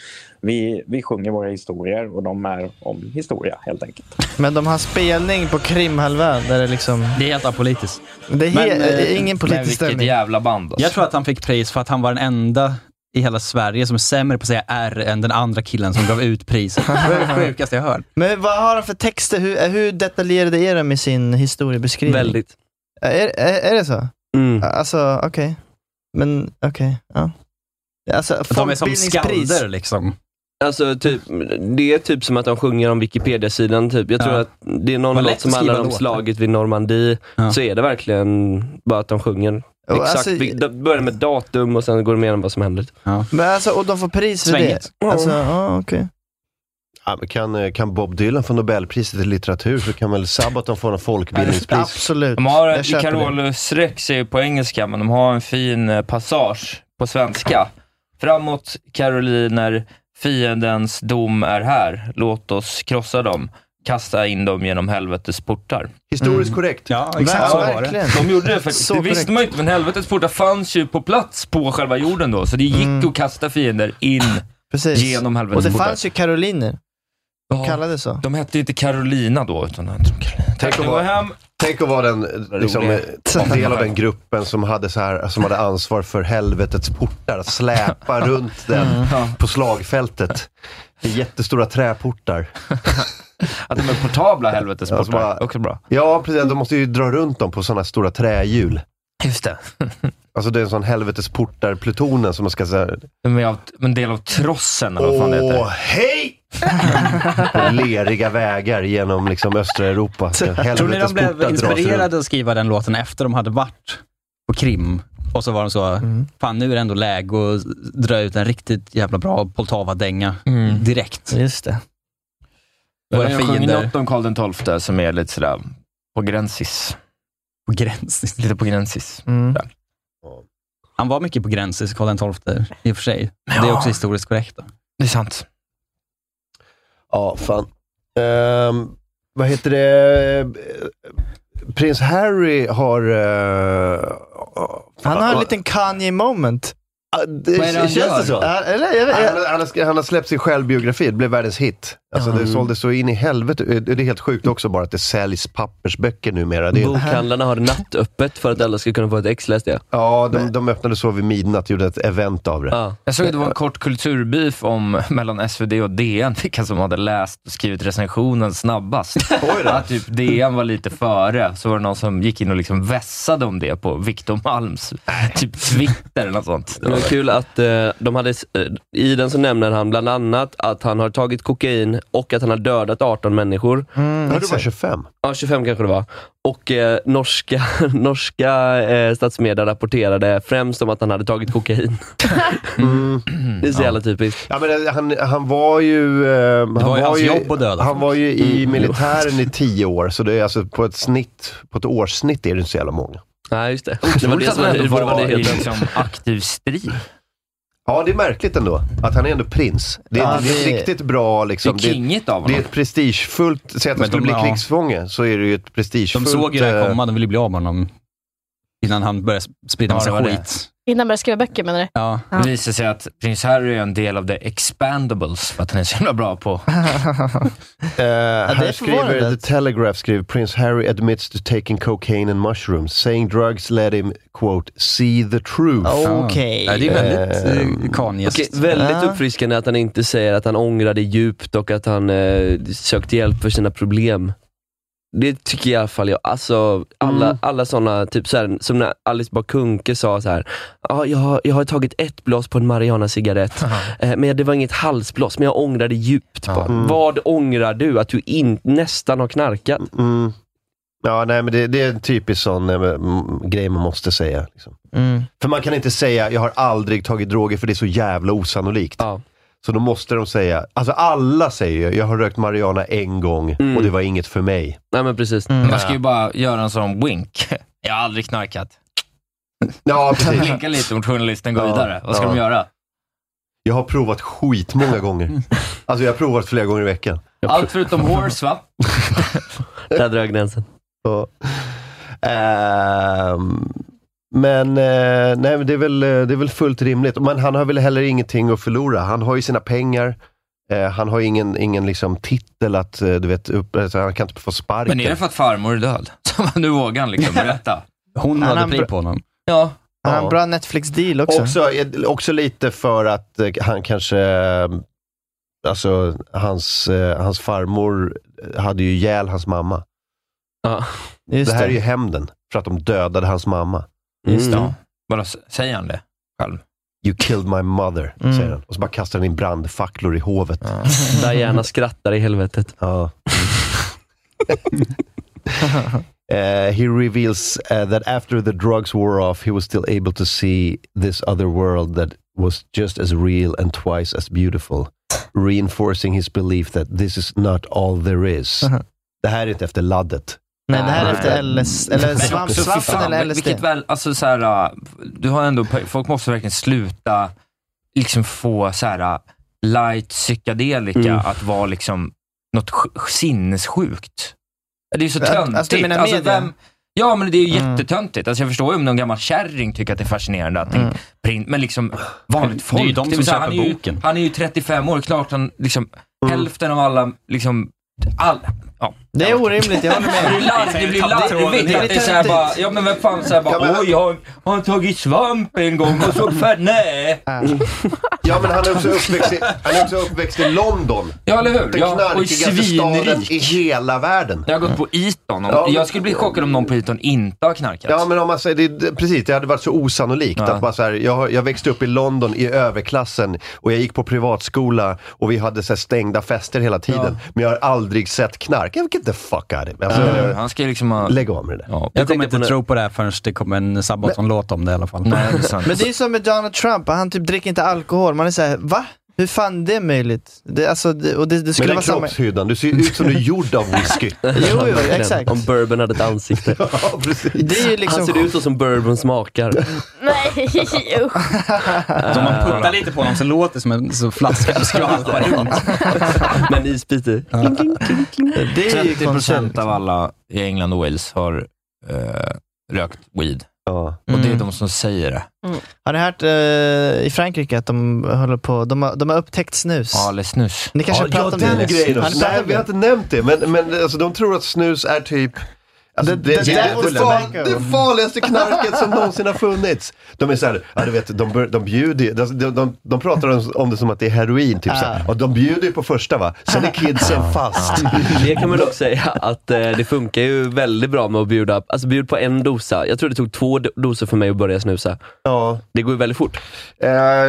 Speaker 17: vi, vi sjunger våra historier och de är om historia helt enkelt.
Speaker 11: Men de har spelning på Krimhalvön där det liksom...
Speaker 10: Det är helt apolitiskt.
Speaker 11: Det är he- eh, ingen politisk ställning.
Speaker 7: jävla band alltså.
Speaker 10: Jag tror att han fick pris för att han var den enda i hela Sverige som är sämre på att säga R än den andra killen som gav ut priset. Det var det sjukaste jag hört.
Speaker 11: Men vad har de för texter? Hur, eh, hur detaljerade är de i sin historiebeskrivning? Eh,
Speaker 8: Väldigt.
Speaker 11: Är, är, är det så?
Speaker 8: Mm.
Speaker 11: Alltså, okej. Men, okej. ja. Alltså,
Speaker 10: De är som
Speaker 11: folkbildningspris.
Speaker 10: skalder liksom.
Speaker 8: Alltså, typ, det är typ som att de sjunger om Wikipedia-sidan. Typ. Jag tror
Speaker 10: Ja.
Speaker 8: att det är någon
Speaker 10: Vad lätt
Speaker 8: låt som
Speaker 10: att skriva
Speaker 8: handlar om
Speaker 10: låtar.
Speaker 8: slaget vid Normandie. Så är det verkligen bara att de sjunger.
Speaker 11: Och
Speaker 8: Exakt.
Speaker 11: alltså-
Speaker 8: vi- de börjar med datum och sen går de igenom vad som händer.
Speaker 11: Men alltså, och de får pris för
Speaker 8: Svänget.
Speaker 11: det? Alltså, ja, okej.
Speaker 6: Ja, men Kan, eh, kan Bob Dylan få Nobelpriset i litteratur så kan väl Sabaton få en folkbildningspris?
Speaker 11: Absolut.
Speaker 7: De har, eh, en- Carolus Rex är ju på engelska, men de har en fin eh, passage på svenska. Framåt Karoliner, fiendens dom är här. Låt oss krossa dem. Kasta in dem genom helvetets portar.
Speaker 6: Historiskt korrekt.
Speaker 10: Mm. Ja,
Speaker 7: Ja,
Speaker 10: exakt så var
Speaker 7: verkligen.
Speaker 10: det.
Speaker 7: De gjorde det, för det visste man ju inte, men helvetets portar fanns ju på plats på själva jorden då, så det gick att kasta fiender in
Speaker 11: Precis.
Speaker 7: genom helvetets
Speaker 11: Och det
Speaker 7: portar.
Speaker 11: fanns ju karoliner. De kallades så.
Speaker 7: De hette ju inte Carolina då, utan de hette Carolina.
Speaker 6: Tänk att, vara, tänk att vara den, eh, liksom,
Speaker 7: Rolig.
Speaker 6: eh, del av den gruppen som hade, så här, som hade ansvar för helvetets portar. Att släpa runt den
Speaker 7: Mm,
Speaker 6: på slagfältet. Det är jättestora träportar.
Speaker 7: Att de är portabla helvetets
Speaker 6: portar.
Speaker 7: också bra.
Speaker 6: Ja, precis. De måste ju dra runt dem på sådana stora trähjul.
Speaker 7: Just det.
Speaker 6: Alltså det är en sån helvetes portar-plutonen som man ska säga.
Speaker 7: De är av, en del av trossen
Speaker 2: Oh,
Speaker 7: eller vad fan det heter.
Speaker 6: Åh, hej! På leriga vägar genom liksom östra Europa.
Speaker 10: Tror ni de
Speaker 6: Helvetes
Speaker 10: blev
Speaker 6: portar dras runt.
Speaker 10: inspirerade att skriva den låten efter de hade varit på Krim? Och så var de så,
Speaker 11: Mm.
Speaker 10: fan nu är det ändå läge att dra ut en riktigt jävla bra Poltava-dänga direkt.
Speaker 11: Mm. Just det.
Speaker 10: Våra
Speaker 7: jag sjunger
Speaker 10: fiender.
Speaker 7: något om Karl XII som är lite sådär på gränsis.
Speaker 10: På gränsis?
Speaker 7: Lite på gränsis.
Speaker 10: Mm.
Speaker 7: Där.
Speaker 10: Han var mycket på gränsis, Karl XII, i och för sig. Det är också historiskt korrekt. Då.
Speaker 7: Det är sant.
Speaker 6: Ja, fan. Ehm, vad heter det? Eh, Prins Harry har... eh,
Speaker 11: Han har en liten Kanye moment.
Speaker 6: Det, känns det så?
Speaker 11: Ja, eller, jag vet,
Speaker 6: han, han, har, sk- han har släppt sin självbiografi, det blev världens hit. Alltså, Det
Speaker 11: Mm.
Speaker 6: såldes så in i helvete. Eh, Det är helt sjukt också bara att det säljs pappersböcker numera. Det är
Speaker 5: Bokhandlarna har nattöppet för att alla ska kunna få ett ex läste jag.
Speaker 6: Ja, de, de öppnade så vid midnatt, gjorde ett event av det.
Speaker 7: Jag såg att det var en kort kulturbeef om, mellan SvD och DN, vilka som hade läst och skrivit recensionen snabbast. Att typ DN var lite före, så var det någon som gick in och liksom vässade om det på Victor Malms typ Twitter eller något sånt.
Speaker 5: Det var kul att eh, de hade, s- eh, i den så nämner han bland annat att han har tagit kokain och att han har dödat 18 människor.
Speaker 6: Mm, Ja, du var exakt. 25.
Speaker 5: Ja, 25 kanske det var. Och eh, norska, norska eh, statsmedier rapporterade främst om att han hade tagit kokain. Det är så jävla typiskt.
Speaker 6: Mm. Ja, men eh, han, han var ju... eh, han
Speaker 5: var ju hans jobb att döda
Speaker 6: Han
Speaker 5: folk.
Speaker 6: var ju i
Speaker 5: Mm.
Speaker 6: militären i tio år, så det är alltså på ett snitt, på ett årssnitt är det inte så jävla många.
Speaker 5: Nej, just det.
Speaker 7: Otroligt
Speaker 5: Det var det
Speaker 7: att
Speaker 5: som
Speaker 7: han ändå
Speaker 5: var,
Speaker 7: var
Speaker 5: var
Speaker 7: i
Speaker 5: det
Speaker 7: liksom aktiv strid.
Speaker 6: Ja, det är märkligt ändå. Att han är ändå prins. Det är,
Speaker 7: Ja,
Speaker 6: det är
Speaker 7: det-
Speaker 6: riktigt bra liksom.
Speaker 7: det är kingigt av
Speaker 6: Det är
Speaker 7: honom.
Speaker 6: ett prestigefullt... Säg att han
Speaker 10: Men
Speaker 6: skulle
Speaker 10: de-
Speaker 6: bli
Speaker 10: ja.
Speaker 6: krigsfånge, så är det ju ett prestigefullt...
Speaker 10: De såg ju det här
Speaker 6: eh,
Speaker 10: komma, de ville bli av med honom innan han började sprida
Speaker 7: Ja, det
Speaker 10: massa
Speaker 7: var det.
Speaker 10: skit.
Speaker 9: Innan jag började skriva böcker menar du?
Speaker 10: Ja.
Speaker 9: Ja.
Speaker 7: Det visar sig att prins Harry är en del av the expandables, för att han är så himla bra på
Speaker 6: Eh, här skriver
Speaker 7: förvånande.
Speaker 6: The Telegraph skriver Prince Harry admits to taking cocaine and mushrooms, saying drugs let him quote see the truth.
Speaker 11: Okej.
Speaker 5: Ja, Ah. det är
Speaker 8: Eh,
Speaker 5: väldigt, eh,
Speaker 6: Ehm,
Speaker 5: Okej, väldigt uppfriskande att han inte säger att han ångrade djupt och att han eh, sökte hjälp för sina problem. Det tycker jag i alla fall jag. Alltså, alla, alla sådana, typ så här, som när Alice Bah Kuhnke sa så här. "Ja, jag, har- jag har tagit ett blås på en marijuana-cigarett, eh, men det var inget halsblås, men jag ångrade djupt. Bara, Vad ångrar du? Att du in, nästan har knarkat?
Speaker 6: Mm. Ja, nej, men det, det är en typisk sån eh, m- grej man måste säga. Liksom.
Speaker 5: Mm.
Speaker 6: För man kan inte säga, jag har aldrig tagit droger, för det är så jävla osannolikt. Så då måste de säga, alltså alla säger ju, jag har rökt marijuana en gång och det var inget för mig.
Speaker 5: Mm. Nej, men precis.
Speaker 6: Mm.
Speaker 7: Man ska ju bara göra en sån wink. Jag har aldrig knarkat.
Speaker 6: Ja, precis.
Speaker 7: Blinka lite mot journalisten går
Speaker 6: Ja,
Speaker 7: vidare. Vad ska
Speaker 6: ja.
Speaker 7: de göra?
Speaker 6: Jag har provat skitmånga gånger. Alltså jag har provat flera gånger i veckan.
Speaker 7: Allt förutom horse, va?
Speaker 5: Där drar jag gränsen.
Speaker 6: Ja. Ehm, men eh, nej, men det, är väl, eh, det är väl fullt rimligt. Men han har väl heller ingenting att förlora. Han har ju sina pengar. Eh, han har ingen, ingen liksom titel att, eh, du vet, upp, alltså, han kan inte få sparken.
Speaker 7: Men är det för att farmor är död? Så nu vågar han liksom berätta.
Speaker 10: Hon
Speaker 6: Han hade har en pli bra- på
Speaker 10: honom.
Speaker 7: Ja.
Speaker 11: Han har en bra Netflix-deal också.
Speaker 6: Också, också lite för att eh, han kanske, eh, alltså hans, eh, hans farmor hade ju ihjäl hans mamma.
Speaker 5: Ja.
Speaker 11: Just
Speaker 6: det här
Speaker 11: det.
Speaker 6: är ju hämnden, för att de dödade hans mamma.
Speaker 7: Just det. Bara Mm. s- säger han det själv?
Speaker 6: You killed my mother,
Speaker 7: Mm.
Speaker 6: säger han. Och så bara kastar han in brandfacklor i hovet.
Speaker 5: Diana skrattar i helvetet.
Speaker 6: Ja. Uh, he reveals uh, that after the drugs wore off, he was still able to see this other world that was just as real and twice as beautiful. reinforcing his belief that this is not all there is.
Speaker 7: Uh-huh.
Speaker 6: Det här är inte efter laddet.
Speaker 11: Nej, det här är efter LS, eller svamp,
Speaker 7: också, fy
Speaker 11: svampen
Speaker 7: fan,
Speaker 11: eller LSD.
Speaker 7: Vilket väl, alltså så här, äh, du har ändå, po- folk måste verkligen sluta liksom få så här, äh, light psykedelika
Speaker 11: Mm.
Speaker 7: att vara liksom något sj- sinnessjukt. Det är ju så
Speaker 11: Att-
Speaker 7: töntigt.
Speaker 11: alltså, du menar media? Mm.
Speaker 7: vem, ja, men det är ju jättetöntigt. Alltså, jag förstår ju om någon gammal kärring tycker att det är fascinerande att mm. print, men liksom vanligt
Speaker 10: Det är
Speaker 7: folk.
Speaker 10: ju de
Speaker 7: vill
Speaker 10: som
Speaker 7: säga,
Speaker 10: köper
Speaker 7: han är ju,
Speaker 10: boken.
Speaker 7: Han är ju 35 år, klart han liksom, hälften av alla, liksom, all, ja.
Speaker 11: Mm. Det är orimligt, jag håller med.
Speaker 7: Det blir larvigt, det blir larvigt att det är såhär bara, ja men vem fan såhär bara,
Speaker 6: Ja, men-
Speaker 7: oj, har har han tagit svamp en gång och så färg, nej.
Speaker 6: Ja, men han är också uppväxt i, han är också uppväxt i London.
Speaker 7: Ja, eller hur?
Speaker 6: Den
Speaker 7: Ja, och i
Speaker 6: knarkigaste staden
Speaker 7: svinrik.
Speaker 6: i hela världen.
Speaker 7: Jag har gått på Eton, om,
Speaker 6: Ja, men-
Speaker 7: jag skulle bli chockad om någon på Eton inte har knarkat.
Speaker 6: Ja, men om man säger, det, det, precis, det hade varit så osannolikt. Att bara så här, jag, har- jag växte upp i London i överklassen och jag gick på privatskola och vi hade så här stängda fester hela tiden. Men jag har aldrig sett knark. Jag get the fuck out of it. Alltså,
Speaker 7: Eller hur? Han ska ju liksom ha...
Speaker 6: Lägg av med det där.
Speaker 10: Jag kommer inte tro på det här förrän det kommer en Sabaton-låt om det i alla fall.
Speaker 11: Men det är som med Donald Trump, han typ dricker inte alkohol. Man är såhär, va? Hur fan det är möjligt? Det, alltså, det, och det, det
Speaker 6: Med
Speaker 11: skulle
Speaker 6: den
Speaker 11: vara samma...
Speaker 6: kroppshyddan, du ser ju ut som du är gjord av whisky.
Speaker 11: Jo, jo, exakt.
Speaker 10: Om bourbon hade ett ansikte.
Speaker 11: Det är ju liksom...
Speaker 10: Han ser ut så som bourbon smakar.
Speaker 9: Nej, usch.
Speaker 10: Så om man puttar lite på honom så låter det som en så flaska skvalpar runt.
Speaker 7: Men isbiter.
Speaker 11: Det är ju
Speaker 7: 30
Speaker 11: konstigt.
Speaker 7: procent av alla i England och Wales har eh, rökt weed. Och det är
Speaker 11: Mm.
Speaker 7: de som säger det.
Speaker 11: Har ni hört eh, i Frankrike att de håller på, de har, de har upptäckt snus?
Speaker 7: Ja, eller snus.
Speaker 11: Ni kanske har
Speaker 6: ja,
Speaker 11: pratat
Speaker 6: ja,
Speaker 11: om
Speaker 6: den
Speaker 11: det?
Speaker 6: grejen.
Speaker 11: Har ni
Speaker 6: också.
Speaker 11: pratat
Speaker 6: Nej,
Speaker 11: om
Speaker 6: vi har
Speaker 11: det?
Speaker 6: inte nämnt det, men, men alltså, de tror att snus är typ Alltså, det,
Speaker 11: det
Speaker 6: det, är
Speaker 11: devil's
Speaker 6: det, far,
Speaker 11: tobacco.
Speaker 6: det farligaste knarket som någonsin har funnits. De är såhär, ja, du vet, de, bör- de bjuder ju- de, de, de, de pratar om, om det som att det är heroin, typ
Speaker 11: Ah.
Speaker 6: såhär. Och de bjuder ju på första va, sen är kidsen fast.
Speaker 10: Det kan man dock säga att eh, det funkar ju väldigt bra med att bjuda, alltså bjud på en dosa. Jag tror det tog två do- doser för mig att börja snusa.
Speaker 6: Ja. Eh,
Speaker 10: Det går ju väldigt fort.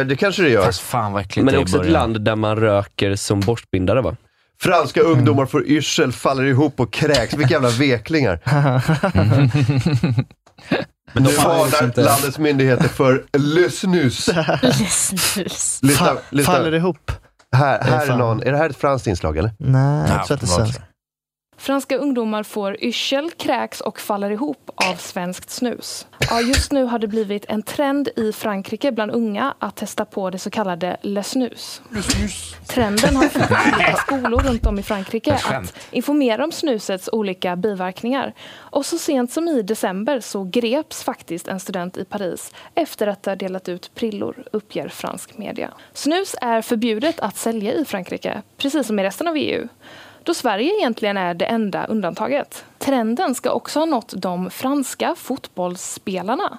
Speaker 6: det kanske det gör. Fast
Speaker 7: fan vad äckligt
Speaker 10: Men det
Speaker 7: det
Speaker 10: är
Speaker 7: är i
Speaker 10: också ett
Speaker 7: början.
Speaker 10: land där man röker som borstbindare va?
Speaker 6: Franska ungdomar får yrsel, faller ihop och kräks. Vilka jävla veklingar.
Speaker 11: Ah.
Speaker 6: Men de
Speaker 11: liksom
Speaker 6: varnar landets myndigheter för lyssnus.
Speaker 9: Lyssnus.
Speaker 6: Lyssna, lyssna.
Speaker 11: Faller ihop?
Speaker 6: Här, här är
Speaker 11: fan.
Speaker 6: någon, är det här ett franskt inslag eller?
Speaker 11: Nej, jag tror att det är
Speaker 6: vad-
Speaker 11: svenskt.
Speaker 20: Franska ungdomar får yrsel, kräks och faller ihop av svenskt snus. Ja, just nu har det blivit en trend i Frankrike bland unga att testa på det så kallade le snus. Trenden har fått olika skolor runt om i Frankrike att informera om snusets olika biverkningar. Och så sent som i december så greps faktiskt en student i Paris efter att ha delat ut prillor, uppger fransk media. Snus är förbjudet att sälja i Frankrike, precis som i resten av EU då Sverige egentligen är det enda undantaget. Trenden ska också ha nått de franska fotbollsspelarna.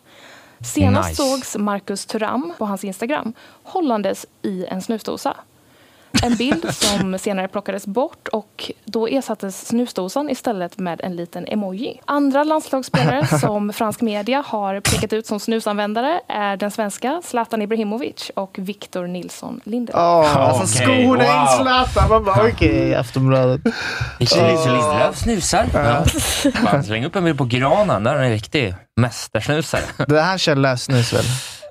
Speaker 20: Senast
Speaker 21: Nice.
Speaker 20: sågs Marcus Thuram på hans Instagram hållandes i en snusdosa. En bild som senare plockades bort och då ersattes snusdosan istället med en liten emoji. Andra landslagsspelare som fransk media har pekat ut som snusanvändare är den svenska Zlatan Ibrahimovic och Victor Nilsson Lindelöf.
Speaker 11: Ja, alltså
Speaker 20: Okej,
Speaker 11: skorna
Speaker 20: wow.
Speaker 11: in Zlatan. Man bara, okej, Aftonbladet.
Speaker 7: Victor
Speaker 11: Ja.
Speaker 7: Nilsson Lindelöf snusar. Ja. Fan, Släng upp en bild på granen, där är en riktig mästersnusare.
Speaker 11: Det här kör lössnus väl?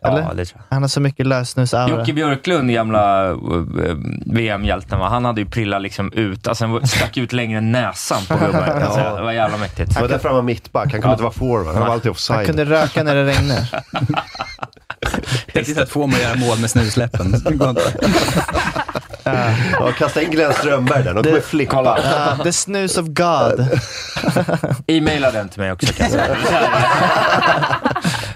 Speaker 11: Eller?
Speaker 7: Ja, det tror
Speaker 11: Han har så mycket lössnus-aura.
Speaker 7: Jocke Björklund, gamla eh, eh, VM-hjälten, va? han hade ju prillat liksom ut, alltså han stack ut längre än näsan på gubben. Alltså,
Speaker 6: Ja.
Speaker 7: Det var jävla mäktigt.
Speaker 6: Det var därför han var mittback, han kunde
Speaker 7: Ja.
Speaker 6: inte vara forward. Han var alltid offside.
Speaker 11: Han kunde röka när det regnar.
Speaker 10: Tänk att få mig att göra mål med snusläppen. Det går inte.
Speaker 6: Ja, kasta in Glenn Strömberg där, de kommer flippa.
Speaker 11: Ja, the snus of God.
Speaker 7: E-maila den till mig också kan jag säga.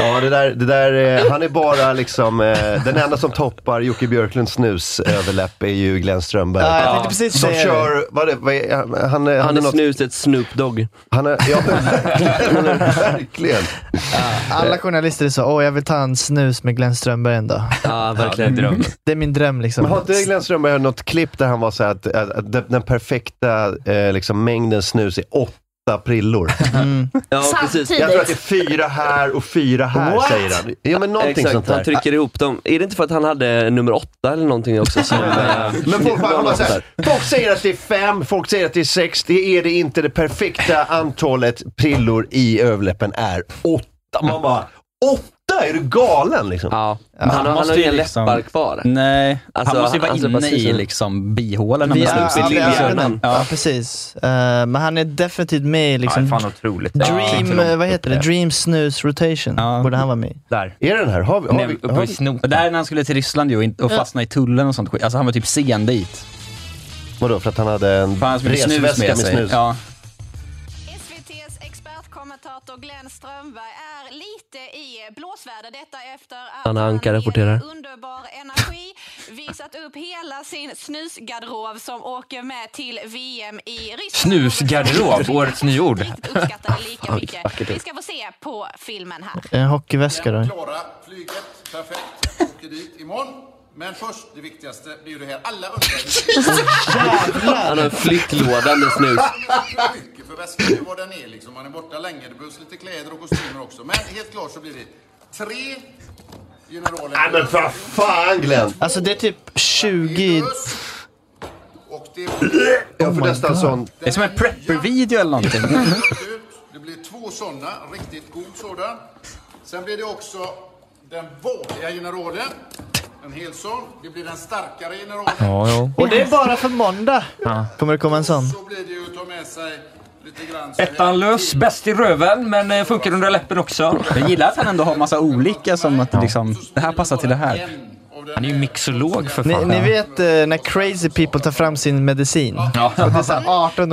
Speaker 6: Ja, det där, det där, eh, han är bara liksom, eh, den enda som toppar Jocke Björklunds snusöverläpp är ju Glenn Strömberg.
Speaker 11: Ja, jag tänkte precis
Speaker 6: som
Speaker 11: säga det.
Speaker 6: kör, vad är det, vad är, han, han, är-
Speaker 10: Han är
Speaker 6: något-
Speaker 10: snuset Snoop Dogg.
Speaker 6: Han är, ja, verkligen.
Speaker 11: Alla journalister är så, åh jag vill ta en snus med Glenn Strömberg en dag.
Speaker 10: Ja,
Speaker 6: verkligen. Ja, det är drömmen.
Speaker 11: Det är min dröm liksom.
Speaker 6: Men har inte Glenn Strömberg något klipp där han var så här att, att, att den, den perfekta eh, liksom, mängden snus är åtta prillor?
Speaker 10: Ja,
Speaker 6: Samtidigt. Jag tror att det är fyra här och fyra här, säger han. Ja, men någonting
Speaker 10: Exakt,
Speaker 6: sånt där.
Speaker 10: han trycker ihop dem. Är det inte för att han hade nummer åtta eller någonting också? Som, eh,
Speaker 6: Men folk, bara, man
Speaker 10: åtta?
Speaker 6: säger, folk säger att det är fem, folk säger att det är sex. Det är det inte. Det perfekta antalet prillor i överläppen är åtta. Man bara, Åtta? Är du galen liksom?
Speaker 8: Ja.
Speaker 10: Men
Speaker 8: Han, har- han har
Speaker 10: måste ju
Speaker 8: inga
Speaker 10: liksom-
Speaker 8: läppar kvar.
Speaker 10: Nej,
Speaker 8: Alltså,
Speaker 10: han måste ju vara
Speaker 8: alltså,
Speaker 10: inne
Speaker 8: precis.
Speaker 10: i liksom bihålorna
Speaker 11: Vi
Speaker 10: med
Speaker 11: är
Speaker 10: snuset.
Speaker 11: uppe i
Speaker 10: Ja.
Speaker 11: lillhjärnan. Ja, precis. Eh, men han är definitivt med i liksom...
Speaker 10: Ja, fan, otroligt.
Speaker 11: Dream,
Speaker 10: Ja.
Speaker 11: eh, vad heter det? Dream Snooze Rotation borde han vara med i.
Speaker 10: Där.
Speaker 6: Är den här? Har vi, har
Speaker 10: Nej,
Speaker 6: vi-
Speaker 10: uppe
Speaker 6: har
Speaker 10: i
Speaker 6: vi-
Speaker 10: snopen. Och Där när han skulle till Ryssland ju, och in- och
Speaker 6: Ja.
Speaker 10: fastna i tullen och sånt skit. Alltså han var typ sen dit.
Speaker 6: Vadå, för att han hade en
Speaker 10: För han skulle snus med
Speaker 6: resväska med
Speaker 10: sig.
Speaker 6: snus?
Speaker 10: Ja.
Speaker 1: SVTs expertkommentator Glenn Strömberg är lite i blåsväder. Detta efter att
Speaker 8: Anna Anka rapporterar.
Speaker 1: underbar energi visat upp hela sin snusgarderob som åker med till VM i Ryssland.
Speaker 7: Snusgarderob, årets nyord.
Speaker 1: Uppskattade lika
Speaker 11: Fan, vilket
Speaker 1: mycket.
Speaker 11: vackert ord.
Speaker 1: Vi ska få se på filmen här.
Speaker 11: En hockeyväska då.
Speaker 21: Klara flyget, perfekt. Åker dit imorgon. Men först, det viktigaste, det är ju det här. Alla undrar...
Speaker 8: Han har en flyttlåda med snus.
Speaker 21: mycket för väskan är vad den är liksom. Man är borta länge. Det behövs lite kläder och kostymer också. Men helt klart så blir det tre generaler.
Speaker 6: Nej men för fan Glenn!
Speaker 11: Alltså det är typ 20...
Speaker 21: Och det
Speaker 6: Jag får nästan sån...
Speaker 10: Det är som en prepper-video eller någonting.
Speaker 21: Det blir två sådana, riktigt god sådan. Sen blir det också den vanliga generalen. En hel sån. Det blir den starkare generalen.
Speaker 11: Och det är bara för måndag. Kommer det komma en sån?
Speaker 21: Så blir det ju att ta med sig lite grann.
Speaker 7: Ettan lös, bäst i röven, men eh, funkar under läppen också.
Speaker 10: Jag gillar att han ändå har massa olika som att det liksom, det här passar till det här.
Speaker 7: Han är ju mixolog för
Speaker 11: Ni,
Speaker 7: fan.
Speaker 11: ni vet eh, när crazy people tar fram sin medicin? Och det är så här 18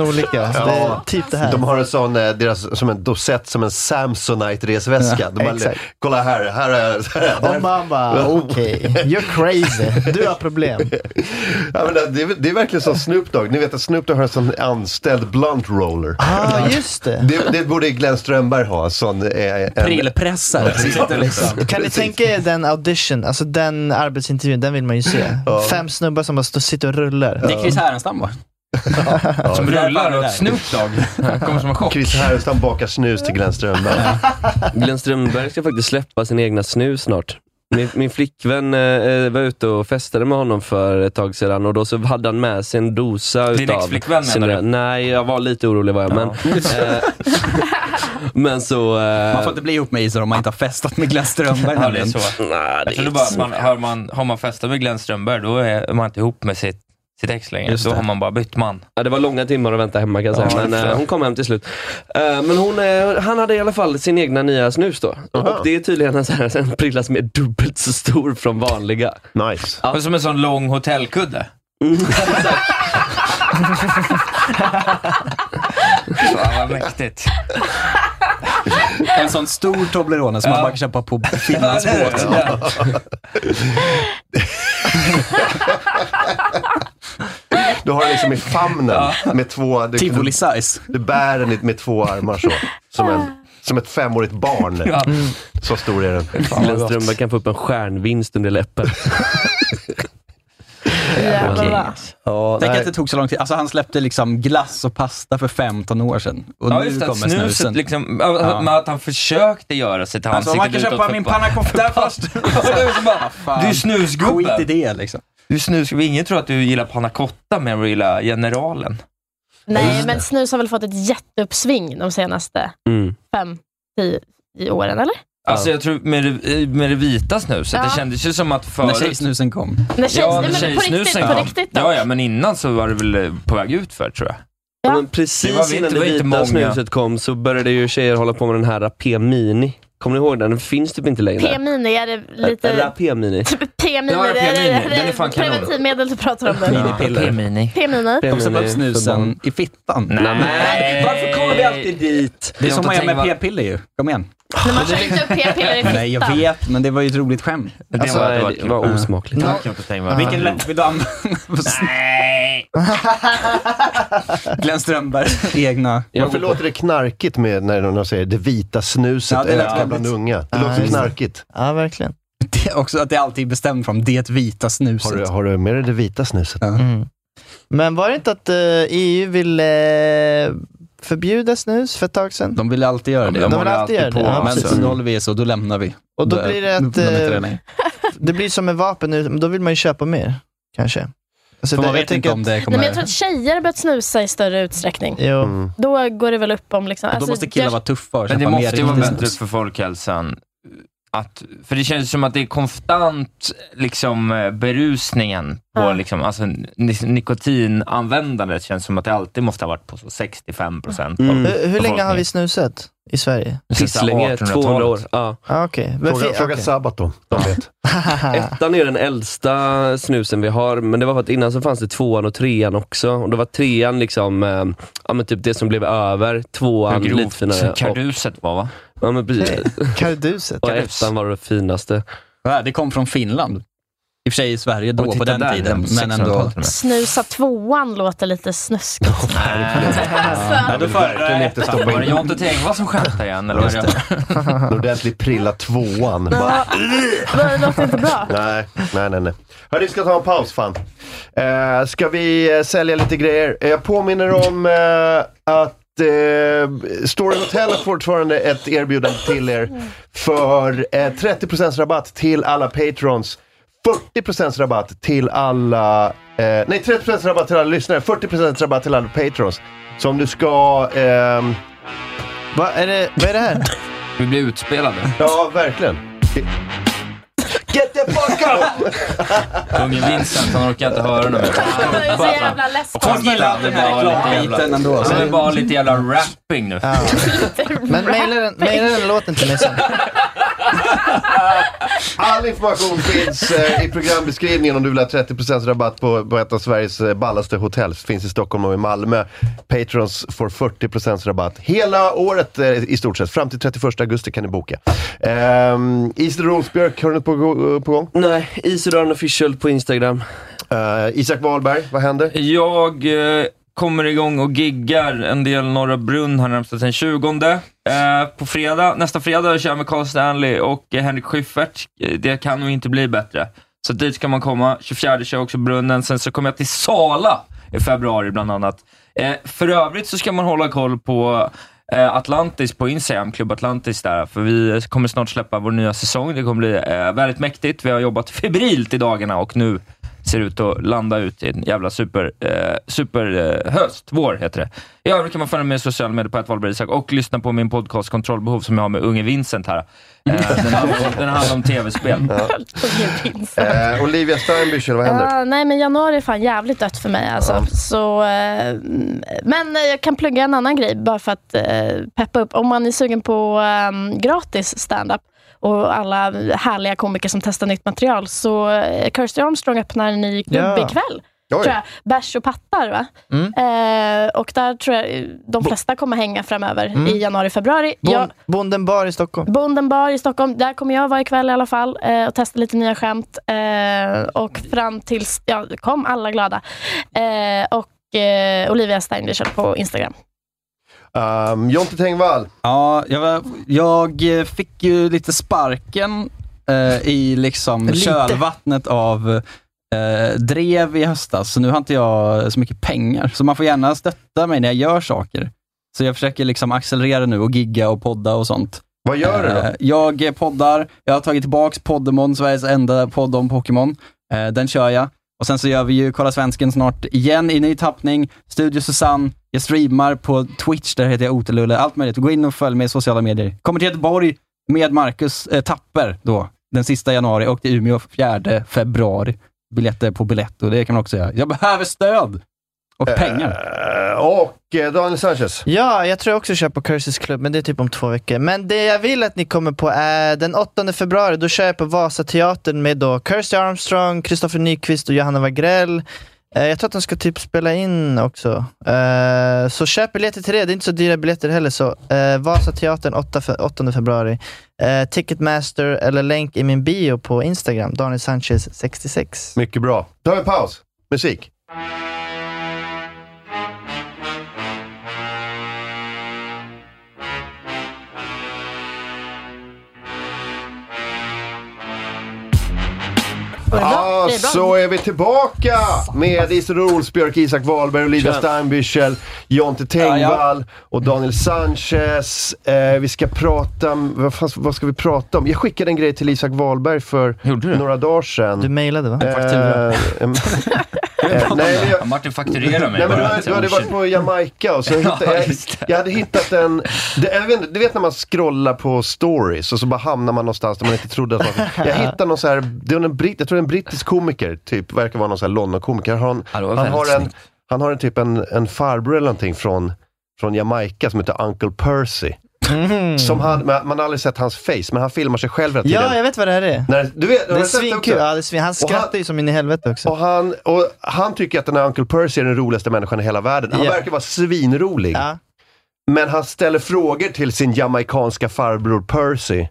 Speaker 11: olika. Så det är typ det här.
Speaker 6: De har en sån, eh, deras, som en dosett, som en Samsonite-resväska.
Speaker 11: Ja,
Speaker 6: de har,
Speaker 11: exakt.
Speaker 6: Kolla här, här har jag... Här, har jag-
Speaker 11: Och man bara, okej, you're crazy. Du har problem.
Speaker 6: ja, men det, det, är, det är verkligen som Snoop Dogg. Ni vet att Snoop Dogg har en sån anställd blunt roller.
Speaker 11: Ah, just det.
Speaker 6: Det, det borde Glenn Strömberg ha. en Sån, eh, en...
Speaker 10: Prillpressare.
Speaker 6: Ja, liksom.
Speaker 11: Kan ni tänka er den audition, alltså den arbetsintervjun, den vill man ju se. Fem snubbar som bara står, sitter och rullar.
Speaker 10: Det är Chris Härenstam va?
Speaker 7: Som rullar åt Snoop Dogg. Kommer som en chock.
Speaker 6: Chris Härenstam bakar snus till Glenn Strömberg.
Speaker 8: Glenn Strömberg ska faktiskt släppa sin egna snus snart. Min, min flickvän eh, var ute och festade med honom för ett tag sedan och då så hade han med sig en dosa
Speaker 7: Din
Speaker 8: utav...
Speaker 7: ex-flickvän,
Speaker 8: sin-
Speaker 7: menar du?
Speaker 8: Nej, jag var lite orolig var jag. Men, eh, men så... Eh,
Speaker 10: Man får inte bli ihop med Isidor om man inte har festat med Glenn Strömberg
Speaker 7: Ja, det är
Speaker 10: nämligen.
Speaker 7: så. Jag trodde bara att man, har, man, har man festat med Glenn Strömberg, då är man inte ihop med sitt, sitt ex längre.
Speaker 8: Just
Speaker 7: Då
Speaker 8: det.
Speaker 7: har man bara bytt man.
Speaker 8: Ja, det var långa timmar att vänta hemma kan jag
Speaker 7: Ja,
Speaker 8: säga, men
Speaker 7: exakt.
Speaker 8: eh, hon kom hem till slut. Eh, men hon, eh, han hade i alla fall sin egna nya snus då. Och det är tydligen en, sån här, en prilla som är dubbelt så stor från vanliga.
Speaker 6: Nice.
Speaker 7: Det är Som en sån lång hotellkudde. Fan vad mäktigt.
Speaker 10: En sån stor Toblerone som man bara kan köpa på Finlands
Speaker 7: Ja, det är
Speaker 10: båt.
Speaker 7: det.
Speaker 6: Du har den liksom i famnen med två... Du, Tivoli
Speaker 10: size.
Speaker 6: Du bär den med två armar så. Som, en, som ett femårigt barn.
Speaker 8: Ja.
Speaker 6: Så stor är den.
Speaker 8: Glenn Mm. Strömberg kan få upp en stjärnvinst under läppen.
Speaker 10: Okej.
Speaker 6: Ja,
Speaker 10: Tänk
Speaker 6: nej.
Speaker 10: att det tog så lång tid. Alltså han släppte liksom glass och pasta för 15 år sedan. Och
Speaker 7: ja,
Speaker 10: nu
Speaker 7: just det.
Speaker 10: kommer
Speaker 7: att Snuset
Speaker 10: snusen.
Speaker 7: liksom, ja,
Speaker 10: Ja.
Speaker 7: men att han försökte göra sig till
Speaker 10: Alltså
Speaker 7: ansiktet
Speaker 10: man kan
Speaker 7: utåt
Speaker 10: köpa
Speaker 7: för
Speaker 10: min
Speaker 7: bara-
Speaker 10: pannacotta först.
Speaker 7: Du är snusgubben.
Speaker 10: Skit i det liksom.
Speaker 7: Du är snusgubbe. Ingen tror att du gillar pannacotta mer än du gillar generalen.
Speaker 9: Nej, men snus har väl fått ett jätteuppsving de senaste
Speaker 10: Mm.
Speaker 9: fem, tio i åren, eller?
Speaker 7: Alltså jag tror med det, med det vita snuset,
Speaker 9: Ja.
Speaker 7: det kändes ju som att förut...
Speaker 10: När tjejsnusen kom.
Speaker 9: När tjejs- nej, men på riktigt, på riktigt då.
Speaker 7: ja, ja, men innan så var det väl eh, på väg ut för tror jag.
Speaker 8: Ja. Men
Speaker 7: Det var
Speaker 8: precis
Speaker 7: vi
Speaker 8: innan
Speaker 7: inte-
Speaker 8: det
Speaker 7: vi inte
Speaker 8: vita
Speaker 7: många.
Speaker 8: snuset kom så började ju tjejer hålla på med den här Rapé-mini. Kommer ni ihåg den? Den finns typ inte längre.
Speaker 9: P-mini, är det lite...
Speaker 8: Rapé-mini.
Speaker 9: P-mini,
Speaker 8: Äh, Ja,
Speaker 9: är det, är
Speaker 8: P-mini.
Speaker 9: det, är
Speaker 8: Den är fan
Speaker 9: det
Speaker 8: kanon.
Speaker 9: preventivmedel du pratar om nu?
Speaker 7: P-mini.
Speaker 9: P-mini?
Speaker 10: De satte upp snusen i fittan.
Speaker 7: Nej.
Speaker 10: Varför kommer vi alltid
Speaker 8: dit?
Speaker 10: Det är som
Speaker 7: Jag
Speaker 10: man gör
Speaker 7: tänker
Speaker 10: med
Speaker 7: bara-
Speaker 10: p-piller ju. Kom igen.
Speaker 9: Men man kör inte upp p-piller i
Speaker 10: Nej, jag
Speaker 9: fittan.
Speaker 10: vet, men det var ju ett roligt skämt.
Speaker 7: Det var- det var kul. Ja. Det var kul att tänka på.
Speaker 10: Vilken läppig dam. Nej! Glenn Strömberg, egna.
Speaker 6: Varför låter det knarkigt med när någon säger det vita snuset?
Speaker 10: Ja, det lät
Speaker 6: eller bland
Speaker 10: väldigt-
Speaker 6: unga. Det
Speaker 10: Ja,
Speaker 6: låter
Speaker 10: just det.
Speaker 6: knarkigt.
Speaker 11: Ja, verkligen.
Speaker 10: Det är också att det alltid är bestämt från det vita snuset.
Speaker 6: Har du, har du med dig det vita snuset?
Speaker 11: Mm. Men var det inte att eh, EU ville eh, förbjuda snus för ett tag sedan?
Speaker 10: De vill alltid göra det.
Speaker 11: De vill alltid göra det. Ja,
Speaker 10: men
Speaker 11: precis.
Speaker 10: så håller vi så, då lämnar vi.
Speaker 11: Och då blir det att,
Speaker 10: de är inte
Speaker 11: eh,
Speaker 10: det längre.
Speaker 11: Det blir som med vapen, nu, men då vill man ju köpa mer. Kanske. Alltså, det-
Speaker 10: För man
Speaker 11: jag
Speaker 10: vet
Speaker 11: tänker
Speaker 10: inte om
Speaker 11: att-
Speaker 10: det
Speaker 9: Nej,
Speaker 10: kommer...
Speaker 9: men jag tror att tjejer har börjat snusa i större utsträckning.
Speaker 11: Jo.
Speaker 8: Mm.
Speaker 9: Då går det väl upp om... Liksom,
Speaker 10: Då måste killar vara tuffa och
Speaker 7: Men det
Speaker 10: köpa mer
Speaker 7: måste ju vara
Speaker 10: riktigt
Speaker 7: bättre
Speaker 10: snus.
Speaker 7: för folkhälsan att, för det känns som att det är konstant liksom, eh, berusningen på
Speaker 20: Ja.
Speaker 7: liksom, alltså, ni- nikotinanvändandet känns som att det alltid måste ha varit på så 65 procent.
Speaker 6: Mm.
Speaker 9: Mm.
Speaker 11: Hur, hur länge har vi snusat i Sverige?
Speaker 8: Pisslänge, 200 år. Ja.
Speaker 11: Ah, okej. Men
Speaker 8: Fråga-
Speaker 11: fi-
Speaker 8: fråga
Speaker 11: okej.
Speaker 6: Sabaton.
Speaker 7: Ah.
Speaker 8: Ettan är den äldsta snusen vi har, men det var för att innan så fanns det tvåan och trean också. Och då var trean liksom, eh, ja men typ det som blev över. Tvåan
Speaker 7: Hur grovt
Speaker 8: lite finare.
Speaker 7: karduset var va?
Speaker 8: Ja men precis.
Speaker 11: Karduset?
Speaker 8: Och
Speaker 10: Kardus.
Speaker 8: ettan var det finaste.
Speaker 10: Ja, det kom från Finland. I och för sig i Sverige då,
Speaker 8: Och
Speaker 10: på
Speaker 8: titta
Speaker 10: den
Speaker 8: där,
Speaker 10: tiden.
Speaker 8: den
Speaker 10: Men ändå.
Speaker 8: 1600-talet till och
Speaker 9: Snusa tvåan låter lite snuskigt.
Speaker 7: Ja, då får jag verkligen inte stoppa in. Var det Jonte Tengvall som skämtade igen? Eller var det?
Speaker 6: En ordentlig prilla tvåan. Bara,
Speaker 9: Det låter inte bra.
Speaker 6: nej, nej, nej. nej. Hörni, vi ska ta en paus fan. Eh, ska vi eh, sälja lite grejer? Eh, Jag påminner om eh, att eh, Story Hotel har fortfarande ett erbjudande till er för eh, 30% rabatt till alla patrons. 40% rabatt till alla... Eh, nej, 30% rabatt till alla lyssnare. 40% rabatt till alla patrons. Så om du ska... ehm,
Speaker 11: Va, är det, vad är det här?
Speaker 7: Vi blir utspelade.
Speaker 6: Ja, verkligen. Get the fuck out!
Speaker 7: Kungen Vincent, han orkar inte höra något mer.
Speaker 9: Jag är så jävla ledsen.
Speaker 7: Folk gillade bara lite jävla...
Speaker 11: ändå.
Speaker 7: Det är bara lite jävla rapping nu.
Speaker 11: Men mejla den, mejla den låten till mig sen.
Speaker 6: All information finns eh, i programbeskrivningen om du vill ha 30% rabatt på, på ett av Sveriges eh, ballaste hotell. Finns i Stockholm och i Malmö. Patrons får 40% rabatt hela året eh, i stort sett. Fram till 31 augusti kan ni boka. Ehm, Isidor Rolfsbjörk, har du något på, på gång?
Speaker 8: Nej, Isidor Unofficial på Instagram.
Speaker 6: Eh, Isak Wahlberg, vad händer?
Speaker 7: Jag eh, kommer igång och giggar en del Norra Brunn här närmast den 20. Eh, på fredag, nästa fredag kör jag med Carl Stanley och eh, Henrik Schyffert. Eh, Det kan nog inte bli bättre. Så dit ska man komma. 24 kör jag också Brunnen. Sen så kommer jag till Sala i februari bland annat. Eh, för övrigt så ska man hålla koll på eh, Atlantis på Instagram, Klubb Atlantis där, för vi kommer snart släppa vår nya säsong. Det kommer bli eh, väldigt mäktigt. Vi har jobbat febrilt i dagarna och nu ser ut att landa ut i en jävla super, eh, super eh, höst, vår heter det. I övrigt kan man följa mig i sociala medier på att Wahlberg Isak och lyssna på min podcast Kontrollbehov som jag har med unge Vincent här. Eh, den, handlar, den handlar om tv-spel.
Speaker 6: Eh, Olivia Steinbüchel, vad händer?
Speaker 9: Ja, nej, men januari är fan jävligt dött för mig. Alltså. Så, eh, mm, men eh, jag kan plugga en annan grej bara för att eh, peppa upp. Om man är sugen på eh, gratis standup och alla härliga komiker som testar nytt material så eh, Kirsty Armstrong öppnar en ny klubb
Speaker 11: Ja.
Speaker 9: ikväll.
Speaker 11: Oj.
Speaker 9: Tror jag. Bärs och pattar va?
Speaker 11: Mm.
Speaker 9: Eh, och där tror jag eh, de flesta kommer hänga framöver
Speaker 11: Mm.
Speaker 9: i januari, februari.
Speaker 11: Bon,
Speaker 9: Jag,
Speaker 11: Bonden bar i Stockholm.
Speaker 9: Bonden bar i Stockholm. Där kommer jag vara ikväll i alla fall eh, och testa lite nya skämt. Eh, och fram tills, ja, kom alla glada. Eh, och eh, Olivia Steinbüchel på Instagram.
Speaker 6: Um, Jonte Tengvall.
Speaker 10: Ah. Ja, jag, var- jag eh, fick ju lite sparken eh, i liksom
Speaker 6: Lite.
Speaker 10: kölvattnet av eh, drev i höstas, så nu har inte jag så mycket pengar. Så man får gärna stötta mig när jag gör saker. Så jag försöker liksom accelerera nu och gigga och podda och sånt.
Speaker 6: Vad gör du då?
Speaker 10: jag eh, poddar, jag har tagit tillbaks Poddemon, Sveriges enda podd om Pokémon. Eh, den kör jag. Och sen så gör vi ju Kolla Svensken snart igen i ny tappning. Studio Susanne, jag streamar på Twitch, där heter jag Otelulle. Allt möjligt. Gå in och följ mig i sociala medier. Kommer till Göteborg med Marcus eh, Tapper då, den sista januari och till Umeå 4 februari. Biljetter på biljett och det kan man också göra. Jag behöver stöd
Speaker 6: Eh.
Speaker 10: och pengar.
Speaker 6: och eh, Daniel Sanchez.
Speaker 11: Ja, jag tror jag också kör på Curses Club, men det är typ om två veckor. Men det jag vill att ni kommer på är den 8 februari, då kör jag på Vasateatern med då Kirsty Armstrong, Kristoffer Nyqvist och Johanna Wagrell. Eh, Jag tror att de ska typ spela in också. Eh, Så köp biljetter till det, det är inte så dyra biljetter heller. Så eh, Vasateatern 8, fe- 8 februari. Eh, Ticketmaster eller länk i min bio på Instagram, Daniel Sanchez 66.
Speaker 6: Mycket bra. Då har vi paus. Musik. Ja,
Speaker 13: Det är bra.
Speaker 6: så är vi tillbaka med Isidor Olsbjörk, Isak Wahlberg, Olivia
Speaker 13: Kör.
Speaker 6: Steinbüchel, Jonte Tengvall och Daniel Sanchez. Eh, vi ska prata om, vad, fan, vad ska vi prata om? Jag skickade en grej till Isak Wahlberg för några dagar sedan. Du
Speaker 11: mejlade va?
Speaker 10: En faktura.
Speaker 6: Eh, em- Eh, nej, men jag-
Speaker 7: Ja, Martin fakturerar mig
Speaker 6: Nej, men du,
Speaker 7: bara.
Speaker 6: hade- du hade varit på Jamaica och så hittade
Speaker 7: Ja,
Speaker 6: jag,
Speaker 7: just
Speaker 6: jag hade hittat en, det, jag vet, inte, du vet när man scrollar på stories och så bara hamnar man någonstans där man inte trodde att man... Jag hittade någon så här, det är en britt, jag tror det är en brittisk komiker, typ, verkar vara någon så här London-komiker. Han,
Speaker 7: var
Speaker 6: han,
Speaker 7: väldigt
Speaker 6: har en,
Speaker 7: snyggt.
Speaker 6: han har en typ en, en farbror eller någonting från, från Jamaica som heter Uncle Percy.
Speaker 7: Mm.
Speaker 6: Som han, man man har aldrig sett hans face, men han filmar sig själv hela tiden.
Speaker 11: Ja, jag vet vad det här är.
Speaker 6: När, du vet, har
Speaker 11: det är
Speaker 6: du sett det också?
Speaker 11: svinkul. Ja, det är svin...
Speaker 6: Och
Speaker 11: Han
Speaker 6: han-
Speaker 11: skrattar ju som in i helvete också.
Speaker 6: Och han, och han tycker att den här Uncle Percy är den roligaste människan i hela världen. Han
Speaker 11: Ja.
Speaker 6: verkar vara svinrolig. Men han ställer frågor till sin jamaikanska farbror Percy.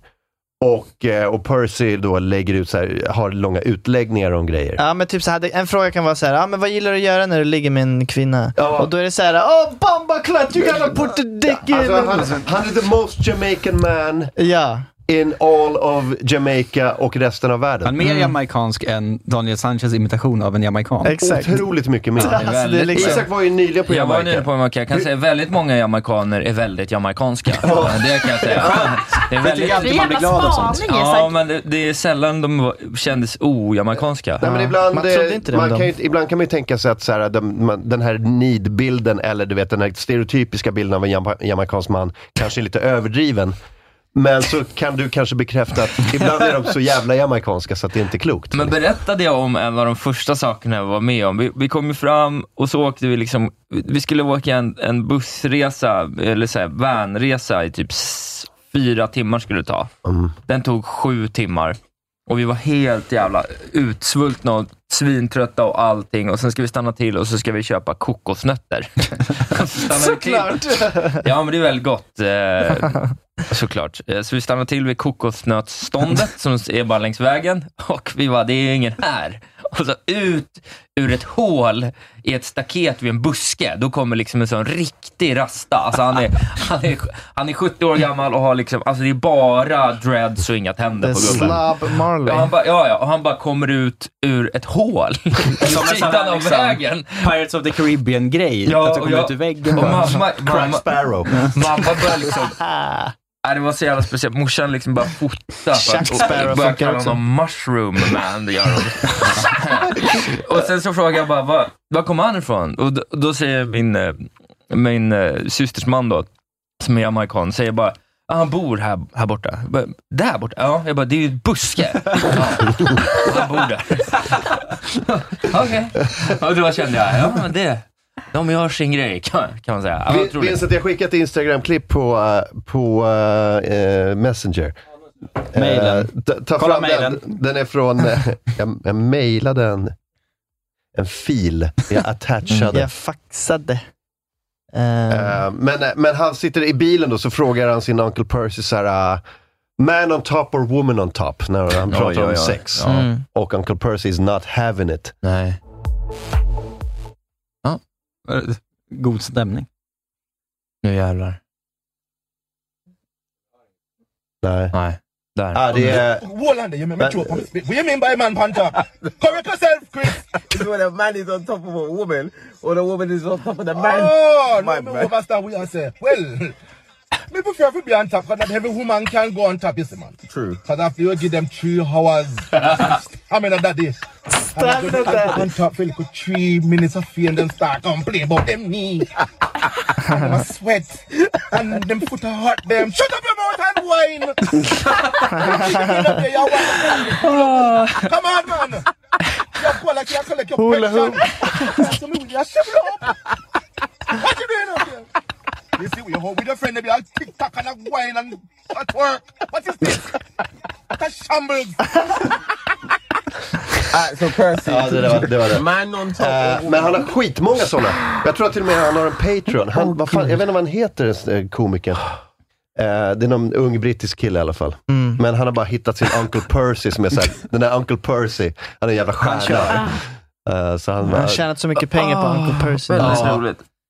Speaker 6: Och, eh, och Percy då lägger ut så här, har långa utläggningar om grejer.
Speaker 11: Ja men typ så här, det- en fråga kan vara så här, ja men vad gillar du att göra när du ligger med en kvinna? Och då är det så här, oh bamba clutch, you gotta put the dick in!
Speaker 6: Alltså, han, han är the most Jamaican man
Speaker 10: Eh,
Speaker 6: in all of Jamaica och resten av världen.
Speaker 10: Han är mer jamaicansk än Daniel Sanchez imitation av en jamaican.
Speaker 6: Otroligt mycket mer.
Speaker 11: Alltså,
Speaker 6: Alltså,
Speaker 11: liksom-
Speaker 6: Isak var ju nyligen på
Speaker 7: Jag
Speaker 6: Jamaica.
Speaker 7: var nyligen på Jamaica. Jag kan säga väldigt många jamaicaner är väldigt jamaicanska. Det kan jag säga. Det är
Speaker 10: Jag tycker
Speaker 7: väldigt...
Speaker 10: alltid man blir glad av sånt.
Speaker 7: Ja, men det, det är sällan de var- kändes o-jamaicanska.
Speaker 6: Nej, men ibland, eh, man kan ju, ibland kan man ju tänka sig att så här, den, man, den här nidbilden eller du vet, den här stereotypiska bilden av en jama, jamaicansk man kanske är lite överdriven. Men så kan du kanske bekräfta att ibland är de så jävla jamaicanska så att det inte är klokt.
Speaker 7: Men berättade jag om en av de första sakerna jag var med om. Vi, vi kom ju fram och så åkte vi liksom, vi skulle åka en, en bussresa, eller så här, vanresa i typ s- fyra timmar skulle det ta. Den tog sju timmar. Och vi var helt jävla utsvultna och svintrötta och allting. Och sen ska vi stanna till och så ska vi köpa kokosnötter.
Speaker 11: Såklart!
Speaker 7: Ja, men det är väldigt gott. Eh, såklart. Eh, Så vi stannade till vid kokosnötsståndet som är bara längs vägen och vi var det är ingen här. Och så ut ur ett hål i ett staket vid en buske, då kommer liksom en sån riktig rasta. Alltså han, är, han, är, han är 70 år gammal och har liksom, alltså det är bara dreads och inga
Speaker 11: The
Speaker 7: tänder på gubben.
Speaker 11: slob Marley.
Speaker 7: Ja, han bara, ja, ja, och han bara kommer ut ur ett hål.
Speaker 10: Som en sån
Speaker 7: Sidan
Speaker 10: här
Speaker 7: av
Speaker 10: liksom,
Speaker 7: vägen.
Speaker 10: Pirates of the Caribbean-grej.
Speaker 7: Ja,
Speaker 10: att du kommer
Speaker 7: och jag-
Speaker 10: ut ur väggen.
Speaker 7: och mamma- mamma-
Speaker 6: Sparrow.
Speaker 7: Mamma började liksom...
Speaker 10: Ah.
Speaker 7: Nej, det var så jävla speciellt. Morsan liksom bara fotade.
Speaker 11: Jack Sparrow
Speaker 7: började
Speaker 11: funkar
Speaker 7: kalla
Speaker 11: också.
Speaker 7: honom mushroom man. Det gör hon. och sen så frågade jag bara, var, var kommer han ifrån? Och då, då säger min, eh, min eh, systers man då, som är amerikan, säger bara, "Ah, han bor här, här borta. Jag bara, Där borta? Ja, jag bara, det är ju ett buske. ja, han bor där. Okej. Och då kände jag, ja men det, de gör sin grej kan, kan man säga. Ja,
Speaker 6: Vi-
Speaker 7: otroligt.
Speaker 6: Minns att jag skickat ett Instagram-klipp på, eh, på eh, Messenger.
Speaker 10: Mailen.
Speaker 6: Eh, ta- ta
Speaker 10: Kolla
Speaker 6: fram
Speaker 10: mailen.
Speaker 6: Den. den är från, eh, jag, jag mailade en, en fil, jag attachade.
Speaker 11: Mm, Jag faxade.
Speaker 6: Eh, men, men han sitter i bilen då, så frågar han sin Uncle Percy så här, eh, man on top or woman on top, när han
Speaker 7: Oj,
Speaker 6: pratar
Speaker 7: oj,
Speaker 6: om
Speaker 7: oj.
Speaker 6: sex.
Speaker 7: Ja. Mm.
Speaker 6: Och Uncle Percy is not having it.
Speaker 7: Nej. Eh,
Speaker 10: God stämning.
Speaker 7: Nu jävlar.
Speaker 6: Nej.
Speaker 7: Nej. Där.
Speaker 6: Ah, det
Speaker 2: uh,
Speaker 6: är...
Speaker 2: Wallande, you make me
Speaker 6: But-
Speaker 2: throw up on the spit. What you mean by man panther? Correct yourself, Chris. when a man is on top of a woman, or the woman is on top of the man. Oh, no, me understand what you say. Well, me prefer to be on top, because not every woman can go on top, you see, man. True. Because after you give them three hours, I mean, that day.
Speaker 11: Stand
Speaker 2: and
Speaker 11: up there.
Speaker 2: On top for like three minutes of fear and then start complaining about them knee. and them a sweat. And them foot are hot, them. Shut up your mouth and whine. Come on, man. Your quality, your quality, your
Speaker 11: Hula
Speaker 2: perfection. So me, you shovel up. What you doing up here? You see, you hold with your friend, they be all tick-tock and a whine and at work. What is this? What a shambles.
Speaker 6: Ah, så Percy. Ja, det, det var det. Var det. Eh, men han har skitmånga sådana. Jag tror till och med han har en Patreon. Han, vad fan, jag vet inte vad han heter, eh, komikern. Eh, det är någon ung brittisk kille i alla fall. Men han har bara hittat sin Uncle Percy som är såhär, den där Uncle Percy, han är en jävla stjärna. Eh, så han,
Speaker 11: Han har tjänat så mycket pengar
Speaker 7: Ah,
Speaker 11: på Uncle Percy.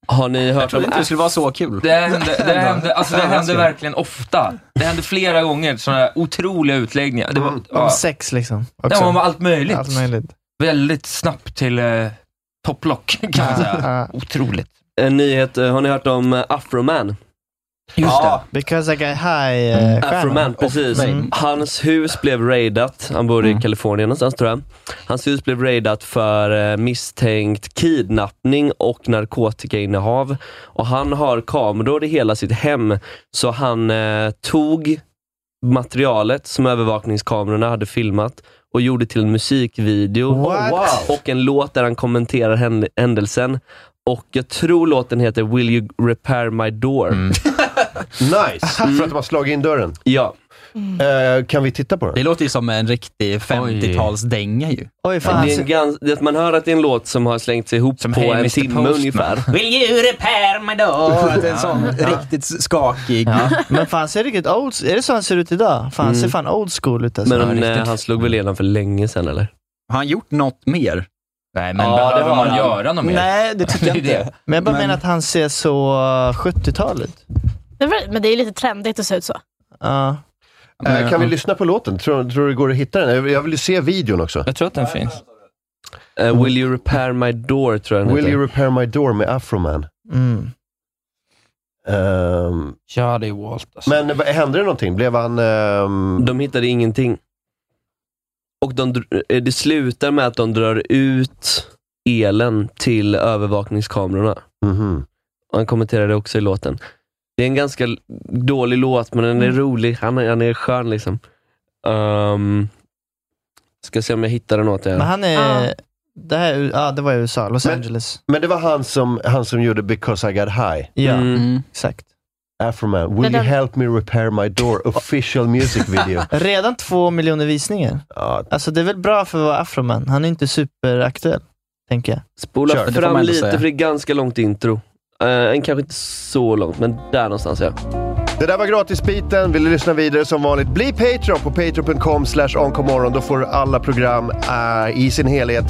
Speaker 8: Har ni hört om
Speaker 11: inte det skulle
Speaker 10: vara så kul.
Speaker 7: Det hände, det hände, alltså det
Speaker 11: Ja,
Speaker 7: hände
Speaker 11: ganska.
Speaker 7: verkligen ofta. Det hände flera gånger, sådana här otroliga utläggningar. Det var,
Speaker 11: Om
Speaker 7: ja,
Speaker 11: sex liksom.
Speaker 7: det
Speaker 11: också.
Speaker 7: var allt möjligt.
Speaker 11: Allt möjligt.
Speaker 7: Väldigt snabbt till eh, topplock, kan man säga. Otroligt.
Speaker 8: En nyhet, eh, har ni hört om eh, Afroman?
Speaker 7: Just det.
Speaker 11: Because I got eh, high-stjärna.
Speaker 8: Afroman, precis. Mm. Hans hus blev raidat. Han bor i Kalifornien någonstans tror jag. Hans hus blev raidat för eh, misstänkt kidnappning och narkotikainnehav. Och han har kameror i hela sitt hem. Så han eh, tog materialet som övervakningskamerorna hade filmat och gjorde till en musikvideo Oh, och en låt där han kommenterar hän- händelsen. Och jag tror låten heter “Will you repair my door?”
Speaker 6: Nice! För att de har slagit in dörren?
Speaker 8: Ja.
Speaker 6: Eh, kan vi titta på den?
Speaker 10: Det låter ju som en riktig 50-talsdänga ju.
Speaker 11: Oj,
Speaker 8: det är en gans, det, man hör att det är en låt som har slängts ihop på
Speaker 10: Hey,
Speaker 8: en
Speaker 10: Mr.
Speaker 8: timme
Speaker 10: Postman.
Speaker 8: ungefär.
Speaker 10: Will you repair my door? Att det är en sån
Speaker 11: Ja.
Speaker 10: riktigt skakig.
Speaker 11: Men fan, ser riktigt old... Är det så han ser ut idag? Fan, han ser
Speaker 8: Mm.
Speaker 11: fan old school ut. Alltså.
Speaker 8: Men eh, han slog väl igenom för länge sedan eller?
Speaker 10: Har han gjort något mer? Nej,
Speaker 11: men behöver man göra något mer?
Speaker 10: Nej, det tycker jag inte.
Speaker 11: Men jag bara menar att han ser så eh, 70-talet.
Speaker 9: Det är väl- Men det är lite trendigt att se ut så.
Speaker 11: Ja.
Speaker 6: Eh,
Speaker 11: Mm.
Speaker 6: kan vi lyssna på låten? Tror, tror du det går att hitta den? Jag vill- Jag vill ju se videon också.
Speaker 7: Jag tror att den finns.
Speaker 8: Eh, Will you repair my door tror jag den
Speaker 6: Will
Speaker 8: heter.
Speaker 6: you repair my door med Afroman.
Speaker 11: Mm.
Speaker 6: Um,
Speaker 7: ja, det är Walt.
Speaker 6: Men vad- hände det någonting? Blev han... ehm,
Speaker 8: De hittade ingenting. Och de, dr- eh, det slutar med att de drar ut elen till övervakningskamerorna. Och Han kommenterar det också i låten. Det är en ganska l- dålig låt, men
Speaker 11: Mm.
Speaker 8: den är rolig. Han är, han är skön liksom. Ehm, ska se om jag hittar den åt er.
Speaker 11: Men han är... Eh, Det, här, är U- ja, det var i USA, Los Angeles.
Speaker 6: Men det var han som, han som gjorde “Because I got high”.
Speaker 11: Ja,
Speaker 8: Mm.
Speaker 11: exakt.
Speaker 6: Afroman, “Will
Speaker 11: Men
Speaker 6: you
Speaker 11: den-
Speaker 6: help me repair my door?” official music video.
Speaker 11: Redan två miljoner visningar.
Speaker 6: Ja.
Speaker 11: Alltså det är väl bra för att vara afroman. Han är inte superaktuell, tänker jag.
Speaker 8: Spola fram lite, för det är ganska långt intro. Eh, en kanske inte så långt, men där någonstans ja.
Speaker 6: Det där var gratisbiten. Vill du lyssna vidare som vanligt, bli Patreon på patreon.com slash onkomorron. Då får du alla program eh, i sin helhet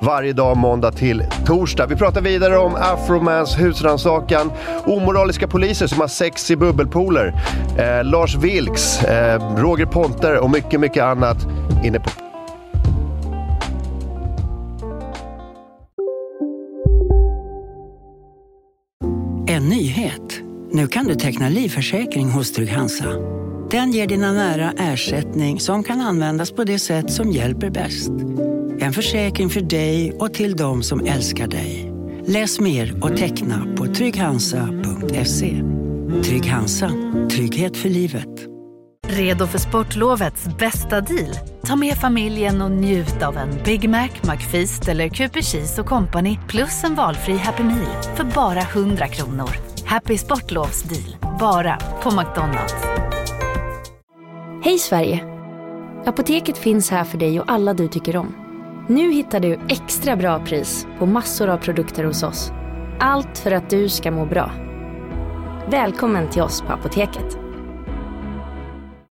Speaker 6: varje dag måndag till torsdag. Vi pratar vidare om Afromans husrannsakan, omoraliska poliser som har sex i bubbelpooler, eh, Lars Vilks, eh, Roger Pontare och mycket, mycket annat inne på
Speaker 3: En nyhet. Nu kan du teckna livförsäkring hos Trygg-Hansa. Den ger dina nära ersättning som kan användas på det sätt som hjälper bäst. En försäkring för dig och till de som älskar dig. Läs mer och teckna på trygghansa.se. Trygg-Hansa. Trygghet för livet.
Speaker 14: Redo för sportlovets bästa deal? Ta med familjen och njut av en Big Mac, McFeast eller Cooper Cheese och Company plus en valfri Happy Meal för bara 100 kronor. Happy Sportlovs deal, bara på McDonalds.
Speaker 4: Hej Sverige! Apoteket finns här för dig och alla du tycker om. Nu hittar du extra bra pris på massor av produkter hos oss. Allt för att du ska må bra. Välkommen till oss på Apoteket.